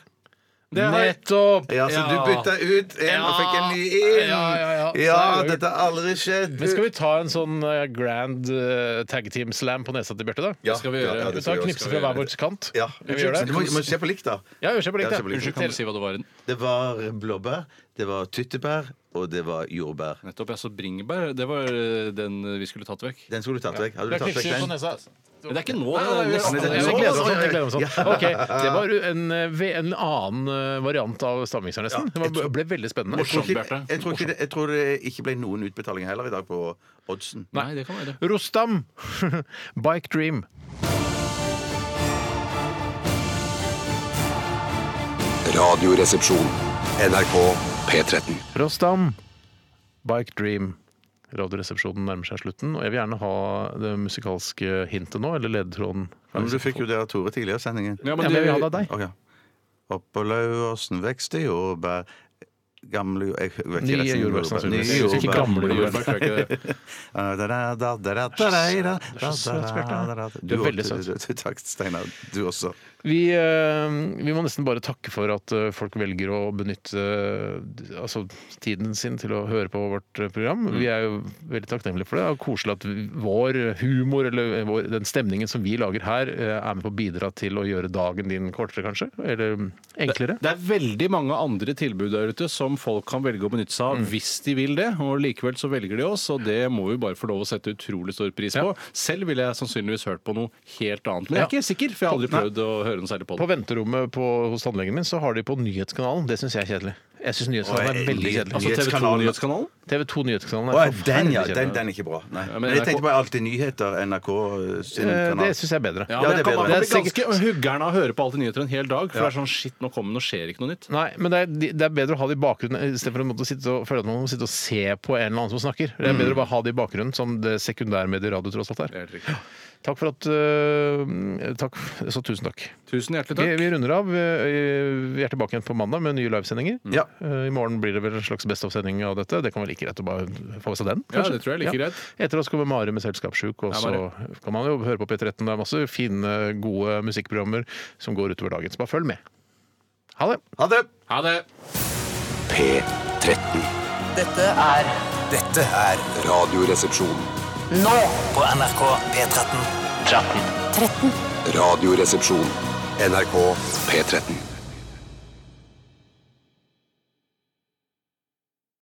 S5: Nettopp!
S7: Ja, så du bytta ut en og fikk en ny inn.
S5: Ja, ja, ja. Så er det
S7: dette har aldri skjedd.
S5: Men skal vi ta en sånn eh, grand eh, tag team slam på nesa til Bjarte, da?
S7: Ja,
S6: skal vi gjøre?
S7: ja, ja,
S5: Vi
S7: det skal
S5: tar
S7: vi gjøre.
S5: knipse fra hver vår kant.
S7: Ja.
S5: Kan vi
S7: Men
S5: gjøre
S7: Du må,
S5: det?
S7: må se på likt, da.
S5: Ja, vi ser på likt,
S7: Ja,
S5: da.
S7: se på likt.
S6: Unnskyld, kan du si hva det var i den?
S7: Det var blåbær, det var tyttebær, og det var jordbær.
S6: Nettopp, jeg så bringebær. Det var eh, den vi skulle tatt vekk.
S7: Den skulle du tatt vekk. Hadde
S5: Det
S7: du
S5: er
S7: tatt
S5: sånn
S7: vekk
S5: knipsing på
S7: den?
S5: nesa.
S6: Men det er ikke nå.
S5: Nei, nei,
S6: det er
S5: nei,
S6: nesten-
S5: nei,
S7: det
S5: Jeg
S7: er sånn.
S5: gleder meg sånn. jeg gleder meg sånn. Ok, Det var en, eh, en annen eh, variant av stavmikser, nesten. Det var- ble veldig spennende.
S7: Jeg tror,
S6: Morsomt,
S7: ikke,
S6: Bjarte.
S7: jeg, tror ikke det, jeg tror det ikke ble noen utbetalinger heller i dag på oddsen.
S6: Nei, det kan være det.
S5: Rostam, Bike Dream.
S1: Radioresepsjon. NRK P13.
S5: Rostam, Bike Dream. Radioresepsjonen nærmer seg slutten, og jeg vil gjerne ha det musikalske hintet nå, eller ledetråden.
S7: men du fikk jo det av Tore tidligere i sendingen.
S5: Ja, men jeg vil ha det av deg.
S7: Ok. Oppå Lauåsen vekste jordbær Gamle jord- jeg vet ikke
S5: Nye
S7: resten av
S5: jordbær,
S7: jordbær.
S5: sannsynligvis.
S7: Nye
S5: Ikke gamle
S7: jordbær.
S6: jordbær, tror jeg ikke det.
S7: Da, da, da, da, da, da, da,
S5: Du er så søt, Bjarte.
S7: da, da, da.
S5: Du er veldig
S7: også- Takk, Steinar. Du også.
S5: Vi, eh, vi må nesten bare takke for at eh, folk velger å benytte eh, altså, tiden sin til å høre på vårt eh, program. Vi er jo veldig takknemlige for det. Og koselig at vi- vår humor, eller eh, vår, den stemningen som vi lager her, eh, er med på å bidra til å gjøre dagen din kortere, kanskje? Eller mm, enklere?
S6: Det er veldig mange andre tilbud der ute som folk kan velge å benytte seg av hvis de vil det. Og likevel så velger de oss, og det må vi bare få lov å sette utrolig stor pris på. Selv ville jeg sannsynligvis hørt på noe helt annet, men jeg er
S5: Ja.
S6: ikke sikker, for jeg har aldri prøvd å høre noe særlig på
S5: På
S6: det.
S5: venterommet på, hos tannlegen min så har de på nyhetskanalen. Det syns jeg er kjedelig. Jeg syns Nyhetskanalen
S7: Åh,
S5: er veldig kjedelig.
S6: Altså TV 2
S7: Nyhetskanalen.
S6: Nyhetskanalen?
S5: TV 2 Nyhetskanalen
S7: Altså- Å,
S5: er
S7: den,
S5: forferdelig
S7: ja. Den,
S5: kjedelig.
S7: den er ikke bra. Nei.
S6: Ja, men
S7: Men jeg
S6: NRK
S7: tenkte på alltid nyheter, NRK sin
S5: Eh,
S7: kanal.
S5: Det syns jeg er bedre.
S6: Ja,
S7: Ja,
S6: men
S7: det er
S6: jeg kan,
S7: bedre.
S6: man
S5: Det
S6: blir
S5: er sikkert-
S6: ganske huggerne av å høre på alt i nyheter en hel dag. For det er sånn shit, nå kommer det, nå skjer ikke noe nytt.
S5: Nei, men det er, det er bedre å ha det i bakgrunnen istedenfor å måtte sitte og føle at man må sitte og se på en eller annen som snakker. Det er
S7: Mm.
S5: bedre å bare ha det i bakgrunnen, som det sekundærmediet radio tross alt er. Takk for at øh, Takk. Så tusen takk.
S6: Tusen hjertelig
S5: Vi,
S6: takk.
S5: vi runder av. Vi vi er tilbake igjen på mandag med nye livesendinger.
S7: Ja.
S5: Eh, I morgen blir det vel en slags Best of-sending av dette. Det kan være like greit å bare få med seg den.
S6: Ja, det tror jeg er like greit.
S5: Etter oss kommer Mari med Selskapssjuk, og
S6: Ja,
S5: så kan man jo høre på P13. Det er masse fine, gode musikkprogrammer som går utover dagen. Så bare følg med. Ha det!
S7: Ha det!
S6: Ha det.
S1: P13.
S2: Dette er
S3: Dette er
S1: Radioresepsjon.
S2: nå
S3: på NRK P13.
S2: 13.
S1: Radioresepsjon. NRK P13.